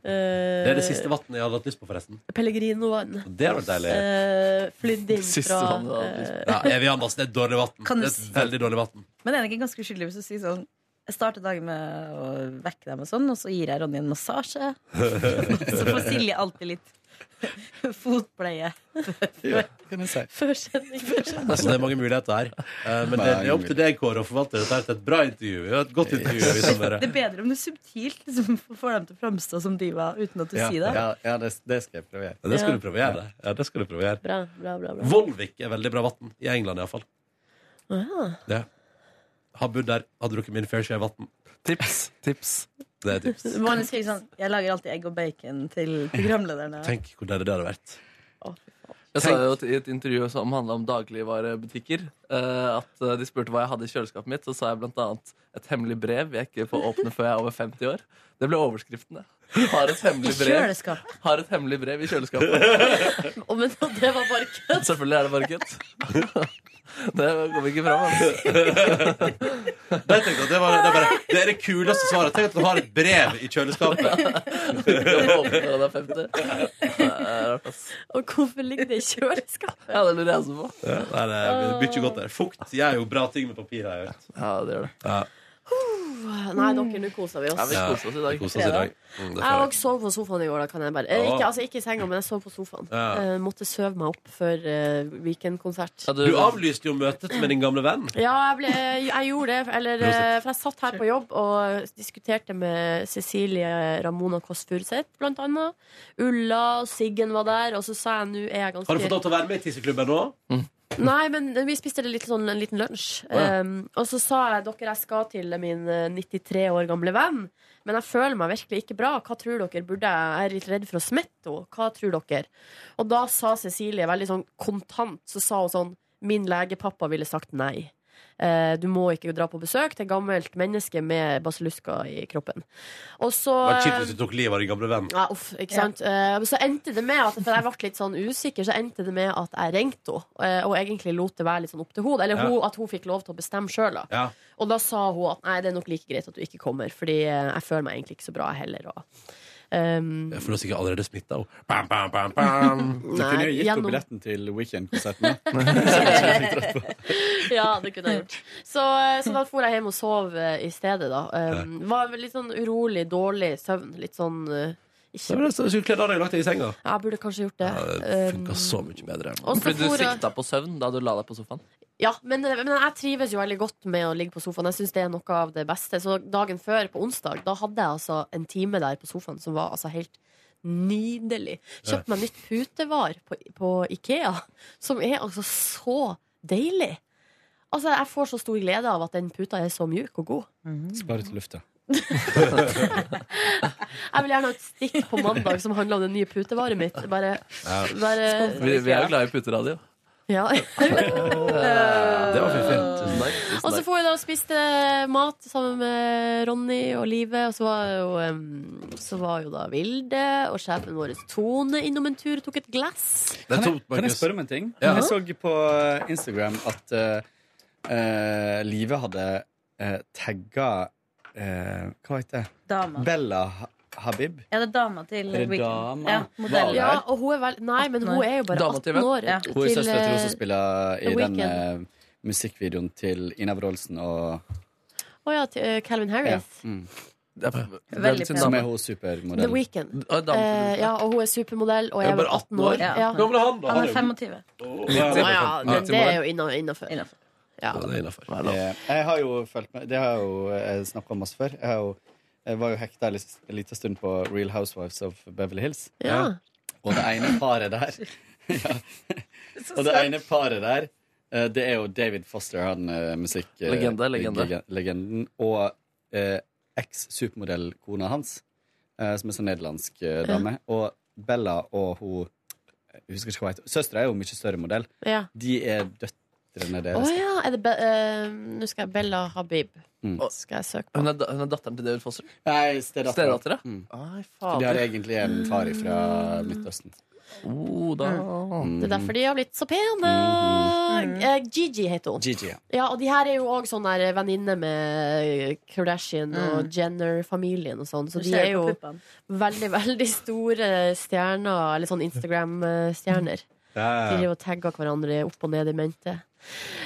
S2: Eh,
S13: Det er det siste vannet jeg hadde hatt lyst på, forresten.
S2: Pellegrino-vann.
S13: Det hadde vært deilig.
S2: Eh, Flydd inn
S13: Siste
S2: fra
S13: vannet jeg hadde lyst
S2: eh,
S13: Ja, Evian, altså, det er dårlig vann.
S16: Kan du
S13: Det er et veldig dårlig vann.
S16: Men er det ikke ganske uskyldig hvis du sier sånn Jeg starter dagen med å vekke deg med sånn, og så gir jeg Ronny en massasje. Så får Silje alltid litt fotpleie.
S6: Kan jeg si.
S2: Før sending.
S13: Så Altså, det er mange muligheter her. Eh, Men det, det er opp til deg, Kåre, å forvalte dette her til et bra intervju. Vi har Et godt intervju. Vi som
S16: Det er bedre om du subtilt liksom, får dem til å framstå som diva uten at du sier det.
S6: Ja, ja det, det skal jeg prøve å gjøre.
S13: Ja, det skal du prøve å gjøre. Ja, det skal du prøve å gjøre.
S2: Bra, bra, bra. bra.
S13: Volvik er veldig bra vann. I England, iallfall.
S2: Ah.
S13: Ja. Har bodd der, har drukket min fair share vann.
S3: Tips. Tips.
S13: Det er et tips.
S16: Du må nesten skrive sånn Jeg lager alltid egg og bacon til programlederne.
S13: Tenk hvor deilig det hadde vært.
S3: Jeg sa jo i et intervju som handla om dagligvarebutikker, eh, at eh, de spurte hva jeg hadde i kjøleskapet mitt. Så sa jeg blant annet et hemmelig brev jeg ikke får åpne før jeg er over 50 år. Det ble overskriften, det. Har et hemmelig brev,
S16: kjøleskapet?
S3: har et hemmelig brev i kjøleskapet.
S2: Å, men det var bare kødd.
S3: Selvfølgelig er det bare kutt. Det kom ikke fram. Altså.
S13: Det, tenkte, jeg, det, var, det, er bare, det er det kuleste svaret. Tenk at du har et brev i kjøleskapet.
S2: Og hvorfor ligger det i kjøleskapet?
S3: Ja, det lurer jeg også på.
S13: Ja, nei, det er mye godt der. Fukt gjør jo bra ting med papir. Har jeg hørt.
S3: Ja, det gjør det.
S2: Uh, Nei, dere, nå koser vi oss.
S3: Ja, vi koser oss i dag.
S13: Vi koser oss i dag. Mm, det
S2: Jeg
S13: får
S2: òg sov på sofaen i går. da kan jeg bare eh,
S13: Ja.
S2: ikke, altså, ikke i senga, men jeg sov på sofaen.
S13: Ja.
S2: Eh, måtte søve meg opp før eh, weekendkonsert.
S13: jeg. Du avlyste jo møtet med din gamle venn.
S2: Ja, jeg, ble, jeg gjorde det. Eller, eh, for jeg satt her på jobb og diskuterte med Cecilie Ramona Kåss Furuseth, blant annet. Ulla og Siggen var der. Og så sa jeg nå er jeg ganske
S13: Har du fått lov til å være med i tisseklubben nå?
S2: Nei, men vi spiste litt sånn, en liten lunsj.
S13: Å, ja.
S2: Um, og så sa jeg dere jeg skal til min eh, 93 år gamle venn. Men jeg føler meg virkelig ikke bra. Hva tror dere burde jeg? Jeg er litt redd for å smitte henne. Hva tror dere? Og da sa Cecilie veldig sånn kontant så sa hun sånn Min legepappa ville sagt nei. Eh, du må ikke dra på besøk til et gammelt menneske med basillusker i kroppen. Og så
S13: Det var kjipt
S2: eh,
S13: hvis du tok livet av din gamle venn.
S2: ja, uff, ikke sant? Eh, men så endte det med at For jeg ble litt sånn usikker, så endte det med at jeg ringte henne. eh, og egentlig lot det være litt sånn opp til henne. Eller
S13: Ja.
S2: hun, at hun fikk lov til å bestemme sjøl. da.
S13: Ja.
S2: Og da sa hun at nei, det er nok like greit at du ikke kommer, fordi eh, jeg føler meg egentlig ikke så bra heller. Og, ehm,
S13: For du er sikkert allerede smitta. Bam, bam, bam, bam.
S6: Du kunne jo gitt henne
S2: gjennom-
S6: billetten til Weekend-konserten.
S2: ja, det kunne jeg gjort. Så, så da for jeg hjem og sov eh, i stedet, da. Um, var litt sånn urolig, dårlig søvn. Litt sånn eh,
S13: Så
S2: ikke,
S13: var det så- så kledd av deg og lagt deg i senga.
S2: Ja, jeg burde kanskje gjort det.
S13: Det
S2: Um,
S13: funka så mye bedre.
S2: Og så
S3: Fordi du
S2: for å-
S3: sikta på søvn da du la deg på sofaen?
S2: Ja, men, men jeg trives jo veldig godt med å ligge på sofaen. Jeg synes det er noe av det beste. Så dagen før, på onsdag, da hadde jeg altså en time der på sofaen som var altså helt nydelig. Kjøpte meg nytt putevar på, på Ikea, som er altså så deilig. Altså, Jeg får så stor glede av at den puta er så mjuk og god.
S6: Spar ut lufta.
S2: Jeg vil gjerne ha et stikk på mandag som handler om det nye putevaret mitt. Bare, bare
S3: Vi, vi er jo glad i puteradio.
S2: Ja.
S3: Det var fint. Tusen takk.
S2: Og så
S3: Tusen takk.
S2: får vi da og spiste mat sammen med Ronny og Live. Og så var jo, em, så var jo da Vilde og sjefen vår Tone innom en tur og tok et glass.
S6: Kan jeg,
S13: tomt,
S6: kan jeg
S13: Markus.
S6: spørre om en ting?
S13: Ja.
S6: Jeg så på Instagram at eh, eh, Live hadde uh, tagga eh, Hva heter det?
S16: Dama.
S6: Bella Ha- Habib.
S16: Ja, det er dama til
S6: Er det
S16: Weekend.
S6: dama?
S16: Ja, modell.
S6: Var det?
S2: Ja, og hun er vel Nei, men hun er jo bare
S3: Dama til
S2: 18
S3: hvem?
S2: år.
S16: Ja.
S6: Hun er
S2: til,
S6: søstera til hun som
S2: eh,
S6: spiller i
S2: The
S6: den
S2: Weeknd.
S6: eh, musikkvideoen til Ina Wroldsen og
S2: Å ja, til eh, Calvin
S6: ja,
S2: Harris.
S6: mm,
S3: Det er-
S16: Veldig
S3: sin
S16: pen.
S6: Som
S3: dame.
S6: er hun
S2: The
S6: supermodellen.
S2: Weekend.
S3: Å, dame til
S2: Eh, ja, og hun er supermodell og
S13: Jeg
S2: er
S13: er
S2: vel
S13: bare
S2: 18 år.
S16: Ja.
S2: Ja.
S13: Gammel han, da.
S16: Han er 25.
S13: Ja,
S2: Å ja, men det er jo innafor.
S16: Innenfor.
S13: Ja,
S2: Ja.
S13: det er innenfor.
S6: Eh, Jeg har jo fulgt med Det har jeg jo snakka om masse før. Jeg, har jo, jeg var jo hekta en lis- en liten stund på Real Housewives of Beverly Hills.
S2: Ja.
S6: Og det ene paret der ja. Og det ene paret der eh, Det er jo David Foster Han eh, musikk eh,
S3: Legende, legende.
S6: lege- Legenden Og eh, eks-supermodell kona hans eh, Som er sånn nederlandsk eh, dame Og Bella og hun Jeg husker ikke hva hun heter Søstre er jo mye større modell
S2: ja.
S6: De er døtt lettere ned det.
S2: Å ja. Er det Be eh, Nå skal jeg Bella Habib. Skal jeg søke
S3: Hun er, da- hun er datteren til David Foster?
S6: Nei, stedattera.
S3: Stedattera?
S6: Mm.
S3: Ai,
S6: De har
S3: fader.
S6: egentlig en far fra Midtøsten.
S3: Oh, da.
S2: Det er derfor de har blitt så pene.
S13: Mhm.
S2: Eh, Gigi heter hun.
S6: Gigi, ja.
S2: Ja, og de her er jo òg sånn der venninne med Kardashian
S13: Mhm.
S2: og Jenner-familien og sånn, så
S16: Du
S2: de
S16: ser
S2: er
S16: det
S2: jo
S16: på puppene.
S2: veldig, veldig store stjerner, eller sånn Instagram-stjerner.
S13: Ja, ja.
S2: De driver og tagger hverandre opp og ned i mente.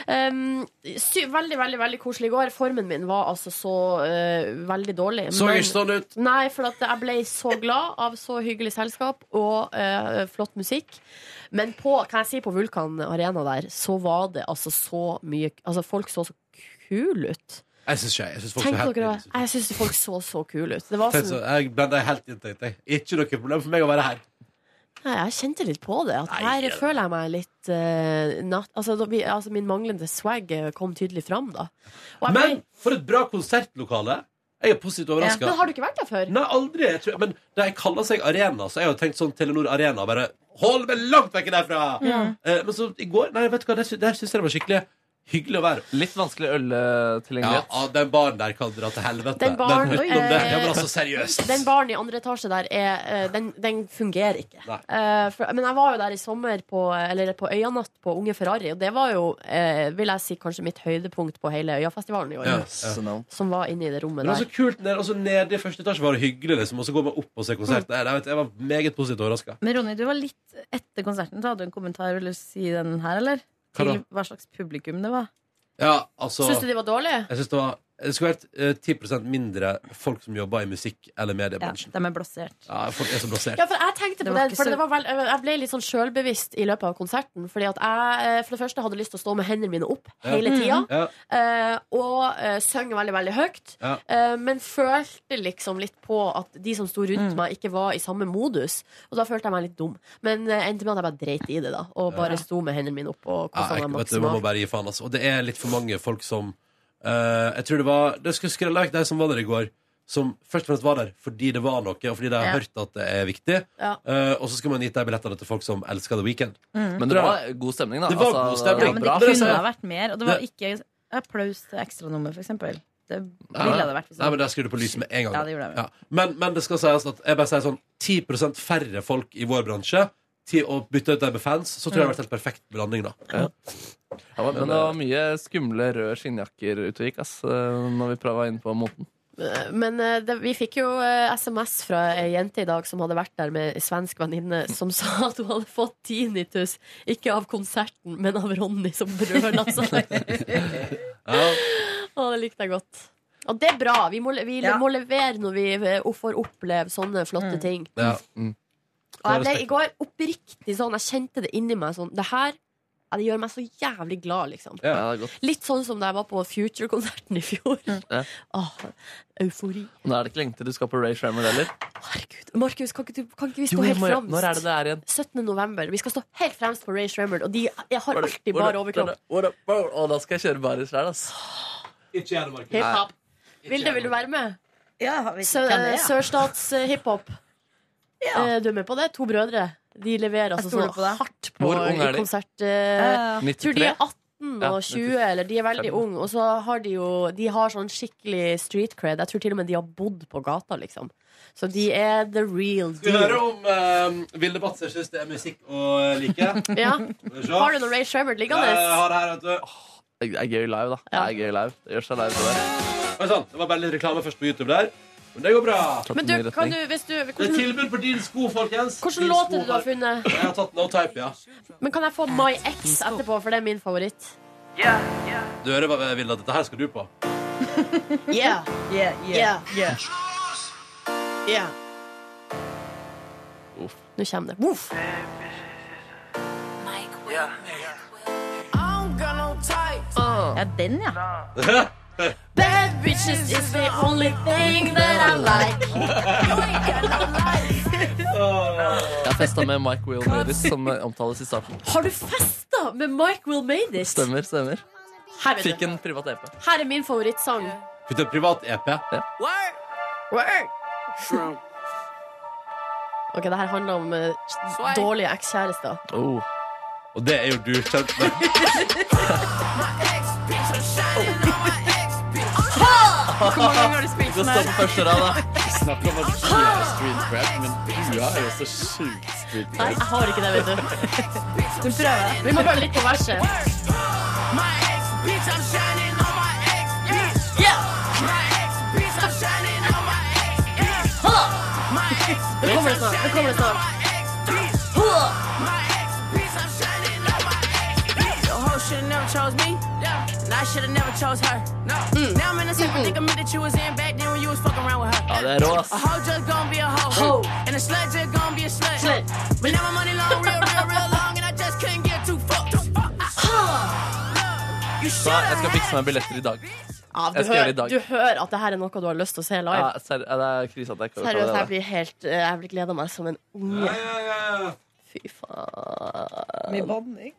S2: Um, sy veldig, veldig veldig koselig i går. Formen min var altså så eh, veldig dårlig.
S13: Så
S2: men-
S13: ikke sånn ut.
S2: Nei, for at jeg ble så glad av så hyggelig selskap og eh, flott musikk. Men på, kan jeg si, på Vulkan Arena der, så var det altså så mye Altså, folk så så kule ut.
S13: Jeg syns ikke jeg. synes folk
S2: Tenk
S13: er helt
S2: dere,
S13: nydelig.
S2: jeg syns folk så så kule ut. Det var
S13: Tenk så,
S2: sånn,
S13: jeg blanda helt inn, tenkte jeg. Ikke noe problem for meg å være her.
S2: Nei, jeg kjente litt på det. At her føler jeg meg litt eh, natt, altså, da, vi- altså, min manglende swag eh, kom tydelig fram, da. Og jeg
S13: Men for et bra konsertlokale! Jeg er positivt
S2: ble,
S13: overraska.
S2: men har du ikke vært der før?
S13: Nei, aldri. Jeg tror, men de kaller seg Arena, så jeg har jo tenkt sånn Telenor Arena. Bare hold meg langt vekk derfra!
S2: Ja.
S13: Eh, men så i går Nei, vet du hva, der, sy- der syns jeg det var skikkelig hyggelig å være.
S3: Litt vanskelig øltilgjengelighet.
S13: Ja, ja, den baren der kan dra til helvete.
S2: Den baren,
S13: men utenom det,
S2: eh,
S13: ja, men altså seriøst.
S2: Den baren i andre etasje der er, eh, den, den fungerer ikke.
S13: Nei.
S2: Eh, for, men jeg var jo der i sommer på, eller på Øyanatt på Unge Ferrari, og det var jo, eh, vil jeg si, kanskje mitt høydepunkt på hele Øyafestivalen i år.
S13: Ja, ja.
S2: Som var inne i det rommet
S13: Men det var
S2: der.
S13: så kult ned, altså Nede i første etasje var det hyggelig, liksom, og så går man opp og ser
S2: Mm.
S13: konsert. Nei, nei, vet du, jeg var meget positivt overraska.
S16: Men Ronny, du var litt etter konserten. Så hadde du en kommentar vil du si den her, eller?
S13: Hva da?
S16: Til hva slags publikum det var.
S13: Ja, altså,
S2: Syns du de var dårlige?
S13: jeg syns det var det skulle vært eh, 10 mindre folk som jobber i musikk- eller
S16: Ja,
S13: mediebransjen.
S16: de er blossert.
S13: Ja, folk er så blasert.
S2: Ja, for jeg tenkte
S16: Det
S2: på
S16: var
S2: det,
S16: ikke
S2: for
S16: så-
S2: det var vel, jeg ble litt sånn sjølbevisst i løpet av konserten. Fordi at jeg eh, for det første hadde lyst til å stå med hendene mine opp hele tida.
S13: Ja.
S2: eh, og uh, søng veldig, veldig høyt.
S13: Ja.
S2: eh, men følte liksom litt på at de som sto
S13: Mm.
S2: rundt meg, ikke var i samme modus. Og da følte jeg meg litt dum. Men eh, endte med at jeg bare dreit i det, da. Og bare sto med hendene mine opp og
S13: Ja,
S2: kosa
S13: jeg,
S2: meg
S13: vet du, man må
S2: maksimalt.
S13: bare gi faen, altså. Og det er litt for mange folk som eh, Jeg tror det var Det skulle skrelle vekk de som var der i går, som først og fremst var der fordi det var noe, og fordi de har
S3: Ja.
S13: hørt at det er viktig.
S2: Ja.
S13: Eh, og så skal man gitt de billettene til folk som elsker The Weeknd.
S16: Mm.
S3: Men det var god stemning, da.
S13: Det var
S3: Altså,
S13: god stemning.
S16: Ja, men
S13: bra.
S16: det
S13: Det er
S16: kunne
S13: sant.
S16: ha vært mer. Og det var ikke applaus til ekstranummer, for eksempel. Det ville det vært. hvis det
S13: Nei, men
S16: var-
S13: Der skrur du på lyset med en gang.
S16: Ja, det gjorde jeg.
S13: Ja. Men, men det skal sies at jeg bare sier sånn 10 færre folk i vår bransje til å bytte ut dem med fans, så tror jeg det har vært helt perfekt blanding, da.
S3: Ja. Ja, men det var mye skumle røde skinnjakker ute og gikk, ass, eh, når vi prøva inn på måten.
S2: Eh, Men eh, det, vi fikk jo eh, SMS fra ei jente i dag som hadde vært der med ei svensk venninne, som sa at hun hadde fått tinnitus, ikke av konserten, men av Ronny som brøla seg. Å, det likte jeg godt. Og det er bra. Vi må, le- vi le-
S16: Ja.
S2: må levere når vi eh, får oppleve sånne flotte ting.
S13: Ja.
S2: Og jeg ble i går oppriktig sånn, jeg kjente det inni meg sånn Det her ja, det gjør meg så jævlig glad, liksom.
S13: Ja.
S3: Ja, det er godt.
S2: Litt sånn som da jeg var på Future-konserten i fjor.
S3: Mm. Ja.
S2: Åh, eufori.
S3: Og Nå er det ikke lenge til du skal på Ray Shrammer heller.
S2: Markus, kan ikke, du, kan ikke vi
S3: Jo,
S2: stå helt
S3: må jeg-
S2: fremst?
S3: når er det det er igjen?
S2: 17. november. Vi skal stå helt fremst på Ray Shremmerd, og de jeg har
S3: What up,
S2: alltid
S3: what
S2: bar
S3: up,
S2: overkropp.
S3: what up, what up? Å, da skal jeg kjøre baris der, ass.
S13: Ikke gjør det, Markus.
S2: Hiphop. Vilde, vil du være med? Sø-
S16: kan det, ja.
S2: Sørstats-hiphop. Du er med på det? To brødre. De leverer altså
S16: stoler
S2: så
S16: på det.
S2: hardt på
S3: Hvor ung er de?
S2: konsert. eh,
S16: ja.
S2: Jeg tror de er
S3: 93?
S2: 18
S3: Ja,
S2: og 20, eller de er veldig
S3: 95.
S2: unge. Og så har de jo De har sånn skikkelig street cred. Jeg tror til og med de har bodd på gata, liksom. Så de er the real
S13: Skal vi høre
S2: deal.
S13: om eh, Vilde Batzer syns det er musikk å like?
S2: Ja.
S13: Skal vi se.
S2: Har du noe Ray Shremmerd
S13: Ja,
S2: liggende?
S13: Jeg har det her, vet du.
S3: Det er gøy live, da. Det er gøy live. Det gjør seg live på det.
S13: Oi, sant. Det var bare litt reklame først på YouTube der. Men det går bra.
S2: Men du, kan du, hvis du
S13: Det er
S2: hvordan,
S13: tilbud på din sko, folkens.
S2: hvordan
S13: Din sko
S2: låt er det du har
S13: har-
S2: funnet?
S13: Jeg har tatt No Type, ja.
S2: Men kan jeg få My Ex etterpå, for det er min favoritt.
S13: Du hører hva jeg vil at dette her skal du på.
S2: Yeah,
S16: Yeah, yeah, yeah.
S2: yeah.
S3: Uff.
S2: Nå kommer det. Voff.
S16: Ja, den, ja.
S2: Bad bitches is the only thing that I like.
S3: Jeg festa med Mike Will Madis, som eh, omtales i starten.
S2: Har du festa med Mike Will Madis?
S3: Stemmer, stemmer.
S2: Her, vet
S3: Fikk
S2: du.
S3: en privat EP.
S2: Her er min favorittsang.
S13: Putt en privat E EP.
S2: Word. Ok, det her handler om eh, dårlige ekskjærester.
S3: Oh.
S13: Og det er jo du kjent med.
S16: Hvor mange ganger har du spilt den her?
S3: første rad,
S6: da. Snakk om å styre street crap, men du er jo så sjukt street
S2: Nei,
S6: crap.
S2: jeg har ikke det, vet du.
S16: Du prøver.
S2: Vi må prøve litt på verset. Nå kommer det snart. Nå kommer det snart.
S3: Ja, det er rå, ass.
S2: Ho. Slut.
S3: Så jeg skal fikse meg billetter i dag.
S18: Ja, du,
S3: Jeg skal gjøre
S18: hører,
S3: det i dag.
S18: du hører at det her er noe du har lyst til å se
S3: Ja,
S18: live.
S3: ser, ja, det er krise at jeg ikke
S18: Seriøst, jeg
S3: overtaler det.
S18: blir helt eh, Jeg blir gleda meg som en unge. Fy
S16: Mye
S18: faen.
S16: banning.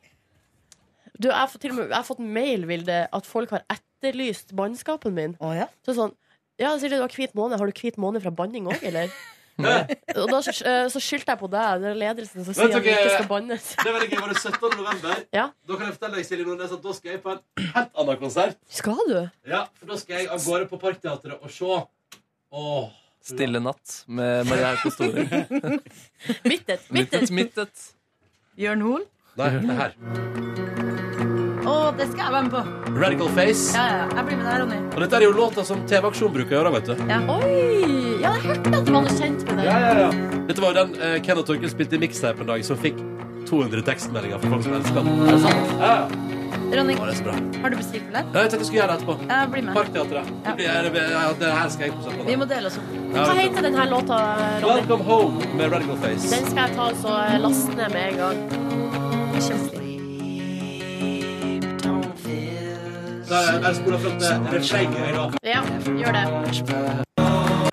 S18: Du, jeg, får til og med, jeg har fått mail, Vilde, at folk har etterlyst bannskapen min.
S16: Å ja?
S18: Så sånn Ja, Silje, du har hvit måne. Har du hvit måne fra banning òg, eller? Og da sky- eh, så skyldte jeg på deg, det er ledelsen, som sier
S13: Vet
S18: at vi
S13: dere-
S18: ikke skal bannes.
S13: Det var det gøy, var det 17. november?
S18: Ja.
S13: Da kan jeg fortelle deg, Silje Nordnes, at da skal jeg på en helt annen konsert.
S18: Skal du?
S13: Ja, for da skal jeg av gårde på Parkteatret og se. Åh.
S3: Stille natt med Maria Hauke Store.
S18: Mittet.
S3: Mittet, mittet.
S16: Jørn Hoel?
S13: Nei, det her.
S16: Å, det skal jeg være med på.
S13: Radical Face.
S16: Ja, ja, ja. Jeg blir med deg, Ronny.
S13: Og dette er jo låta som TV-aksjon bruker å gjøre, vet du.
S16: Ja.
S2: Oi! Ja, jeg hørte at man er kjent med det.
S13: Ja, ja, ja. Dette var jo den uh, Kenneth Torkel spilte i mixtape en dag, som fikk 200 tekstmeldinger fra folk som elsker den. Er det sant? Ja, ja.
S16: Ronny,
S13: Å, det er så bra.
S16: har du bestilt billett?
S13: Ja, jeg tenkte jeg skulle gjøre det etterpå.
S16: Ja, bli med.
S13: Parkteatret. Det, blir, ja, det- det her skal jeg kose
S16: Vi
S13: på.
S16: må dele oss opp.
S13: Ja,
S2: Hva
S13: det-
S2: heter denne låta, Ronny?
S13: Welcome home med Radical Face.
S2: Den skal jeg ta og så laste ned med en gang.
S13: Da er det spola fram til Det er skjegget i dag.
S2: Ja, gjør det.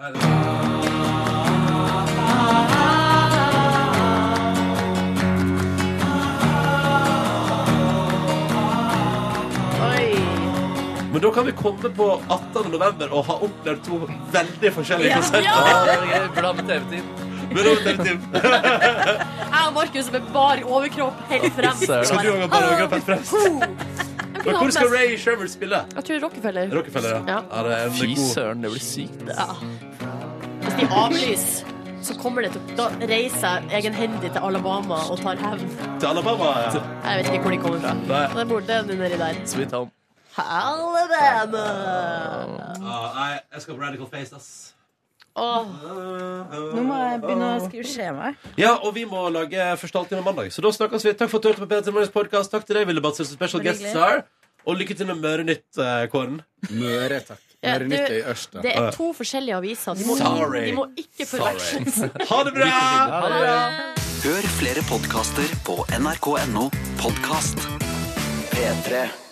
S2: Oi.
S13: Men da kan vi komme på 18. november og ha opplevd to veldig forskjellige
S2: Ja.
S13: konserter.
S3: Ja, det er gøy. Burde ha med TV-tid.
S13: Men da, Tim, Tim,
S2: Jeg og Markus med bar overkropp helt frem.
S3: Ser
S13: skal du også ha bare overkroppen fremst? Men hvor skal Ray Shermer spille?
S18: Jeg tror Rockefeller.
S13: Rockefeller, ja.
S18: Ja.
S13: ja det er en
S3: Fy
S13: god-
S3: søren, det blir sykt.
S2: Hvis de avlyser, så kommer det til Da reiser jeg egenhendig til Alabama og tar hevn.
S13: Til Alabama, ja.
S2: Jeg vet ikke hvor de kommer fra.
S13: Nei.
S2: Men Det bor det er noe nedi der.
S3: Sweet home.
S2: Alabama!
S13: Ah, nei, jeg skal på Radical Face, ass.
S2: Åh,
S16: Nå må jeg begynne å skrive skjema.
S13: Ja, og vi må lage Første halvtime mandag. Så da snakkes vi. Takk for at du hørte på P3 Morgens podkast. Takk til deg, Ville Batzer, som special
S16: Veldig
S13: guest star. Og lykke til med Mørenytt, eh, Kåren.
S6: Møre, takk.
S2: Ja, du-
S6: Mørenytt er i Ørsta.
S2: det er to forskjellige aviser. De må,
S13: Sorry.
S2: de må ikke forveksles.
S13: Ha det bra!
S3: Ha det bra.
S7: Hør flere podkaster på nrk.no podkast. P3.